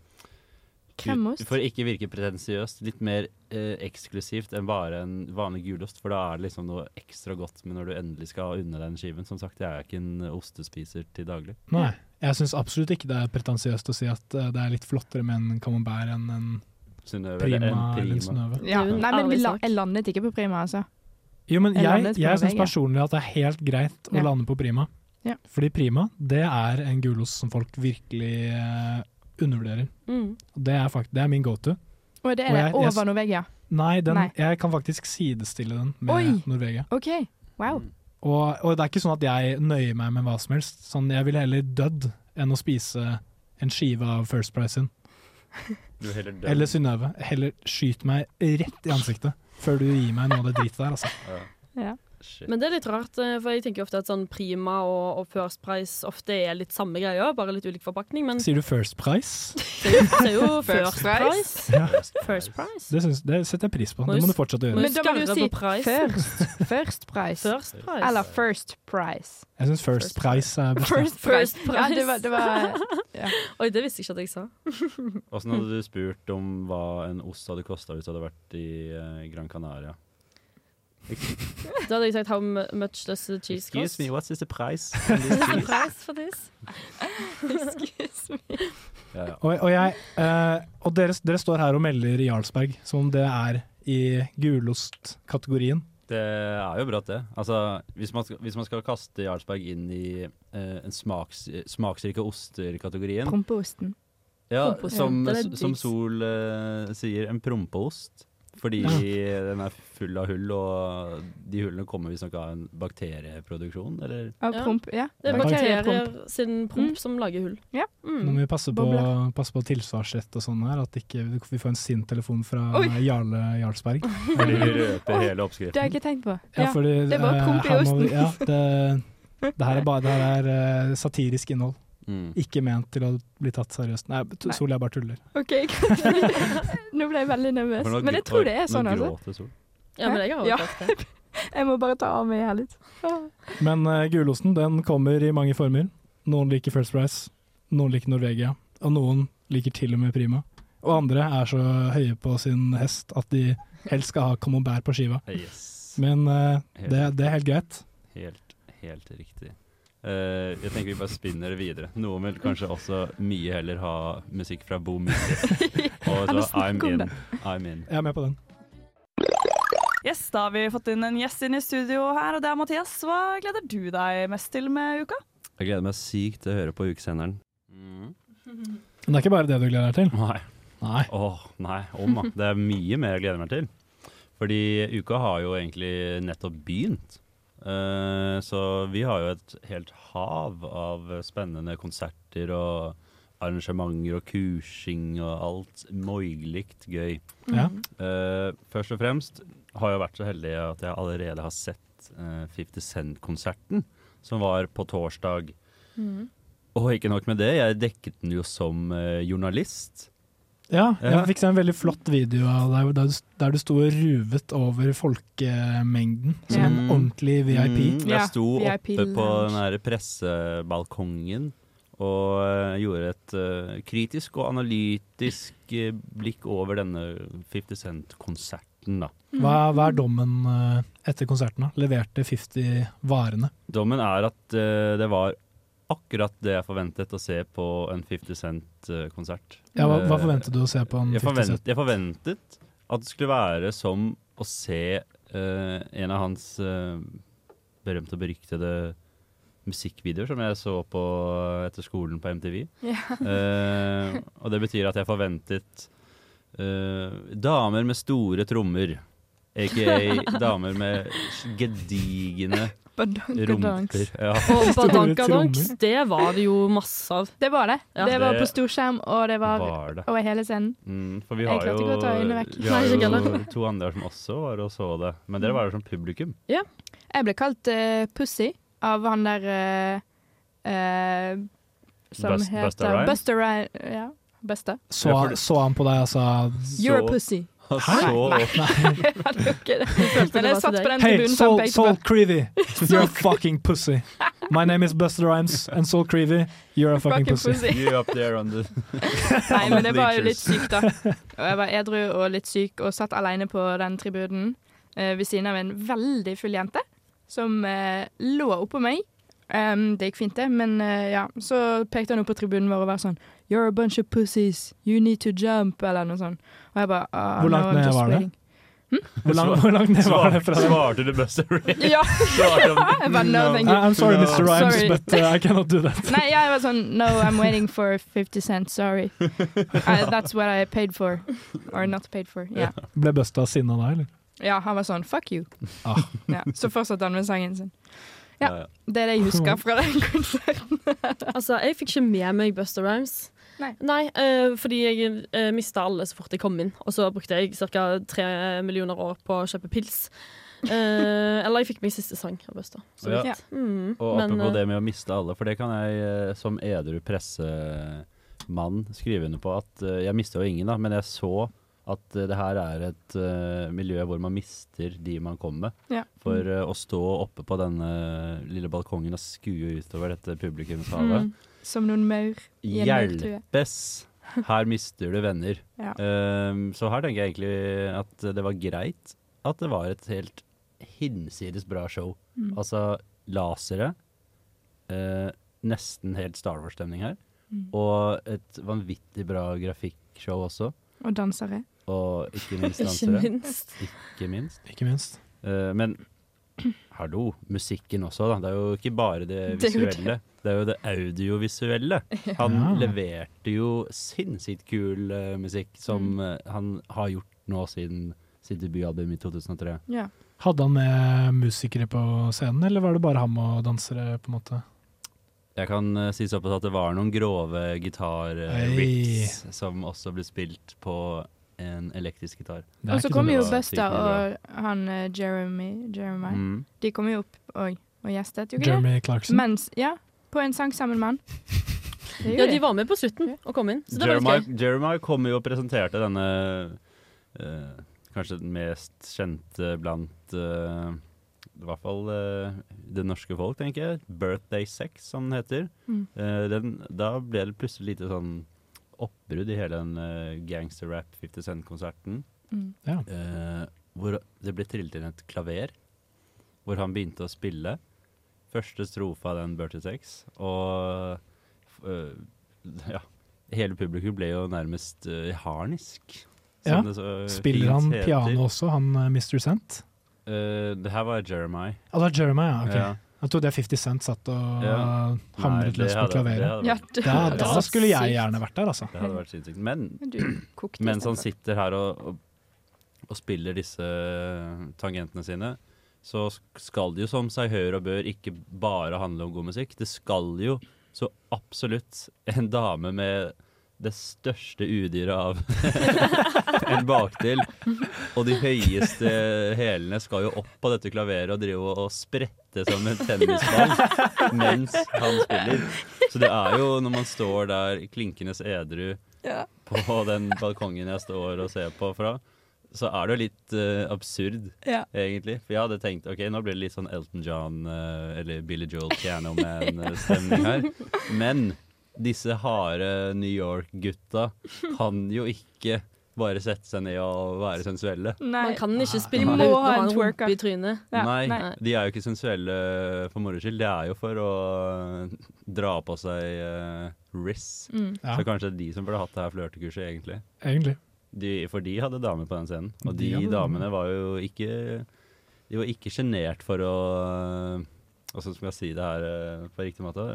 Speaker 6: Kremost?
Speaker 4: ut- For ikke virke pretensiøst. Litt mer eh, eksklusivt enn bare en vanlig gulost. For da er det liksom noe ekstra godt med når du endelig skal unne deg en skiven. Som sagt, jeg er ikke en ostespiser til daglig.
Speaker 1: Nei. Jeg syns absolutt ikke det er pretensiøst å si at eh, det er litt flottere med en camembert enn en
Speaker 4: Synnøve, eller
Speaker 1: prima
Speaker 4: en
Speaker 1: eller
Speaker 4: prima.
Speaker 1: en Synnøve.
Speaker 6: Ja. Nei, men vi
Speaker 5: ærlig
Speaker 6: la,
Speaker 5: sak.
Speaker 6: jeg landet ikke på prima, altså.
Speaker 1: Jo, men
Speaker 6: Jeg
Speaker 1: jeg,
Speaker 6: landet på
Speaker 1: jeg syns
Speaker 6: Norvegia.
Speaker 1: personlig at det er helt greit å
Speaker 6: Ja.
Speaker 1: lande på prima.
Speaker 6: Ja.
Speaker 1: Fordi prima, det er en gulost som folk virkelig eh, undervurderer.
Speaker 6: Mm.
Speaker 1: Og Det er, fakt det er min go to. Og
Speaker 6: Og det er det
Speaker 1: jeg- jeg s-
Speaker 6: over Norvegia.
Speaker 1: Nei, den,
Speaker 6: Nei.
Speaker 1: jeg kan faktisk sidestille den med
Speaker 6: Oi!
Speaker 1: Norvegia.
Speaker 6: OK, wow.
Speaker 1: Og, og det er ikke sånn at jeg nøyer meg med hva som helst. Sånn, jeg ville heller dødd enn å spise en skive av First Price sin.
Speaker 4: Du heller død.
Speaker 1: Eller Synnøve. Heller skyt meg rett i ansiktet før du gir meg noe av det dritet der, altså.
Speaker 4: Ja. shit.
Speaker 5: Men det er litt rart, eh, for jeg tenker jo ofte at sånn Prima og, og First Price ofte er litt samme greia, bare litt ulik forpakning. Men
Speaker 1: Sier du First Price?
Speaker 5: det er jo, det er jo First
Speaker 6: First
Speaker 5: Price.
Speaker 6: Price?
Speaker 1: Ja.
Speaker 5: First Price.
Speaker 1: Det, syns, det setter jeg pris på. Det må du fortsatt gjøre.
Speaker 6: Men da må du
Speaker 5: skarre
Speaker 6: si
Speaker 5: på price.
Speaker 6: first, first price.
Speaker 5: price.
Speaker 6: Eller first price.
Speaker 1: Jeg syns First Price er best.
Speaker 6: First price.
Speaker 5: First
Speaker 6: Ja, det var,
Speaker 5: price.
Speaker 6: det var
Speaker 5: Oi, det visste jeg ikke at jeg sa.
Speaker 4: Åssen hadde du spurt om hva en ost hadde kosta hvis du hadde vært i eh, Gran Canaria?
Speaker 5: Da hadde jeg sagt how mu- much does the cheese
Speaker 4: Excuse
Speaker 5: cost?
Speaker 4: me, what is the price?
Speaker 5: What's the price for this? Excuse me.
Speaker 4: Ja, ja.
Speaker 1: Og, og, jeg, eh, og dere, dere står her og melder Jarlsberg, som om det er i gulostkategorien.
Speaker 4: Det er jo bra, det. Altså, hvis man, skal- hvis man skal kaste Jarlsberg inn i eh, en smaks, smaksrike oster-kategorien
Speaker 6: Prompeosten.
Speaker 4: Ja,
Speaker 6: Prompeost.
Speaker 4: som,
Speaker 6: Ja, det er
Speaker 4: som
Speaker 6: digg.
Speaker 4: Sol eh, sier, en prompeost. Fordi den er full av hull, og de hullene kommer visstnok av en bakterieproduksjon, eller?
Speaker 6: Av promp, ja.
Speaker 5: Det er
Speaker 1: Bakteriepromp.
Speaker 5: bakterier sin promp som lager hull.
Speaker 1: Nå
Speaker 5: Mm.
Speaker 1: må vi passe på,
Speaker 5: Bobler.
Speaker 1: passe på tilsvarsrett og sånn her, at ikke vi får en sint telefon fra
Speaker 6: Oi.
Speaker 1: Jarle Jarlsberg.
Speaker 4: Fordi vi røper hele
Speaker 6: Det har jeg
Speaker 4: oppskriften.
Speaker 6: ikke tenkt på.
Speaker 1: Ja, fordi,
Speaker 6: det var
Speaker 1: eh,
Speaker 6: promp i
Speaker 1: her må vi-
Speaker 6: osten.
Speaker 1: Ja, det, det her er, bare, det her er eh, satirisk innhold.
Speaker 4: Mm.
Speaker 1: Ikke ment til å bli tatt seriøst. Nei, t-
Speaker 6: Nei.
Speaker 1: Sol, jeg bare tuller.
Speaker 6: OK. Nå ble jeg veldig nervøs.
Speaker 4: For nå
Speaker 6: Men
Speaker 4: gr-
Speaker 6: jeg tror det
Speaker 4: oi,
Speaker 6: er sånn,
Speaker 4: nå
Speaker 6: altså.
Speaker 4: gråter Sol.
Speaker 5: Ja, men jeg har også
Speaker 6: Ja.
Speaker 5: hørt det.
Speaker 6: Jeg må bare ta av meg her litt.
Speaker 1: Men eh, gulosten den kommer i mange former. Noen liker First Price, noen liker Norvegia, og noen liker til og med Prima. Og andre er så høye på sin hest at de helst skal ha camembert på skiva.
Speaker 4: Yes.
Speaker 1: Men eh, det, det er helt greit.
Speaker 4: Helt, helt riktig. Eh, jeg tenker vi bare spinner det videre. Noen vil kanskje også mye heller ha musikk fra Bo Midtly. Og
Speaker 14: men
Speaker 4: så
Speaker 14: snakk
Speaker 4: I'm
Speaker 14: om
Speaker 4: in.
Speaker 14: det.
Speaker 4: I'm in.
Speaker 1: Jeg er med på den.
Speaker 14: Yes, Da har vi fått inn en gjest inn i studio her, og det er Mathias. Hva gleder du deg mest til med uka?
Speaker 4: Jeg gleder meg sykt til å høre på ukesenderen. Mm.
Speaker 1: Men det er ikke bare det du gleder deg til.
Speaker 4: Nei.
Speaker 1: Nei.
Speaker 4: Åh, nei, om da. Det er mye mer jeg gleder meg til. Fordi uka har jo egentlig nettopp begynt. Eh, så vi har jo et helt hav av spennende konserter og arrangementer og kursing og alt moiglikt gøy.
Speaker 1: Ja.
Speaker 6: Mm.
Speaker 4: Eh, først og fremst har jeg vært så heldig at jeg allerede har sett eh, 50 Cent-konserten, som var på torsdag.
Speaker 6: Mm.
Speaker 4: Og ikke nok med det, jeg dekket den jo som eh, journalist.
Speaker 1: Ja,
Speaker 4: Ja.
Speaker 1: jeg fikk se en veldig flott video av deg der, du- der du sto og ruvet over folkemengden som
Speaker 4: Ja.
Speaker 1: en ordentlig VIP.
Speaker 4: Mm, jeg sto oppe på den her pressebalkongen og eh, gjorde et eh, kritisk og analytisk eh, blikk over denne 50 Cent-konserten, da.
Speaker 1: Hva, hva er dommen eh, etter konserten? da? Leverte 50 varene?
Speaker 4: Dommen er at eh, det var akkurat det jeg forventet å se på en eh, 50 Cent-konsert.
Speaker 1: Ja, hva,
Speaker 4: Eh,
Speaker 1: hva forventet du å se på en
Speaker 4: Jeg,
Speaker 1: 50
Speaker 4: forvent,
Speaker 1: Cent?
Speaker 4: jeg forventet at det skulle være som å se eh, en av hans eh, berømte og beryktede musikkvideoer som jeg så på eh, etter skolen på MTV.
Speaker 14: Ja.
Speaker 4: Eh, og det betyr at jeg forventet eh, damer med store trommer, aka damer med gedigne
Speaker 6: Badankadanks.
Speaker 4: rumper. Ja.
Speaker 5: Og
Speaker 6: Store
Speaker 5: Badankadanks,
Speaker 6: trommer.
Speaker 5: det var det jo masse av.
Speaker 6: Det var det.
Speaker 5: Ja.
Speaker 6: Det var
Speaker 4: Det
Speaker 6: på storskjerm, og det var,
Speaker 4: var det.
Speaker 6: over hele scenen.
Speaker 4: Mm, for vi
Speaker 6: Jeg
Speaker 4: har
Speaker 6: klarte
Speaker 4: jo,
Speaker 6: ikke å ta øynene vekk.
Speaker 4: vi
Speaker 6: Nei,
Speaker 4: har
Speaker 6: ikke
Speaker 4: jo
Speaker 6: heller.
Speaker 4: to andre som også var og så det, men dere var jo som publikum.
Speaker 5: Ja.
Speaker 6: Jeg ble kalt eh, Pussy av han der eh, eh, Som
Speaker 4: Bus-
Speaker 6: heter
Speaker 4: Busta Rhymes?
Speaker 6: Busta Rhymes. Ja. Busta.
Speaker 1: Så, så han på deg og sa
Speaker 6: You're a pussy.
Speaker 4: Han
Speaker 1: Hæ?
Speaker 4: så
Speaker 1: Nei.
Speaker 6: Men jeg satt på den
Speaker 1: Hey,
Speaker 6: tribunen som
Speaker 1: Sol,
Speaker 6: pekte på-
Speaker 1: Sol Creevy, you're a fucking pussy. My name is Buster Rhymes, and Sol Creevy, you're a fucking
Speaker 6: Fucking
Speaker 1: pussy.
Speaker 6: pussy.
Speaker 4: You up there on the
Speaker 6: Nei, men det var jo litt
Speaker 4: bleachers.
Speaker 6: sykt, da. Og jeg var edru og litt syk og satt alene på den tribunen eh, ved siden av en veldig full jente som eh, lå oppå meg. Em, det gikk fint, det, men eh, ja. Så pekte han opp på tribunen vår og var sånn You're a bunch of pussies. You need to jump, eller noe sånt. Og jeg bare ah,
Speaker 1: Hvor langt
Speaker 6: no, I'm
Speaker 1: ned
Speaker 6: just
Speaker 1: var det?
Speaker 6: waiting.
Speaker 1: Hvor langt, hvor langt ned var det
Speaker 4: Svarte-
Speaker 1: fra deg?
Speaker 4: Svarte du Buster Rhymes?
Speaker 6: Ja.
Speaker 4: Svarte han,
Speaker 6: Jeg bare, no, thank you.
Speaker 1: I'm sorry,
Speaker 4: No.
Speaker 1: Mr. Rhymes,
Speaker 6: Sorry.
Speaker 1: but uh, I cannot do that.
Speaker 6: Nei, jeg var sånn No, I'm waiting for 50 cent, sorry. I, that's what I paid for. Or not paid for. Yeah.
Speaker 1: Ble Busta sinna da, eller?
Speaker 6: Ja, han var sånn fuck you.
Speaker 1: Ah.
Speaker 6: Ja, så fortsatte han med sangen sin. Ja,
Speaker 4: Ja, ja.
Speaker 6: Det er det jeg husker fra den konserten.
Speaker 5: Altså, jeg fikk ikke med meg Buster Rhymes.
Speaker 6: Nei.
Speaker 5: eh, fordi jeg uh, mista alle så fort jeg kom inn. Og så brukte jeg ca. tre millioner år på å kjøpe pils. Eh, eller jeg fikk meg siste sang av Bøsta. så
Speaker 4: Ja.
Speaker 5: vidt. Mm,
Speaker 4: Og
Speaker 5: men,
Speaker 4: apropos
Speaker 5: eh,
Speaker 4: det med å miste alle, for det kan jeg eh, som edru pressemann skrive under på at eh, jeg mista jo ingen, da, men jeg så at eh, det her er et eh, miljø hvor man mister de man kommer med.
Speaker 6: Ja. Mm.
Speaker 4: For eh, å stå oppe på denne lille balkongen og skue utover dette publikumshavet
Speaker 6: Mm. Som noen maur i en maurtue.
Speaker 4: Hjelpes! Her mister du venner.
Speaker 6: Ja.
Speaker 4: Ehm, så her tenker jeg egentlig at det var greit at det var et helt hinsides bra show.
Speaker 15: Mm.
Speaker 4: Altså lasere, eh, nesten helt Star Wars-stemning her,
Speaker 6: Mm.
Speaker 4: og et vanvittig bra grafikkshow også.
Speaker 6: Og dansere.
Speaker 4: Og ikke minst
Speaker 6: Ikke
Speaker 4: dansere.
Speaker 6: minst.
Speaker 4: Ikke minst.
Speaker 1: Ikke minst.
Speaker 4: Eh, men hallo, musikken også, da. Det er jo ikke bare det
Speaker 15: Det er jo det.
Speaker 4: visuelle. Det er jo det audiovisuelle. Han leverte jo sinnssykt kul eh, musikk, som eh, han har gjort nå siden sitt debutalbum i 2003.
Speaker 1: Hadde han med musikere på scenen, eller var det bare ham og dansere? på en måte?
Speaker 4: Jeg kan eh, si såpass at det var noen grove gitar-rips som også ble spilt på en elektrisk gitar.
Speaker 6: Og så kommer jo Busta
Speaker 4: sånn Det var sykt mye bra.
Speaker 6: og han eh, Jeremy Jeremiah.
Speaker 4: Mm.
Speaker 6: De kommer jo opp og, og gjestet, gjorde de
Speaker 1: Jeremy
Speaker 6: det?
Speaker 1: Clarkson.
Speaker 6: Mens, ja, på en sang sammen med han. Det gjorde
Speaker 5: Ja, de var med på slutten og kom inn, så det var litt
Speaker 4: Jeremiah,
Speaker 5: gøy.
Speaker 4: Jeremiah kom jo og presenterte denne eh, kanskje den mest kjente blant eh, i hvert fall eh, det norske folk, tenker jeg. 'Birthday Sex', som den heter.
Speaker 15: Mm.
Speaker 4: Eh, den, da ble det plutselig lite sånn oppbrudd i hele den eh, gangster rap 50 Cent-konserten.
Speaker 15: Mm.
Speaker 1: Ja.
Speaker 4: Eh, hvor det ble trillet inn et klaver, hvor han begynte å spille. Første strofe av den 'Birthday Sex', og eh, ja, hele publikum ble jo nærmest eh, harnisk.
Speaker 1: Ja.
Speaker 4: som det så
Speaker 1: Spiller
Speaker 4: fint
Speaker 1: han
Speaker 4: heter.
Speaker 1: piano også, han eh, Mr. Cent?
Speaker 4: Eh, det her var Jeremiah.
Speaker 1: Altså, Ja, det er Jeremiah, ok.
Speaker 4: Ja.
Speaker 1: Jeg trodde det 50 Cent satt og
Speaker 4: Ja. Nei,
Speaker 1: hamret
Speaker 4: det
Speaker 1: løs på
Speaker 4: hadde-
Speaker 1: klaveret.
Speaker 4: det hadde
Speaker 1: da,
Speaker 4: vært- det
Speaker 1: da
Speaker 4: hadde vært
Speaker 1: skulle jeg
Speaker 4: sykt.
Speaker 1: gjerne vært der, altså.
Speaker 4: Det hadde vært sinnssykt. Men sånn
Speaker 6: Du kokte
Speaker 4: mens han
Speaker 6: istedenfor.
Speaker 4: sitter her og, og, og spiller disse eh, tangentene sine, så sk- skal det jo som seg hør og bør ikke bare handle om god musikk. Det skal jo så absolutt en dame med det største udyret av en bakdel. Og de høyeste hælene skal jo opp på dette klaveret og drive og- og sprette som en tennisball mens han spiller. Så det er jo når man står der klinkenes edru
Speaker 15: Ja.
Speaker 4: på den balkongen jeg står og ser på fra, så er det jo litt eh, absurd,
Speaker 15: Ja.
Speaker 4: egentlig. For jeg hadde tenkt ok, nå blir det litt sånn Elton John eh, eller Billy Joel Piano Man-stemning eh, her. Men disse harde New York-gutta kan jo ikke bare sette seg ned og være sensuelle.
Speaker 5: Man kan ikke spille
Speaker 6: De
Speaker 5: uten
Speaker 6: må
Speaker 5: å
Speaker 6: ha
Speaker 5: ha en
Speaker 6: en
Speaker 5: rumpe
Speaker 6: twerker.
Speaker 5: i trynet.
Speaker 4: Nei, de er jo ikke sensuelle for moro skyld. Det er jo for å eh, dra på seg uh, Riz.
Speaker 1: Mm. Ja.
Speaker 4: Så kanskje de som burde hatt det her flørtekurset, egentlig.
Speaker 1: Egentlig.
Speaker 4: De, for de hadde damer på den scenen. Og
Speaker 1: De
Speaker 4: de,
Speaker 1: hadde
Speaker 4: damene var jo ikke De var ikke sjenert for å Åssen skal jeg si det her eh, på riktig måte?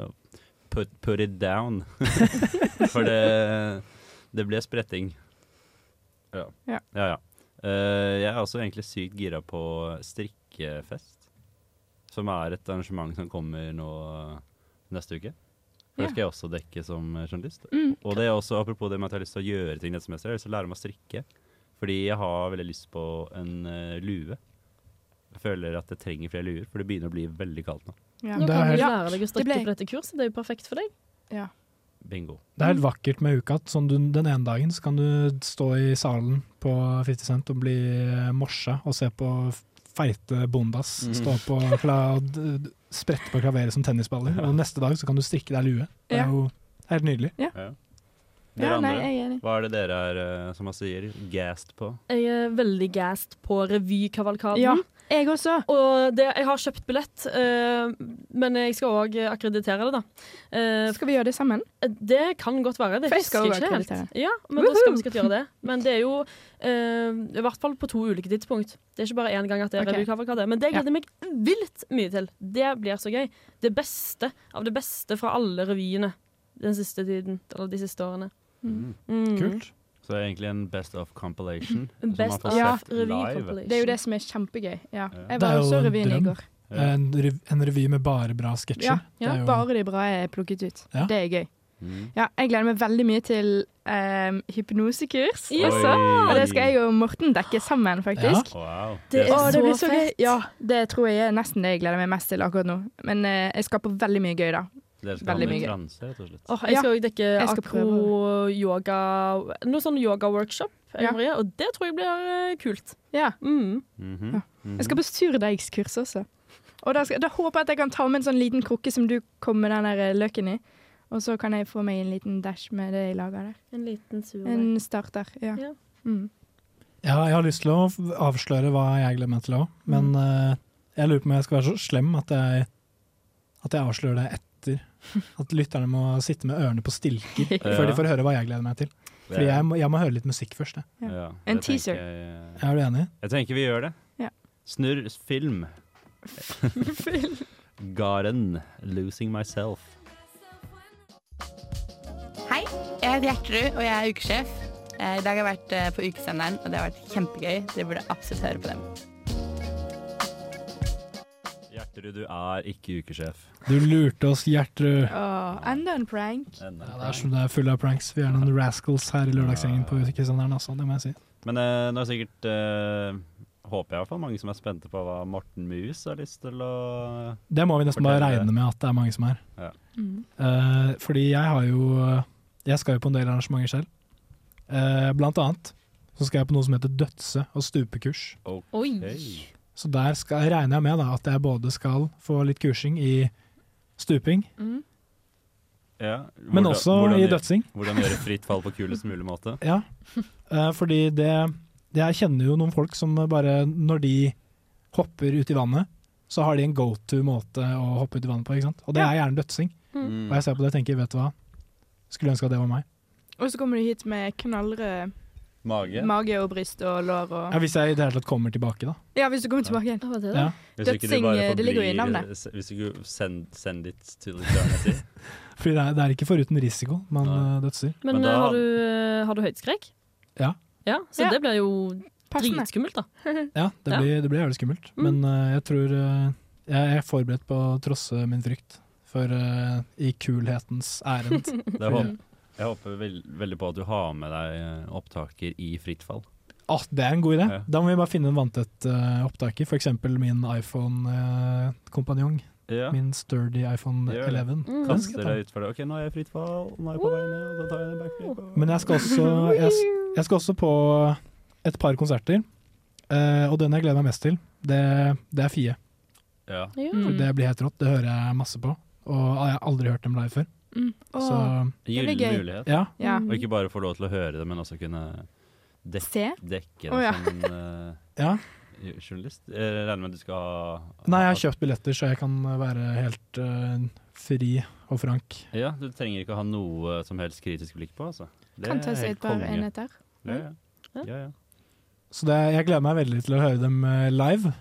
Speaker 4: Put, put it down. for det, det ble spretting. Ja.
Speaker 6: Ja.
Speaker 4: ja, ja. Eh, jeg er også egentlig sykt gira på strikkefest, som er et arrangement som kommer nå eh, neste uke. For
Speaker 15: Ja.
Speaker 4: Det skal jeg også dekke som eh, journalist.
Speaker 15: Mm.
Speaker 4: Og det er også apropos det med at jeg har lyst til å gjøre ting neste semester, jeg har lyst til å lære meg å strikke. Fordi jeg har veldig lyst på en eh, lue. Jeg føler at jeg trenger flere luer, for det begynner å bli veldig kaldt nå.
Speaker 6: Ja.
Speaker 5: Nå
Speaker 1: Det er
Speaker 5: kan du
Speaker 1: helt-
Speaker 5: lære deg å
Speaker 6: Det ble-
Speaker 5: strikke på dette kurset, det er jo perfekt for deg.
Speaker 6: Ja.
Speaker 4: Bingo.
Speaker 1: Det
Speaker 6: Mm.
Speaker 1: er helt vakkert med uka. at Sånn du, den ene dagen så kan du stå i salen på 50 Cent og bli eh, morsa og se på f- feite bondas
Speaker 4: Mm.
Speaker 1: stå på kla d- d- sprette på klaveret som tennisballer, og neste dag så kan du strikke deg lue. Det
Speaker 6: Ja.
Speaker 1: er jo helt nydelig.
Speaker 4: Ja.
Speaker 5: Ja,
Speaker 4: Dere
Speaker 5: nei,
Speaker 4: andre,
Speaker 5: jeg er enig.
Speaker 4: hva er det dere er, eh, som man sier, gassed på?
Speaker 5: Jeg er veldig gassed på revykavalkaden.
Speaker 6: Ja, jeg også.
Speaker 5: Og det, jeg har kjøpt billett, eh, men jeg skal òg akkreditere det, da. Eh,
Speaker 6: skal vi gjøre det sammen?
Speaker 5: Det kan godt være. Det
Speaker 6: For jeg skal
Speaker 5: husker jeg
Speaker 6: også
Speaker 5: ikke helt.
Speaker 6: akkreditere.
Speaker 5: Ja, men da skal
Speaker 6: Woohoo!
Speaker 5: vi skal gjøre det. Men det er jo eh, i hvert fall på to ulike tidspunkt. Det er ikke bare én gang at det er
Speaker 6: Ok.
Speaker 5: revykavalkade. Men det gleder jeg meg vilt mye til. Det blir så gøy. Det beste av det beste fra alle revyene den siste tiden, eller de siste årene. Mm.
Speaker 1: Kult.
Speaker 4: Så det er egentlig en best of compilation.
Speaker 5: En
Speaker 4: som man
Speaker 5: best
Speaker 4: får
Speaker 5: of
Speaker 4: sett
Speaker 6: Ja,
Speaker 4: live.
Speaker 6: det er jo det som er kjempegøy. Ja. Jeg
Speaker 1: Det
Speaker 6: var
Speaker 1: er
Speaker 6: også
Speaker 1: jo en
Speaker 6: revyen i
Speaker 1: drøm.
Speaker 6: går.
Speaker 1: En, rev en revy med bare bra sketsjer.
Speaker 6: Ja,
Speaker 1: Det er jo-
Speaker 6: Bare de bra er plukket ut.
Speaker 1: Ja.
Speaker 6: Det er gøy.
Speaker 4: Mm.
Speaker 6: Ja, jeg gleder meg veldig mye til um, hypnosekurs
Speaker 4: Ja!
Speaker 6: også.
Speaker 4: Oi!
Speaker 6: Og det skal jeg og Morten dekke sammen,
Speaker 4: Ja.
Speaker 6: faktisk.
Speaker 4: Wow.
Speaker 6: Det er
Speaker 4: Å, det
Speaker 6: så
Speaker 4: blir så
Speaker 6: fett. Ja, det tror jeg er nesten det jeg gleder meg mest til akkurat nå. Men eh, jeg skal på veldig mye gøy, da.
Speaker 4: Dere skal
Speaker 6: Veldig
Speaker 4: handle
Speaker 6: mye gøy.
Speaker 4: transe, rett og slett.
Speaker 5: Åh, jeg skal
Speaker 6: Ja,
Speaker 5: òg dekke
Speaker 6: jeg skal
Speaker 5: akro-yoga Noe sånn yoga-workshop. jeg og Maria, Og det tror jeg blir eh, kult. Mm.
Speaker 4: Mhm. Mhm.
Speaker 6: Jeg skal på surdeigskurs også. Og da, skal, da håper jeg at jeg kan ta med en sånn liten krukke som du kom med den der eh, løken i. Og så kan jeg få meg en liten dash med det jeg lager der.
Speaker 5: En liten surdeig.
Speaker 6: En starter, ja. Mm.
Speaker 1: Ja, jeg har lyst til å f- avsløre hva jeg gleder meg til òg, men
Speaker 6: Mm.
Speaker 1: eh, jeg lurer på om jeg skal være så slem at jeg, at jeg avslører det etter. At lytterne må sitte med ørene på stilker
Speaker 4: Mhm.
Speaker 1: før de får høre hva jeg gleder meg til. Fordi jeg må, jeg må høre litt musikk først. Jeg.
Speaker 4: Ja,
Speaker 6: En
Speaker 4: det tenker
Speaker 6: teaser.
Speaker 4: Jeg, eh,
Speaker 1: Er du enig?
Speaker 4: jeg tenker vi gjør det.
Speaker 6: Ja.
Speaker 4: Snurr film. Garen, 'Losing Myself'.
Speaker 16: Hei, jeg heter Gjertrud, og jeg er ukesjef. Eh, I dag har jeg vært eh, på ukesenderen, og det har vært kjempegøy. Dere burde absolutt høre på dem.
Speaker 4: Gjerterud, du er ikke ukesjef.
Speaker 1: Du lurte oss, Gjertrud.
Speaker 6: Åh, enda en prank.
Speaker 1: Ja, det er
Speaker 4: sånn-
Speaker 1: som det er full av pranks. Vi er noen rascals her i lørdagsgjengen på Kristiansand, altså. Det må jeg si.
Speaker 4: Men eh, nå er sikkert eh, Håper jeg i hvert fall mange som er spente på hva Morten Mus har lyst til å
Speaker 1: Det må vi nesten bare
Speaker 4: fortelle.
Speaker 1: regne med at det er mange som er.
Speaker 4: Ja.
Speaker 1: Mm. Eh, fordi jeg har jo Jeg skal jo på en del arrangementer selv. Eh, blant annet så skal jeg på noe som heter dødse- og stupekurs.
Speaker 4: Oi.
Speaker 1: Så der skal, regner jeg med da, at jeg både skal få litt kursing i stuping,
Speaker 6: Mm.
Speaker 4: Ja,
Speaker 1: Men også i dødsing.
Speaker 4: Hvordan gjøre fritt fall på kulest mulig måte.
Speaker 1: Ja, Eh, fordi det Jeg kjenner jo noen folk som bare Når de hopper ut i vannet, så har de en go to måte å hoppe ut i vannet på, ikke sant? Og det er gjerne dødsing.
Speaker 6: Mm.
Speaker 1: Og jeg ser på det og tenker, vet du hva, skulle ønske at det var meg.
Speaker 6: Og så kommer du hit med knallrød
Speaker 4: Mage.
Speaker 6: mage og bryst og lår og
Speaker 1: Ja, hvis jeg i det hele tatt kommer tilbake, da.
Speaker 6: Ja, hvis du kommer tilbake igjen.
Speaker 1: Ja.
Speaker 4: Hvis ikke du
Speaker 6: Dødsing,
Speaker 4: bare
Speaker 6: det ligger jo i
Speaker 4: forblir-
Speaker 6: navnet.
Speaker 4: s- Hvis ikke du send, send it til eternity.
Speaker 1: Fordi det er, det er ikke foruten risiko man eh, dødser.
Speaker 5: Men, eh, har, du, eh, har du høydeskrekk?
Speaker 1: Ja.
Speaker 5: Ja, så
Speaker 6: Ja.
Speaker 5: det blir jo
Speaker 6: Passende.
Speaker 5: dritskummelt, da.
Speaker 1: Ja, det
Speaker 5: Ja.
Speaker 1: blir, det blir jævlig skummelt. Men eh, jeg tror eh, jeg er forberedt på å trosse min frykt, for eh, i kulhetens ærend.
Speaker 4: Det
Speaker 1: Fordi-
Speaker 4: håp, jeg håper vel- veldig på at du har med deg eh, opptaker i fritt fall.
Speaker 1: Ah, det er en god idé. Da må vi bare finne en vanntett eh, opptaker. For eksempel min iPhone-kompanjong.
Speaker 4: Ja.
Speaker 1: Min sturdy iPhone
Speaker 4: Gjør det.
Speaker 1: 11. Den skal
Speaker 4: Kaster
Speaker 1: Mm, jeg ta.
Speaker 4: deg utfor det. OK, nå er jeg i fritt fall. Nå er jeg på vei ned, og da tar jeg en backflip. og-
Speaker 1: Men jeg skal også, jeg, s- jeg skal også på et par konserter. Eh, og den jeg gleder meg mest til, det, det er Fie.
Speaker 4: Ja.
Speaker 5: Mm.
Speaker 1: For det blir helt rått. Det hører jeg masse på. Og jeg har aldri hørt dem live før.
Speaker 6: Mm. Åh,
Speaker 1: Så-
Speaker 6: det blir
Speaker 4: Gyllen
Speaker 6: gøy.
Speaker 4: mulighet.
Speaker 1: Ja.
Speaker 6: Ja.
Speaker 4: Og ikke bare få lov til å høre det, men også kunne dek
Speaker 6: Se?
Speaker 4: dekke det
Speaker 6: Å, ja.
Speaker 4: som en eh,
Speaker 1: Ja.
Speaker 4: journalist. Jeg regner med at du skal ha
Speaker 1: Nei, jeg har kjøpt billetter, så jeg kan være helt eh, fri og frank.
Speaker 4: Ja, du trenger ikke å ha noe eh, som helst kritisk blikk på, altså. Det
Speaker 6: Kan ta
Speaker 4: er
Speaker 6: seg
Speaker 4: helt
Speaker 6: et par
Speaker 4: konge.
Speaker 6: enheter.
Speaker 4: Ja, ja. Ja, ja.
Speaker 1: Så det, jeg gleder meg veldig til å høre dem eh, live.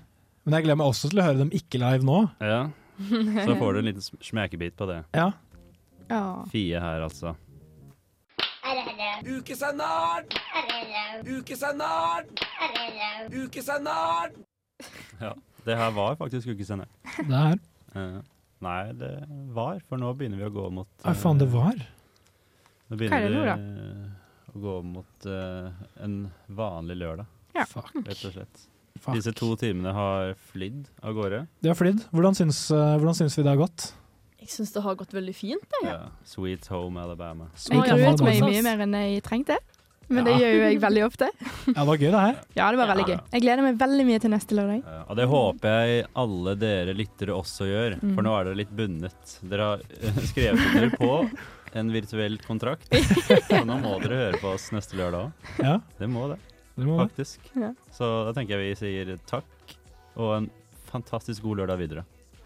Speaker 1: Men jeg gleder meg også til å høre dem ikke live nå.
Speaker 4: Ja. Så får du en liten sm- smekebit på det.
Speaker 1: Ja.
Speaker 4: Fie her, altså.
Speaker 17: Ukesenderen! Ukesenderen! Ukesenderen!
Speaker 4: Ja. Det her var faktisk ukesenderen.
Speaker 1: Det her.
Speaker 4: Eh, nei, det var, for nå begynner vi å gå mot eh,
Speaker 1: Hva Ah, faen det var? Hva
Speaker 4: Nå
Speaker 1: er
Speaker 4: begynner
Speaker 1: det nå, da?
Speaker 4: vi å gå mot eh, en vanlig lørdag,
Speaker 1: Ja.
Speaker 4: rett og slett. Disse to timene har flydd av gårde.
Speaker 1: De har flydd. Hvordan syns, eh, hvordan syns vi det har gått?
Speaker 5: Jeg syns det har gått veldig fint, jeg.
Speaker 4: Ja. Sweet home Alabama.
Speaker 6: Jeg gruet meg mye mer enn jeg trengte, men det
Speaker 4: Ja.
Speaker 6: gjør jo jeg veldig ofte.
Speaker 1: Ja, det var gøy, det her.
Speaker 6: Ja, det var veldig
Speaker 4: Ja.
Speaker 6: gøy. Jeg gleder meg veldig mye til neste lørdag.
Speaker 4: Ja, Eh, og det håper jeg alle dere lyttere også gjør, for nå er dere litt bundet. Dere har eh, skrevet under på en virtuell kontrakt, så nå må dere høre på oss neste lørdag òg.
Speaker 1: Ja.
Speaker 4: Det må det,
Speaker 1: må det.
Speaker 4: faktisk.
Speaker 6: Ja.
Speaker 4: Så da tenker jeg vi sier takk, og en fantastisk god lørdag videre.